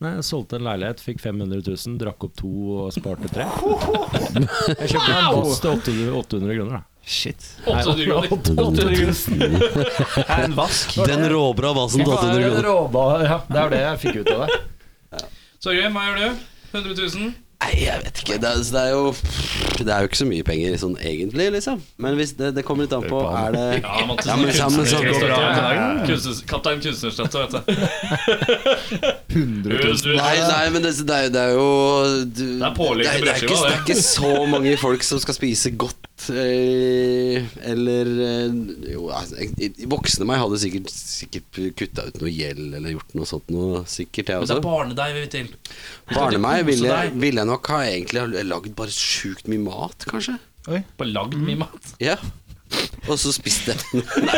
Nei, jeg solgte en leilighet, fikk 500 000, drakk opp to og sparte tre. Jeg kjøpte en boss til 800 800 kroner, da. Shit. 800 kroner. Er en vask. Den råbra basen til 800 Det er en kroner. råba- Ja, det er det jeg fikk ut av det. Torgrim, hva gjør du? 100 000? Nei, jeg vet ikke. Det er, det er jo Det er jo ikke så mye penger sånn egentlig, liksom. Men hvis det, det kommer litt an på Er det Ja, Mathis, Ja, men sammen så går det bra. Kunstner- Kaptein Kunstnerstøtte, vet du. 100 000. Nei, nei, men det, det, er, jo- det er jo du, Det er pålegg til det, er- det, er ikke, brødskiva, det det. er ikke så mange folk som skal spise godt eh, Eller eh, Jo, altså, jeg- i- voksne meg hadde sikkert, sikkert kutta ut noe gjeld eller gjort noe sånt noe. Sikkert, jeg Men det er også. barnedeig vi vil til. Barne meg kose ville, deg. ville jeg nok ha egentlig ha lagd bare sjukt mye mat, kanskje. Bare lagd mye mat. Ja. Og så spiste jeg den.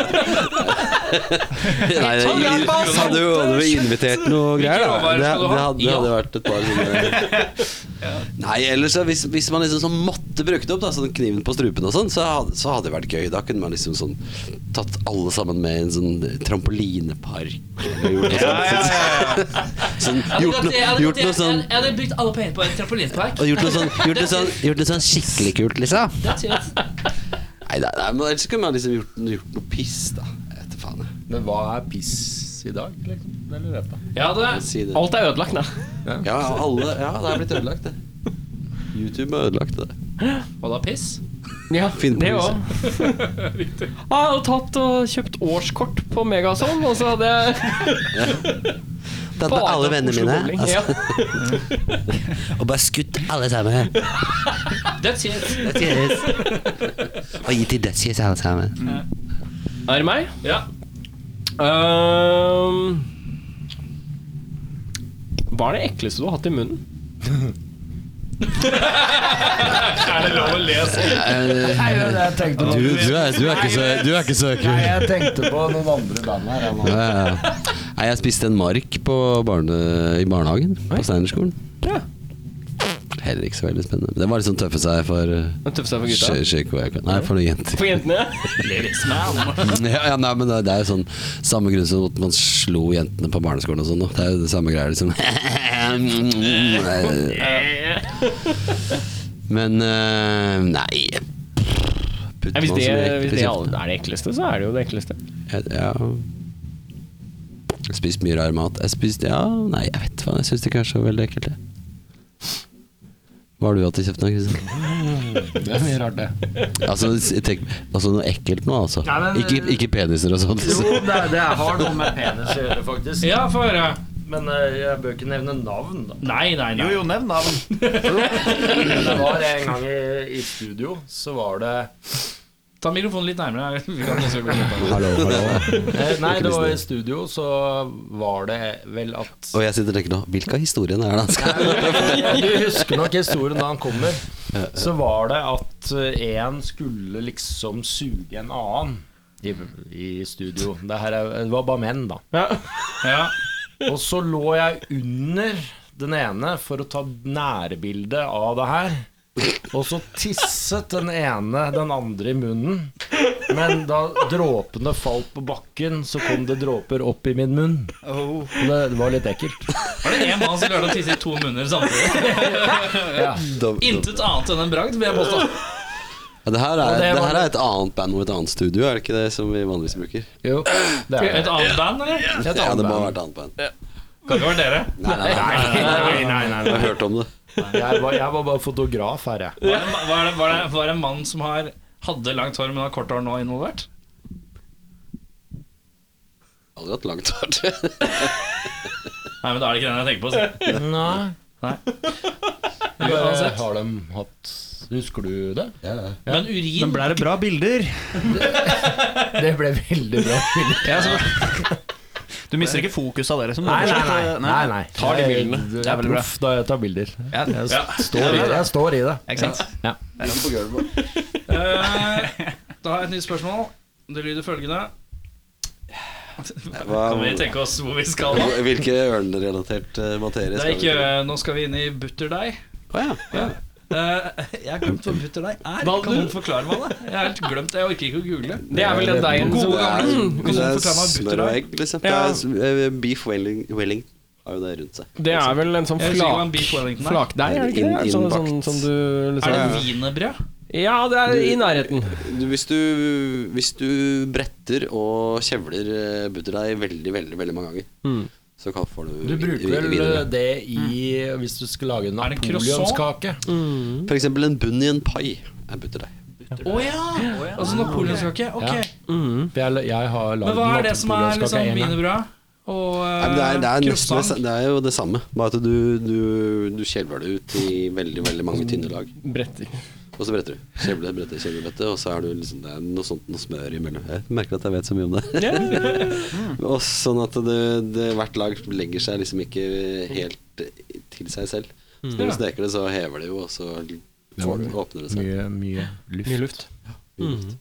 Nei, det hadde jo hadde vi invitert noe greier, da. råvarer Det, skal du det, ha? hadde, det hadde vært et par sånne Nei, ellers så hvis, hvis man liksom sånn måtte bruke det opp, da, sånn kniven på strupen og sånn, så, hadde- så hadde det vært gøy. Da kunne man liksom sånn tatt alle sammen med i en sånn trampolinepark. Eller gjort noe sånt. Sånn, gjort noe, gjort noe sånn Jeg hadde brukt alle pengene på en trampolinepark. og gjort noe sånn, gjort noe sånn, gjort noe sånn skikkelig kult, liksom. Nei, nei, nei, men ellers kunne man liksom gjort, gjort noe piss, da. Jeg vet da faen. jeg. Men hva er piss i dag? Liksom? Eller vet jeg. Ja, det Si det. Alt er ødelagt, da. Ja, alle, ja, det er blitt ødelagt, det. YouTube er ødelagt, det. Og da piss. Ja, Finn på det huset. òg. Jeg hadde tatt og kjøpt årskort på Megazone, og så hadde jeg Det er alle vennene Oslo mine. Bowling. Altså, Ja. og bare skutt alle sammen. That's it. That's yes. og gitt til Dutchies alle sammen. Er det meg? Ja. Ehm, hva er det ekleste du har hatt i munnen? Er det lov å lese? Jeg tenkte Du, på, er, ikke så, du er ikke så nei, jeg tenkte på noen andre band her. jeg nå. Nei, jeg spiste en mark på barne, i barnehagen. På Steinerskolen. Heller ikke så veldig spennende. Det var liksom tøffe seg for eh, Den tøffeste for Sjø- gutta? sjøkoeka. Nei, for noen jenter. For jentene? Ja, ja, nei, men det det er jo sånn Samme grunn som at man slo jentene på barneskolen og sånn. da. Det er jo det samme greia, liksom. Men eh, nei Ja, Putter hvis man det, så mye ekte hvis på det kjeften. er det ekleste, så er det jo det ekleste. Jeg- Ja Jeg har spist mye rar mat. Jeg spiste Ja, nei, jeg vet faen. Jeg syns det ikke er så veldig ekkelt, det. Hva har du hatt i kjeften da, Kristian? Det er mye rart, det. Altså, s- tenk, altså noe ekkelt nå, altså. Nei, men- ikke, ikke peniser og sånt. Jo, det, det har noe med penis å gjøre, faktisk. Ja, få høre. Men eh, jeg bør ikke nevne navn, da. Nei, nei, nei. Jo, jo, nevn navn. Det var en gang i, i studio, så var det Ta mikrofonen litt nærmere. her. Vi kan også gå litt nærmere. Hallo, hallo. eh, Nei, det var i studio, så var det vel at Og jeg sitter og tenker nå Hvilke av historiene er det han skal Du husker nok historien da han kommer. Så var det at én skulle liksom suge en annen i, i studio. Det, her er, det var bare menn, da. Ja. Og så lå jeg under den ene for å ta nærbilde av det her. Og så tisset den ene den andre i munnen. Men da dråpene falt på bakken, så kom det dråper opp i min munn. Og Det, det var litt ekkelt. Var det én mann som klarte å tisse i to munner samtidig? Intet annet enn en bragd, vil jeg påstå. Ja, det, her er, Og det det var- her er et annet band og et annet studio, er det ikke det som vi vanligvis bruker? Jo, det er Et annet band, eller? Ja, det må ha vært et annet band. Kan det være dere? Nei, nei, nei, Nei, nei, nei, nei, jeg har hørt om det. nei. Jeg, var, jeg var bare fotograf her, jeg. Var det, en- var det, var det, var det en mann som har hadde langt hår, men har kort hår nå involvert? Aldri hatt langt hår. Nei, men da er det ikke den jeg tenker på. Så. Nei. Nei. Uansett. Har de hatt Husker du det? Men urin Men ble det bra bilder? Det ble veldig bra. Du mister ikke fokus av det? Liksom. Nei, nei, nei. nei, nei. Tar de bildene. Jeg er proff da jeg tar bilder. Jeg, s- står, i, det. jeg står i det. Ikke sant? Eh, Da har jeg et nytt spørsmål. Det lyder følgende. Kan vi tenke oss hvor vi skal nå? Hvilke ørnerelatert eh, materie Det er skal vi ikke, nå skal vi inn i butterdeig. Å ja. ja. Eh, Jeg har glemt hva butterdeig er. Hva Kan du- noen forklare meg det? Jeg har helt glemt det. Jeg orker ikke å google. Det er vel den deigen Gode som gamle Det er, det Kan du er forklare meg om smør og egg, liksom. Ja. Det er, eh, beef welling, welling har jo det rundt seg. Det er vel en sånn Jeg husker ikke hva flak, en beef wellington er. flakdeig, er det ikke det? Inn- Sånn, sånn, innbakt. sånn du Er det liksom wienerbrød? Ja, det er i nærheten. Du, hvis, du, hvis du bretter og kjevler eh, butterdeig veldig, veldig veldig mange ganger, Mm. så kan- får du, Du bruker vel eh, videre. det i Hvis du skal lage en Er det en croissant? napoleonskake. For eksempel en bunn i en pai er butterdeig. Å ja! Altså napoleonskake? Ok. Ja. For Jeg, jeg har lagd Men hva er det som er liksom napoleonskake en gang. wienerbrød og Nei, men det, er, det, uh, er nesten, det croissant? sa- det er jo det samme, bare at du, du, du kjevler det ut i veldig veldig mange tynne lag. Bretter. Og så bretter du. Kjevle, brette, kjevle, brette. Og så er du liksom, det er noe sånt noe smør imellom. Jeg merker at jeg vet så mye om det. Ja, Og sånn at det, det, hvert lag legger seg liksom ikke helt til seg selv. Så når du steker det, så hever det jo, og så får, åpner det seg. Mye, mye luft. Mye luft.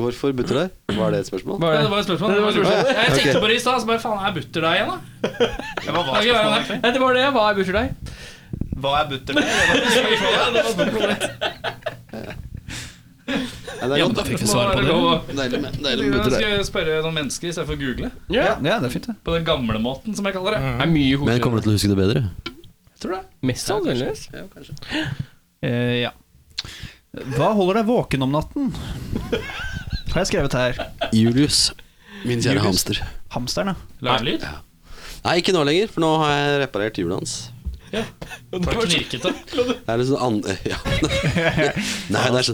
Hvorfor butter der? Var det et spørsmål? Hva Ja, er det det? var et spørsmål. Det var et spørsmål. Jeg tenkte Ok. på det i stad, så bare faen, er butter deg igjen, da? Hva var Ja, spørsmålet? ja, Nei, det var det. Hva er bursdag? Hva er butterdeig? Nei, det er godt, da. ja. Må bare gå- Deilig med, deilig med Skal butter der. jeg spørre noen mennesker i stedet for å google? Ja, ja, det er fint, det. På den gamle måten, som jeg kaller det. Det er mye Men hovedrett. kommer du til å huske det bedre? Tror du det? Mest sannsynligvis. Ja, kanskje. Eh, ja. Hva holder deg våken om natten? Har jeg skrevet her. Julius, min kjære hamster. Hamsteren, ja. Lærlyd? Nei, ikke nå lenger, for nå har jeg reparert hjulet hans. Var det knirkete? Det er liksom an... Ja. Nei, det er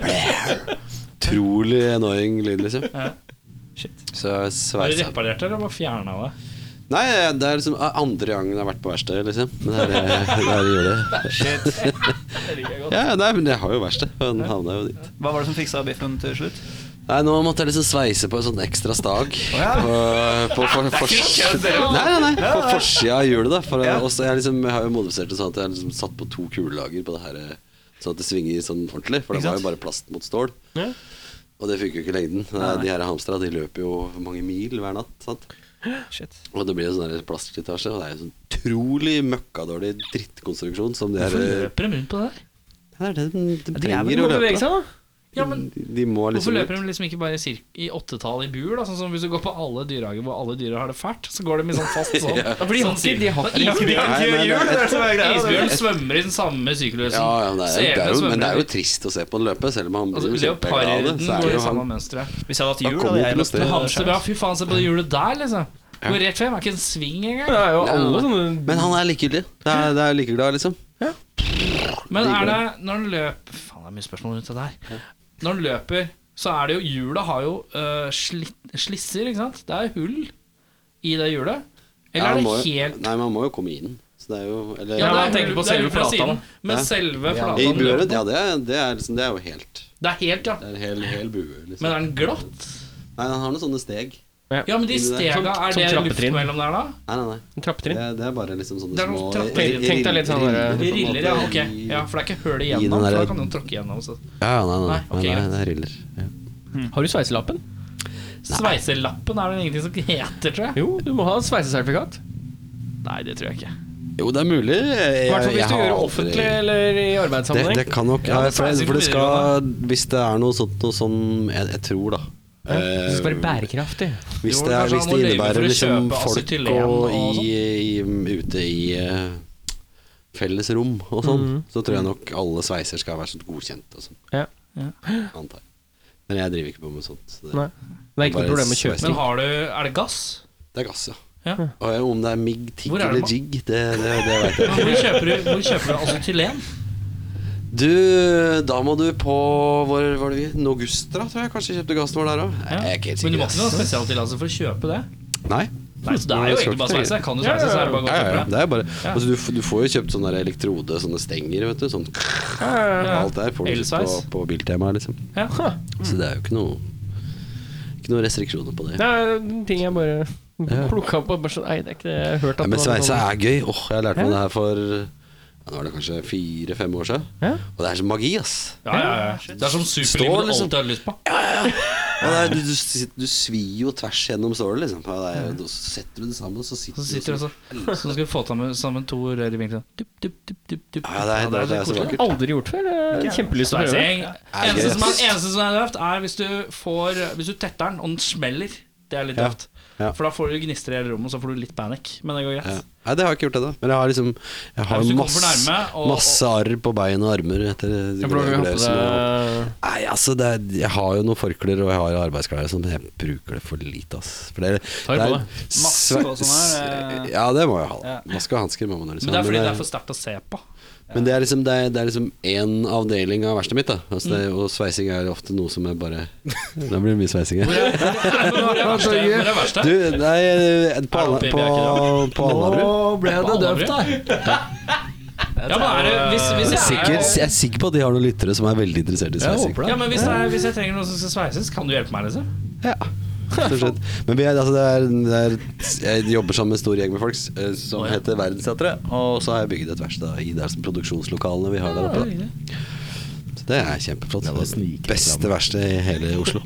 sånn Utrolig annoying lyd, liksom. Så jeg Har du sveiser reparert det, eller bare fjerna det? Nei, det er liksom andre gangen jeg har vært på verksted, liksom. Men det er, det er hjulet. Ja, nei, men jeg har jo verksted. og Den havna jo dit. Hva var det som fiksa biffen til slutt? Nei, nå måtte jeg liksom sveise på en sånn ekstra stag. ja. På, på, for, for, nei, nei, nei, på forsida av hjulet, da. For, Ja. og så jeg, liksom, jeg har jo modifisert det sånn at jeg har liksom satt på to kulelager på det her, eh, sånn at det svinger sånn ordentlig. For det Ikke var sant? jo bare plast mot stål. Og det funker jo ikke i lengden. Nei, De her hamstra de løper jo mange mil hver natt. Sant? Shit. Og det blir jo sånn der plastslitasje. Og det er jo sånn utrolig møkkadårlig drittkonstruksjon som de her eh, Løper de rundt på det der? Det er det de, de De trenger må å løpe. bevege seg, da. Ja, men De, de må Hvorfor liksom løper de liksom ikke bare i sirk- i åttetall i bur? da? Sånn som Hvis du går på alle dyrehager hvor alle dyra har det fælt, så går de i sånn fast sånn. Ja, For de har ikke de har ikke- Isbjørn, Nei, nei, nei. sånn. isbjørn svømmer i den samme syklusen. Ja, ja, men det er, jo- det er jo, men det er jo trist å se på han løpe, selv om han altså, blir jo kjempeglad av Leoparden det. Så er går i det jo samme han mønsteret. Hvis jeg hadde hatt Han jul, kommer hadde ikke jeg noe løpt sted. Hamster, ja, fy faen, se på det hjulet der, liksom. Går rett frem, er ikke en sving engang. Det er jo alle Ja. sånne Men han er likegyldig. Det er, det er like glad, liksom. Men er det når han løper Faen, det er mye spørsmål rundt det der. Når han løper, så er det jo Hjulet har jo øh, slitt, slisser, ikke sant? Det er hull i det hjulet. Ja, Eller han er må det jo- helt Nei, men han må jo komme inn. Så det er jo Eller Ja, det men jeg er tenker hull- på det er selve hull fra plata, siden, da. Men Ja. selve I plata buret, ja, det er, det, er liksom, det er jo helt Det er helt, ja. Det er en hel, hel bue, liksom. Men er den glatt? Nei, han har noen sånne steg. Ja, men de Sånn- stega, er sånn det luft trappetrinn. mellom der, da? Nei, nei, nei. Det trappetrinn. er, det er bare liksom sånne Det er noen små trapper. ri- Tenk deg litt sånn riller, der- på en De riller, ja. måte, Ok. i- Ja, For det er ikke hull I den igjennom, for der- da kan den tråkke igjennom. Så. Ja, nei, nei, Nei, ok, nei, greit. det er riller. Ja. Har du sveiselappen? Sveiselappen er det ingenting som heter, tror jeg. Jo, du må ha sveisesertifikat. Nei, det tror jeg ikke. Jo, det er mulig. Jeg, I hvert fall jeg hvis du har gjør det aldri- offentlig eller i Det, arbeidssammenheng. det kan nok Ja, ja, det for, er sikkert for det skal, videregående. Hvis det er noe sånt noe sånn, jeg, jeg tror, da eh, Det skal være bærekraftig. Hvis Jo, det, er, kanskje hvis han må det løyve for innebærer å liksom kjøpe folk acetylen og, og sånn. i, i, ute i eh, fellesrom og sånn, Mhm. så tror jeg nok alle sveiser skal være sånn godkjent og sånn. Ja. Antar jeg. Men jeg driver ikke på med sånt. Så det, Nei. Det er ikke Bare noe problem med Men kjøpesting. har du Er det gass? det er gass, ja. Ja. Og jeg- om det er migg, tigg Hvor er det eller man- jig, det, det, det veit jeg ikke. Hvor kjøper du, hvor kjøper du acetylen? Du, da må du på Hvor var det vi? Nogustra, tror jeg kanskje kjøpte gassen vår der òg. Ja. Jeg er ikke helt Men du sikker. må ikke noe spesialtillatelse for å kjøpe det? Nei. Nei, så det er jo skal egentlig bare ikke sveise. Kan du sveise, så er det bare å gå Ja, og ja, ja. kjøpe det. Det er bare, altså, du, f- du får jo kjøpt sånne der elektrode, sånne stenger, vet du. Sånn Alt der får du kjøpt på, Elsveis. på Biltema, liksom. Ja. Så det er jo ikke noe Ikke noen restriksjoner på det. Det er en ting jeg bare plukka opp. og Bare sånn, nei, det er ikke det jeg har hørt Ja, at men det var sveise sånn. er gøy. Åh, Jeg lærte meg det her for ja, nå er det kanskje fire-fem år siden. Ja. Og det er så magi, ass. Ja, ja, ja. Det er som Stål, superlim du liksom. alltid har lyst på. Og det er, du, du, sit- du svir jo tvers gjennom såret, liksom. Og det er, og så setter du det sammen, og så sitter, Så sitter du du sånn. Så skal du få sammen, sammen to rør i vinkelen. Dup, dup, dup, dup, dup. Ja, det er, det er, det er så vakkert. Aldri gjort før. Jeg har Kjempelyst til å prøve. Sveising. Er Altså, Eneste gøy, som er, ass. eneste som er løft, er hvis du får Hvis du tetter den, og den smeller. Det er litt Ja. døvt. Ja. For da får du gnister i hele rommet, og så får du litt panikk. Men det går greit. Ja. Nei, det har jeg ikke gjort ennå. Men jeg har liksom Jeg har Hvis du kommer for masse, nærme, og- masse arr på bein og armer etter de gløsene og- Nei, altså det er, Jeg har jo noen forklær og jeg har arbeidsklær, og sånn, men jeg bruker det for lite. Ass. For det, Ta det på deg. Maske og sånn her, eh. Ja, det må jeg ha. Maske og hansker må man ha. liksom. Men det er fordi Men det er for sterkt å se på. Men det er liksom Det er, det er liksom én avdeling av verkstedet mitt. da altså det, Og sveising er ofte noe som er bare Da blir det mye sveising her. Hvor er verste? Hvor er verste? Du, nei, Er eh, på, Anna- det oppe i på, på Alnabru. ble det Alnabru? Ja, men er det, hvis, hvis jeg Sikker, er jeg er sikker på at de har noen lyttere som er veldig interessert i sveising. ja, men hvis, det er, hvis jeg trenger noen som skal sveises, kan du hjelpe meg? liksom? Ja, stort sett. Men vi er, altså, det er, det er, jeg jobber sammen med en stor gjeng med folk eh, som heter Verdensteatret. Og så har jeg bygd et verksted i der som produksjonslokalene vi har der oppe. da. Så det er kjempeflott. Det er det beste verkstedet i hele Oslo,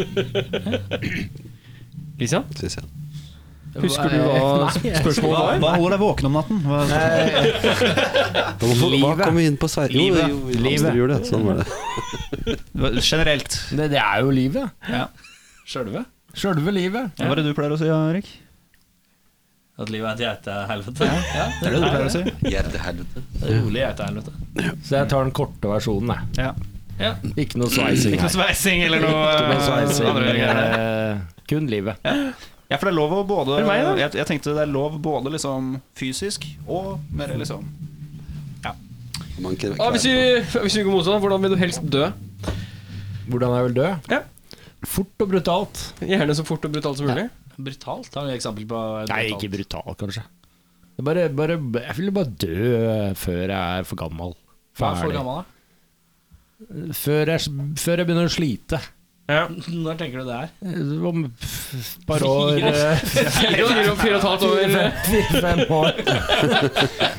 Christian, syns jeg. husker du hva spørsmålet var? Hva holder deg våken om natten? Hva, Da må, hva kom vi inn på sveising? Livet. Jo, jo, hamsterhjulet. Sånn var det. generelt. Det, det er jo livet. Sjølve? Sjølve livet. Hva er det du pleier å si, Erik? At livet er et eh, geitehelvete? Det er det du pleier å si. Rolig geitehelvete. Så jeg tar den korte versjonen, jeg. Ja. Ja. Ikke noe sveising her. Sveising eller noe Ikke noe sveising, andre greier. eh, kun livet. Ja, for det er lov å både meg, da. jeg, jeg tenkte det er lov både liksom fysisk og mer liksom Man kan- Ah, hvis, vi, hvis vi går motsatt, hvordan vil du helst dø? Hvordan jeg vil dø? Ja. Fort og brutalt. Gjerne så fort og brutalt som mulig. Brutalt? Har vi eksempel på brutalt? Nei, ikke brutal, kanskje. Det er Bare, bare, jeg vil bare dø eh, før jeg er for gammel. Hva er for gammel, da? Før jeg, før jeg begynner å slite. Eh, Når tenker du det er? Om et par år eh, Fire og- fire og fire og et halvt år. fire- fire- Fem år.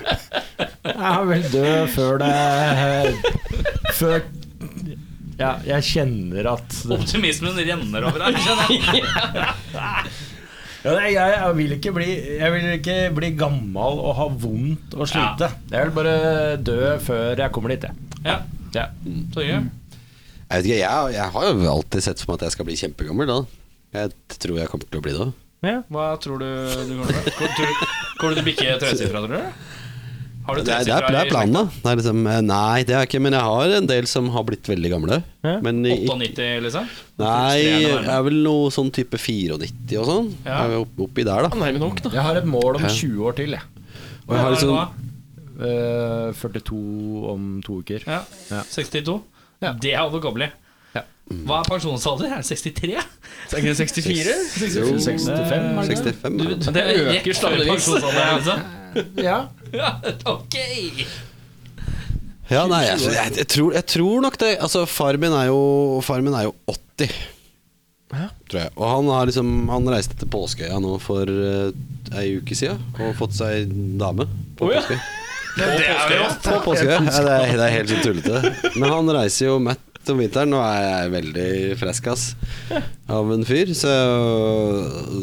Jeg vil dø før det Før ja, jeg kjenner at det, Optimismen renner over her. skjønner jeg. ja, nei, jeg, jeg, vil ikke bli, jeg vil ikke bli gammel og ha vondt og slite. Jeg vil bare dø før jeg kommer dit, jeg. Ja, Ja. Torgeir. Mm. Jeg vet ikke, jeg, jeg har jo alltid sett for meg at jeg skal bli kjempegammel da. Jeg tror jeg kommer til å bli det. Hva tror du du kommer til å Hvor- tror- Kommer du til å bikke tresifra, tror du? Har du Det er, det er, det er planen, da. Det er liksom, eh, nei, det er ikke Men jeg har en del som har blitt veldig gamle. Men i, i- 98, liksom? nei, jeg ja. er vel noe sånn type 94 og sånn. Ja. Jeg er opp, oppi der, da. Nærme nok, da. Jeg har et mål om 20 år til, jeg. Og jeg har liksom, Eh, 42 om to uker. ja. Ja. 62? Ja. Det er overkommelig. Ja. Hva er pensjonsalder? Er det 63? Tenker du 64? jo, 65, er det? 65. ja. Det øker stadigvis. pensjonsalder, liksom. Ja. Ja, ok! Ja, nei, altså, jeg, jeg, tror, jeg tror nok det. Altså, far min er jo, far min er jo 80. Tror jeg. Og han, har liksom, han reiste til Påskeøya nå for uh, ei uke siden og fått seg dame. På Påskeøya. På Påskeøya. Ja, det, er- det er helt sånn tullete. Men han reiser jo mett om vinteren, og er veldig frisk ass av en fyr. Så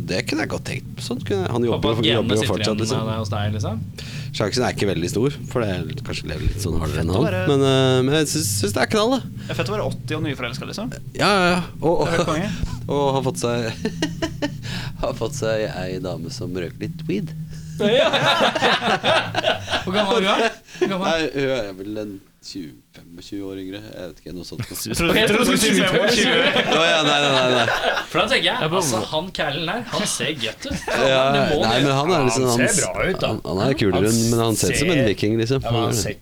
det kunne jeg godt tenkt på. Sånn kunne jeg, han Håper at jobber, jo- genene jobber jo sitter igjen fortsatt, liksom. eh, hos deg, liksom. Sjansen er ikke veldig stor, for det er kanskje lever litt sånn hardere enn han. Men, eh, men jeg syns syns det er knall, det. Det er fett å være 80 og nyforelska, liksom. Ja, ja, ja. Og, Det er helt konge. og, og har fått seg Har fått seg ei dame som røyker litt weed. Hvor gammel er du, da? Hvor gammel Nei, hun er vel en 20-25 år yngre. Jeg vet ikke, noe sånt. Å, ja, nei, nei, nei, nei. For da tenker jeg, altså Han kælen der, han ser gøtt ut. Ja, det må nei, det. men han er liksom Han Han, ser bra ut, da. han, han er kulere, enn- men han ser ut som en viking, liksom. Ja, men han ser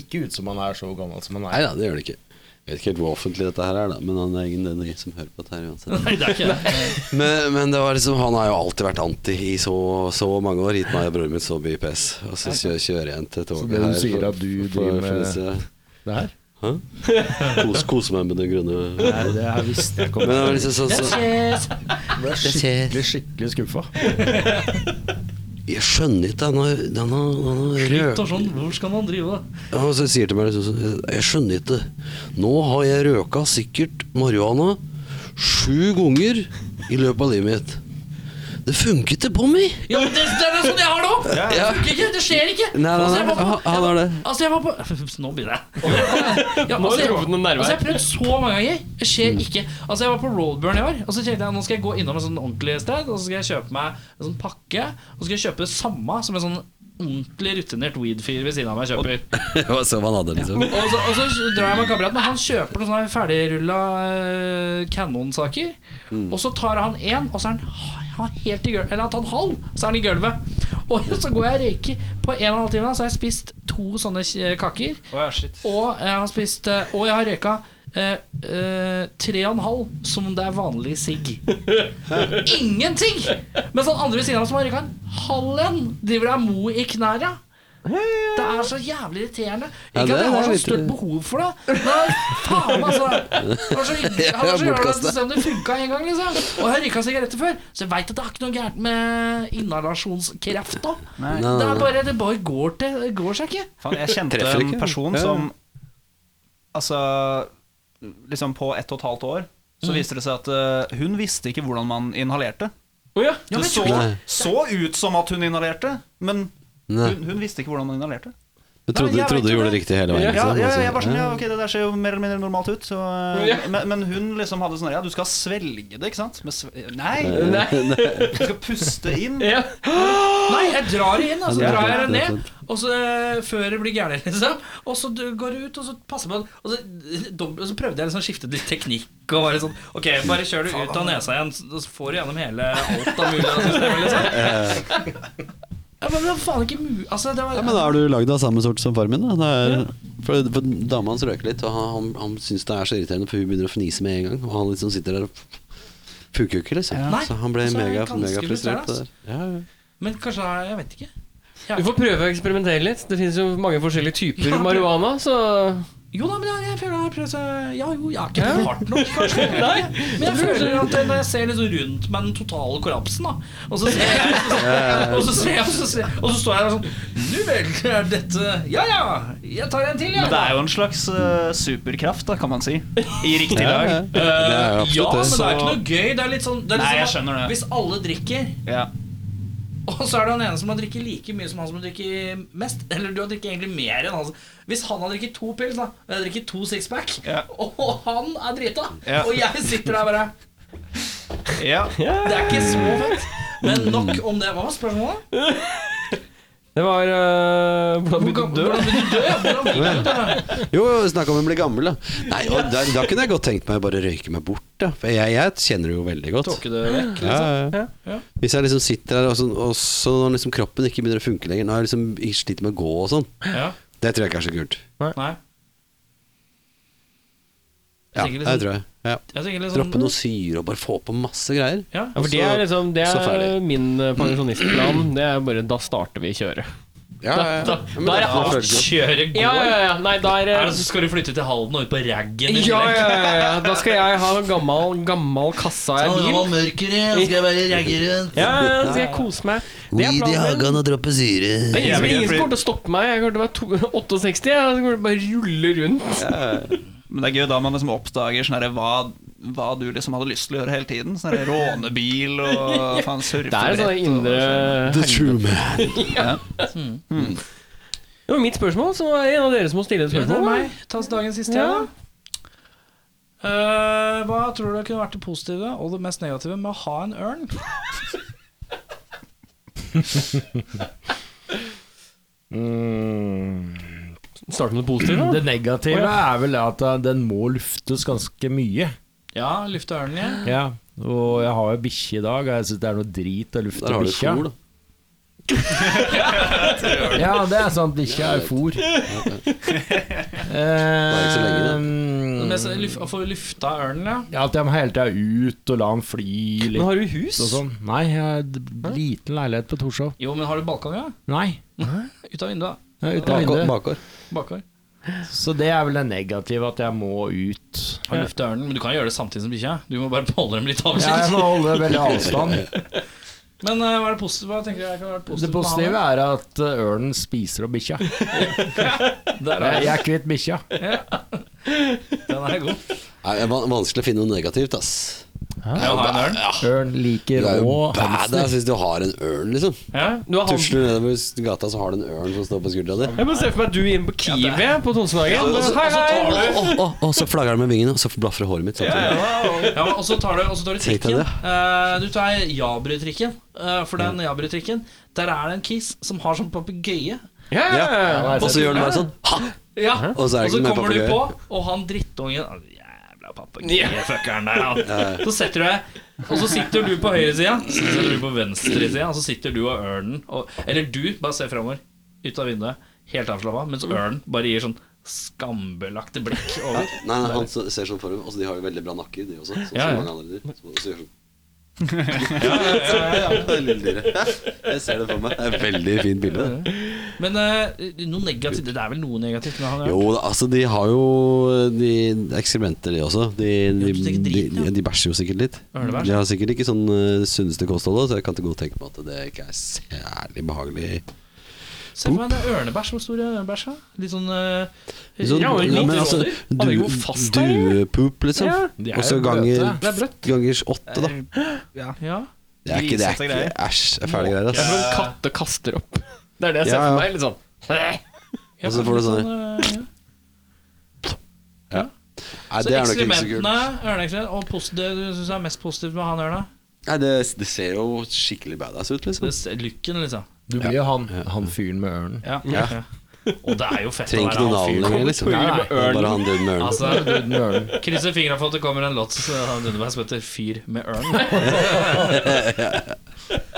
ikke ut som han er så gammel som han Nei er. da, det gjør det ikke. Jeg vet ikke helt hvor offentlig dette her er, da, men han er ingen den som hører på dette her uansett. Nei, det er ikke det. Men, men det var liksom, han har jo alltid vært anti i så, så mange år. Gitt meg og broren min så mye pes. Og så kjø- kjører jeg igjen til toget Så det du her. sier at du driver med- Det her? disse- kos, kose meg med det grønne Nei, det her visste jeg ikke Men det var liksom sånn så, Jeg ble skikkelig, skikkelig skuffa. Jeg skjønner ikke denne, denne, denne rød- Slutt og sånn, hvor skal man drive da? Ja, og så sier til meg liksom sånn Jeg skjønner ikke. Nå har jeg røka sikkert marihuana sju ganger i løpet av livet mitt. Det funket det på meg! Ja, det, det er sånn jeg har det òg! Det Ja. funker ikke, det skjer ikke! Nei, nei, Altså, nei. jeg var på- Han- Han har det. Altså, jeg var på Nå begynner jeg. Ja, Nå har altså, jeg du truffet noen nerver. Mm. altså, jeg har prøvd så mange ganger. Det skjer ikke. Altså, jeg var på Roadburn i år, og så tenkte jeg nå skal jeg gå innom et sånn ordentlig sted, og så skal jeg kjøpe meg en sånn pakke, og så skal jeg kjøpe det samme som en sånn ordentlig rutinert weed-fyr ved siden av meg kjøper. Det var sånn han hadde, liksom. Og så, og så drar jeg med kameraten, og han kjøper noen sånne ferdigrulla eh, Canon-saker. Og så tar han én, og så er han, han helt i gulvet. Eller han tar en halv, så er han i gulvet. Og så går jeg og røyker. På en og en halv time så har jeg spist to sånne eh, kaker. Å, ja, shit. Og jeg har spist eh, Og jeg har røyka eh, eh, tre og en halv som om det er vanlig sigg. Ingenting! Mens han andre ved siden av som har røyka en halv en, driver deg mo i knæra. Det er så jævlig irriterende. Ikke Ja, at det jeg er har så litt- stort behov for det, men det er- faen, altså. Det var så, Jeg han var så er glad bortkastet. at selv om det funka en gang, liksom. Og jeg har røyka sigaretter før, så jeg veit at det er ikke noe gærent med inhalasjonskreft da. Nei, Det nei, er nei. bare, det bare går, til, det går seg ikke. Faen, jeg kjente en Treffer ikke. person Ja, ja. som Altså Liksom på ett og et halvt år så viste det seg at eh, hun visste ikke hvordan man inhalerte. ja. det så, Nei. så ut som at hun inhalerte, men Nei. hun, hun visste ikke hvordan man inhalerte. Du trodde, Nei, jeg vet trodde du gjorde ikke. det riktig hele Ja, veien? ja, liksom, ja, altså. jeg bare sånn, ja, ok, Det der ser jo mer eller mindre normalt ut. Så, eh, Ja. men, men hun liksom hadde sånn Ja, du skal svelge det, ikke sant? Med sve nei! Du skal puste inn. Ja. Nei, jeg drar det inn, og så Ja, det er drar jeg det sant, det er ned. Og så eh, Før det blir gærent, liksom. Og så du- går du ut, og så passer man Og så, eh, dobbelt- og så prøvde jeg liksom å skifte litt teknikk. Og bare sånn Ok, bare kjør det ut av nesa igjen, så- så får du gjennom hele alt av mulig av systemet, liksom. Ja, men det var faen ikke mu... Altså, det var Ja, men da er du lagd av samme sort som far min. Da. Det er, for, for Dama hans røyker litt, og han, han, han syns det er så irriterende, for hun begynner å fnise med en gang. Og han liksom sitter der og funker jo ikke, liksom. Nei, så han ble altså, mega, ganske mega frustrert. frustrerende, på det der. Ja, ja. Men kanskje det er- Jeg vet ikke. Du får prøve å eksperimentere litt. Det finnes jo mange forskjellige typer marihuana, så Jo da, men jeg, jeg føler jeg har prøvd så Ja jo, jeg har ikke prøvd hardt nok, kanskje. Men jeg føler at jeg- når jeg ser liksom rundt meg den totale kollapsen, da Og så ser jeg, og så, ser jeg, og så, ser, jeg- og så står jeg der sånn Nu vel, er dette Ja ja, jeg tar en til, jeg. Men det er jo en slags eh, superkraft, da, kan man si. I riktig dag. Ja, Det er jo ja, men absolutt det det. er ikke noe gøy. Det er litt sånn det er litt Nei, jeg sånn at skjønner det. Hvis alle drikker, Ja. og så er det han ene som har drukket like mye som han som har drukket mest. Eller du har drukket egentlig mer enn han. som- Hvis han har drukket to pils, da, og jeg har drukket to sixpack, Ja. og han er drita, Ja. og jeg sitter der bare Ja. Det er ikke så fett. Men nok om det. Hva var spørsmålet? Det var øh, Hvordan vil du dø? Hvordan vil du dø? Hvordan vil du dø? Jo, jo, snakk om å bli gammel, da. Nei, og da, da kunne jeg godt tenkt meg å bare røyke meg bort, da. For jeg, jeg kjenner det jo veldig godt. Ja, ja, ja. Hvis jeg liksom sitter der, og så, og så når liksom kroppen ikke begynner å funke lenger Nå har jeg liksom ikke slitt med å gå og sånn. Ja. Det tror jeg ikke er så kult. Nei. Ja, tenker det liksom- tror jeg. Ja. Jeg tenker litt Droppe sånn noe syre og bare få på masse greier. ja. Ja, for det er liksom Det Så er ferdig. min øh, pensjonistplan. Det er bare Da starter vi kjøret. Ja, ja, ja. Da, Ja, men da er det da alt. føles det godt. Kjøre går. Ja, ja, ja. Nei, da er Er det det så skal du flytte til Halden og ut på raggen? i ja, tillegg? ja, ja, ja. Da skal jeg ha gammal, gammal kassa i bil. mørkere, og skal jeg være ragger rundt. Ja, ja, da skal jeg kose meg. Det er Weed i planen. hagen og droppe syre. Det er ingen som, ingen som kommer til å stoppe meg. Jeg kommer til å være to- 68, jeg, og så kommer det bare rulle rundt. Men det er gøy da man liksom oppdager sånn herre hva, hva du liksom hadde lyst til å gjøre hele tiden. Sånn herre rånebil og faen surfe Det er sånn brett og- indre The true man. Det var mitt spørsmål, så var det en av dere som må stille et Ja, det er spørsmål. meg. Tas dagens siste Ja. igjen, da. Eh, hva tror du kunne vært det positive og det mest negative med å ha en ørn? Mm. Start med det positive. da. Det negative er vel at eh, den må luftes ganske mye. Ja, lufte ørnen igjen. Ja. Og jeg har jo bikkje i dag, og jeg syns det er noe drit å lufte Der har du bikkja. fôr, da. Ja, det er sant. Bikkja er fôr. er ikke så lenge, det. Det Eh, mest- luf- Å få lufta ørnen, ja. ja, at jeg må hele tida ut og la den fly Men litt har du hus? og sånn. Nei, jeg har d- liten leilighet på Torshov. Jo, men har du balkong, ja? Nei. Ut av vinduet. jeg er Ute av Bakgård. vinduet. bakgård. Bakgård. Så det er vel det negative, at jeg må ut. Har lufta ørnen, men du kan gjøre det samtidig som bikkja. Du må bare holde dem litt Ja, jeg avskilt. må holde veldig avstand. Men eh, hva er det positive? Hva tenker jeg kan være positivt? Det med å ha positive den? er at eh, ørnen spiser opp bikkja. Der er Jeg jeg er kvitt bikkja. den. Den er god. Nei, det er van- vanskelig å finne noe negativt, ass. Ja, har en ørn. Ørn Du liker er jo og badass hvis du har en ørn, liksom. Ja, du har hand... Tusler nedover gata, så har du en ørn som står på skuldra di. Jeg må se for meg at du inn på Kiwi på Tonsenhagen. Hei, Å, hei! å, å, å, så flagrer den med vingene, og så blafrer håret mitt. samtidig. Ja, men og så tar du, og så tar du Tenk deg trikken. Eh, du tar Jabry-trikken. eh, for Mm. den Jabry-trikken Der er det en kis som har sånn papegøye. Ja, ja, ja. Og så gjør den bare sånn. Ha! Ja. Og så er Og det så ikke mer kommer du på, papegøye. og han drittungen «Å, Jævla papegøyefuckeren der, han. Så setter du deg, og så sitter du på høyresida, så sitter du på venstresida, og så sitter du og ørnen og, Eller du, bare ser framover, ut av vinduet, helt avslappa, mens ørnen bare gir sånn skambelagte blikk over. Nei, nei, han så- ser sånn for seg. Altså, de har jo veldig bra nakker, de også. Sånn som Ja, ja. mange andre dyr. Så- så gjør sånn. Det er lille dyret. Jeg ser det for meg. Det er et veldig fint bilde. det. Men eh, noe negativt Det er vel noe negativt med han? ja. Jo, da, altså, de har jo De ekskrementer, de også. De, de, du tenker de, drit, ja. ja, de bæsjer jo sikkert litt. Ørnebæsj? De har sikkert ikke sånn eh, sunneste kosthold, så jeg kan ikke godt tenke meg at det ikke er særlig behagelig. Se for meg det er ørnebæsj. Hvor stor er ørnebæsj? da? Litt sånn eh, Sånn, Ja, men men ikke altså, roller. du- Han er jo fast der, ja. Duepoop, liksom. De er Og så jo ganger, bløte. Det er bløtt. gangers åtte, da. Ja. Det er ikke det. Grisete Er ikke, æsj. Det er fæle greier, Jeg ass. tror en katte kaster opp. Det er det jeg ser Ja, ja. for meg. litt sånn Ja, Og så får du litt sånn eh, ja. Nei, Så det er nok ikke så kult. eksperimentene, ørneeksperiment Og posi- det du syns er mest positivt med han ørna? Nei, det, det ser jo skikkelig badass ut, liksom. Det ser- Lykken, liksom. Du blir jo han, han fyren med ørnen. Ja. ja. Og det er jo fett å Trenger ikke være noe han navn fyren. lenger, liksom. Fyr med Det er Bare han døden med ørnen. Altså, Duden med ørnen. krysser fingra for at det kommer en låt av Dunderberg som heter 'Fyr med ørn'.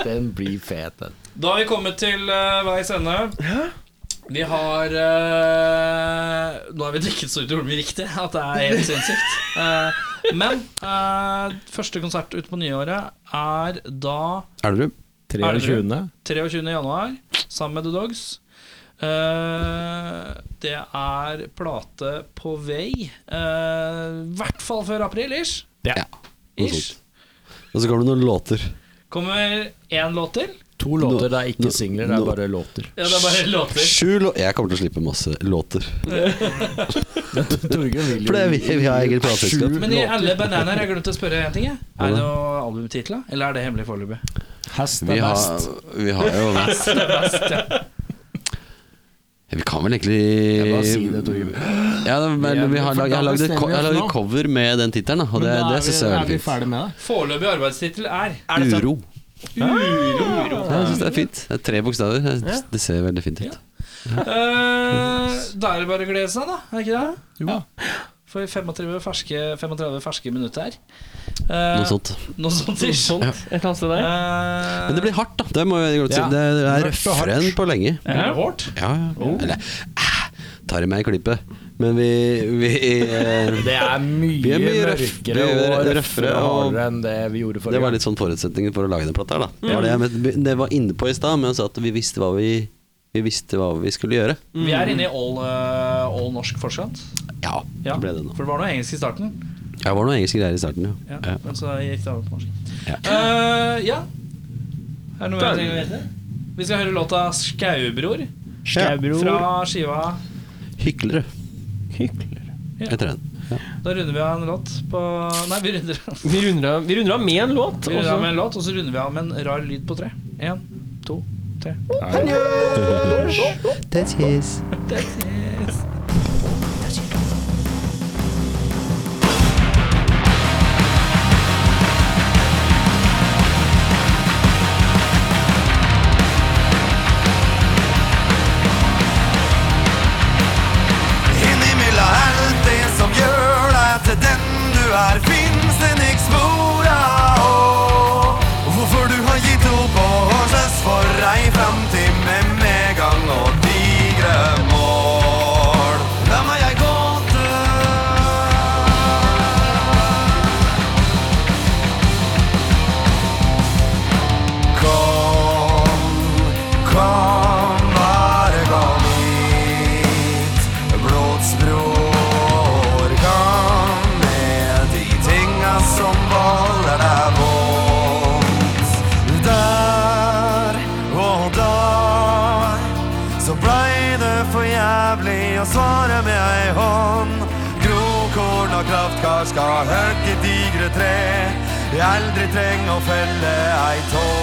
Den blir fet, den. Da har vi kommet til eh, veis ende. Vi har eh, Nå har vi drikket så utrolig mye riktig at det er helt sinnssykt. Eh, men eh, første konsert ute på nyåret er da Elverum. 23. 23. januar sammen med The Dogs. Eh, det er plate på vei. eh, I hvert fall før april, ish. Ja. noe ish. sånt. Og så kommer det noen låter. Kommer én låt til. To låter, det er Nå- ikke singler, det nå- er bare låter. Ja, det er bare låter. Sju lå... Jeg kommer til å slippe masse låter. Torgrim vil jo For det er vi, vi har eget plateselskap. Men i alle bananer, jeg glemte å spørre en ting. Jeg. Er det noe albumtitler, eller er det hemmelig foreløpig? Hest Vi er har, best. vi har jo Vi kan vel egentlig Jeg bare sier det, Torgrim. Ja, det- men vi har lag, jeg har lagd et, ko- jeg har lagd et cover med den tittelen, da, og det, det syns jeg er Er vi veldig fint. ferdig med det? Foreløpig arbeidstittel er Uro. Ja, jeg syns det er fint. Det er tre bokstaver. Jeg- Det ser veldig fint ut. Eh, Da er det bare å glede seg, da. Er det ikke det? For 35 ferske, 35 ferske minutter. Eh, Noe sånt. Noe sånt. ish. sånt. Et eller annet sted der. Eh, Men det blir hardt, da. Det, må jeg godt si. Ja. det det er Mørkt og Oh. røffere enn på lenge. blir det hårt. Ja, ja. Eller eh, tar i meg i klippet. Men vi, vi eh, Det er mye, er mye røff- mørkere og mye røffere røffere og og- hardere enn det vi gjorde Det forrige var litt sånn forutsetningen for å lage den plata her, da. Det var det jeg men- det var inne på i stad, men jeg sa at vi visste hva vi vi visste hva vi skulle gjøre. Vi er inne i all, eh, all norsk fortsatt. Ja, Ja, det ble det nå. For det var noe engelsk i starten. Ja, Det var noen engelske greier i starten, jo. Ja, Ja. Men så gikk det over på norsk. Ja. Eh, ja. Er det noe mer ting å vite? Vi skal høre låta 'Skaubror' gang. fra skiva Hyklere Ja. heter den. Da runder vi av en låt på Nei, vi runder, vi Vi runder av- vi runder av med en låt. runder av også. med en låt, og så runder vi av med en rar lyd på tre. En, to, tre. That's his. Innimellom alt det som gjør deg til den du er, fins det nikk spor av håp. Hvorfor du har gitt opp og slåss for ei framtid med medgang og digre mål. La meg ei gåte. Kom, kom, bare kom hit. Blodsbror, kom med de tinga som volder deg vondt. Der og da så blei det for jævlig å svare med ei hånd. Grokorn og kraftkar skal hogge digre tre. jeg aldri treng å felle ei tår.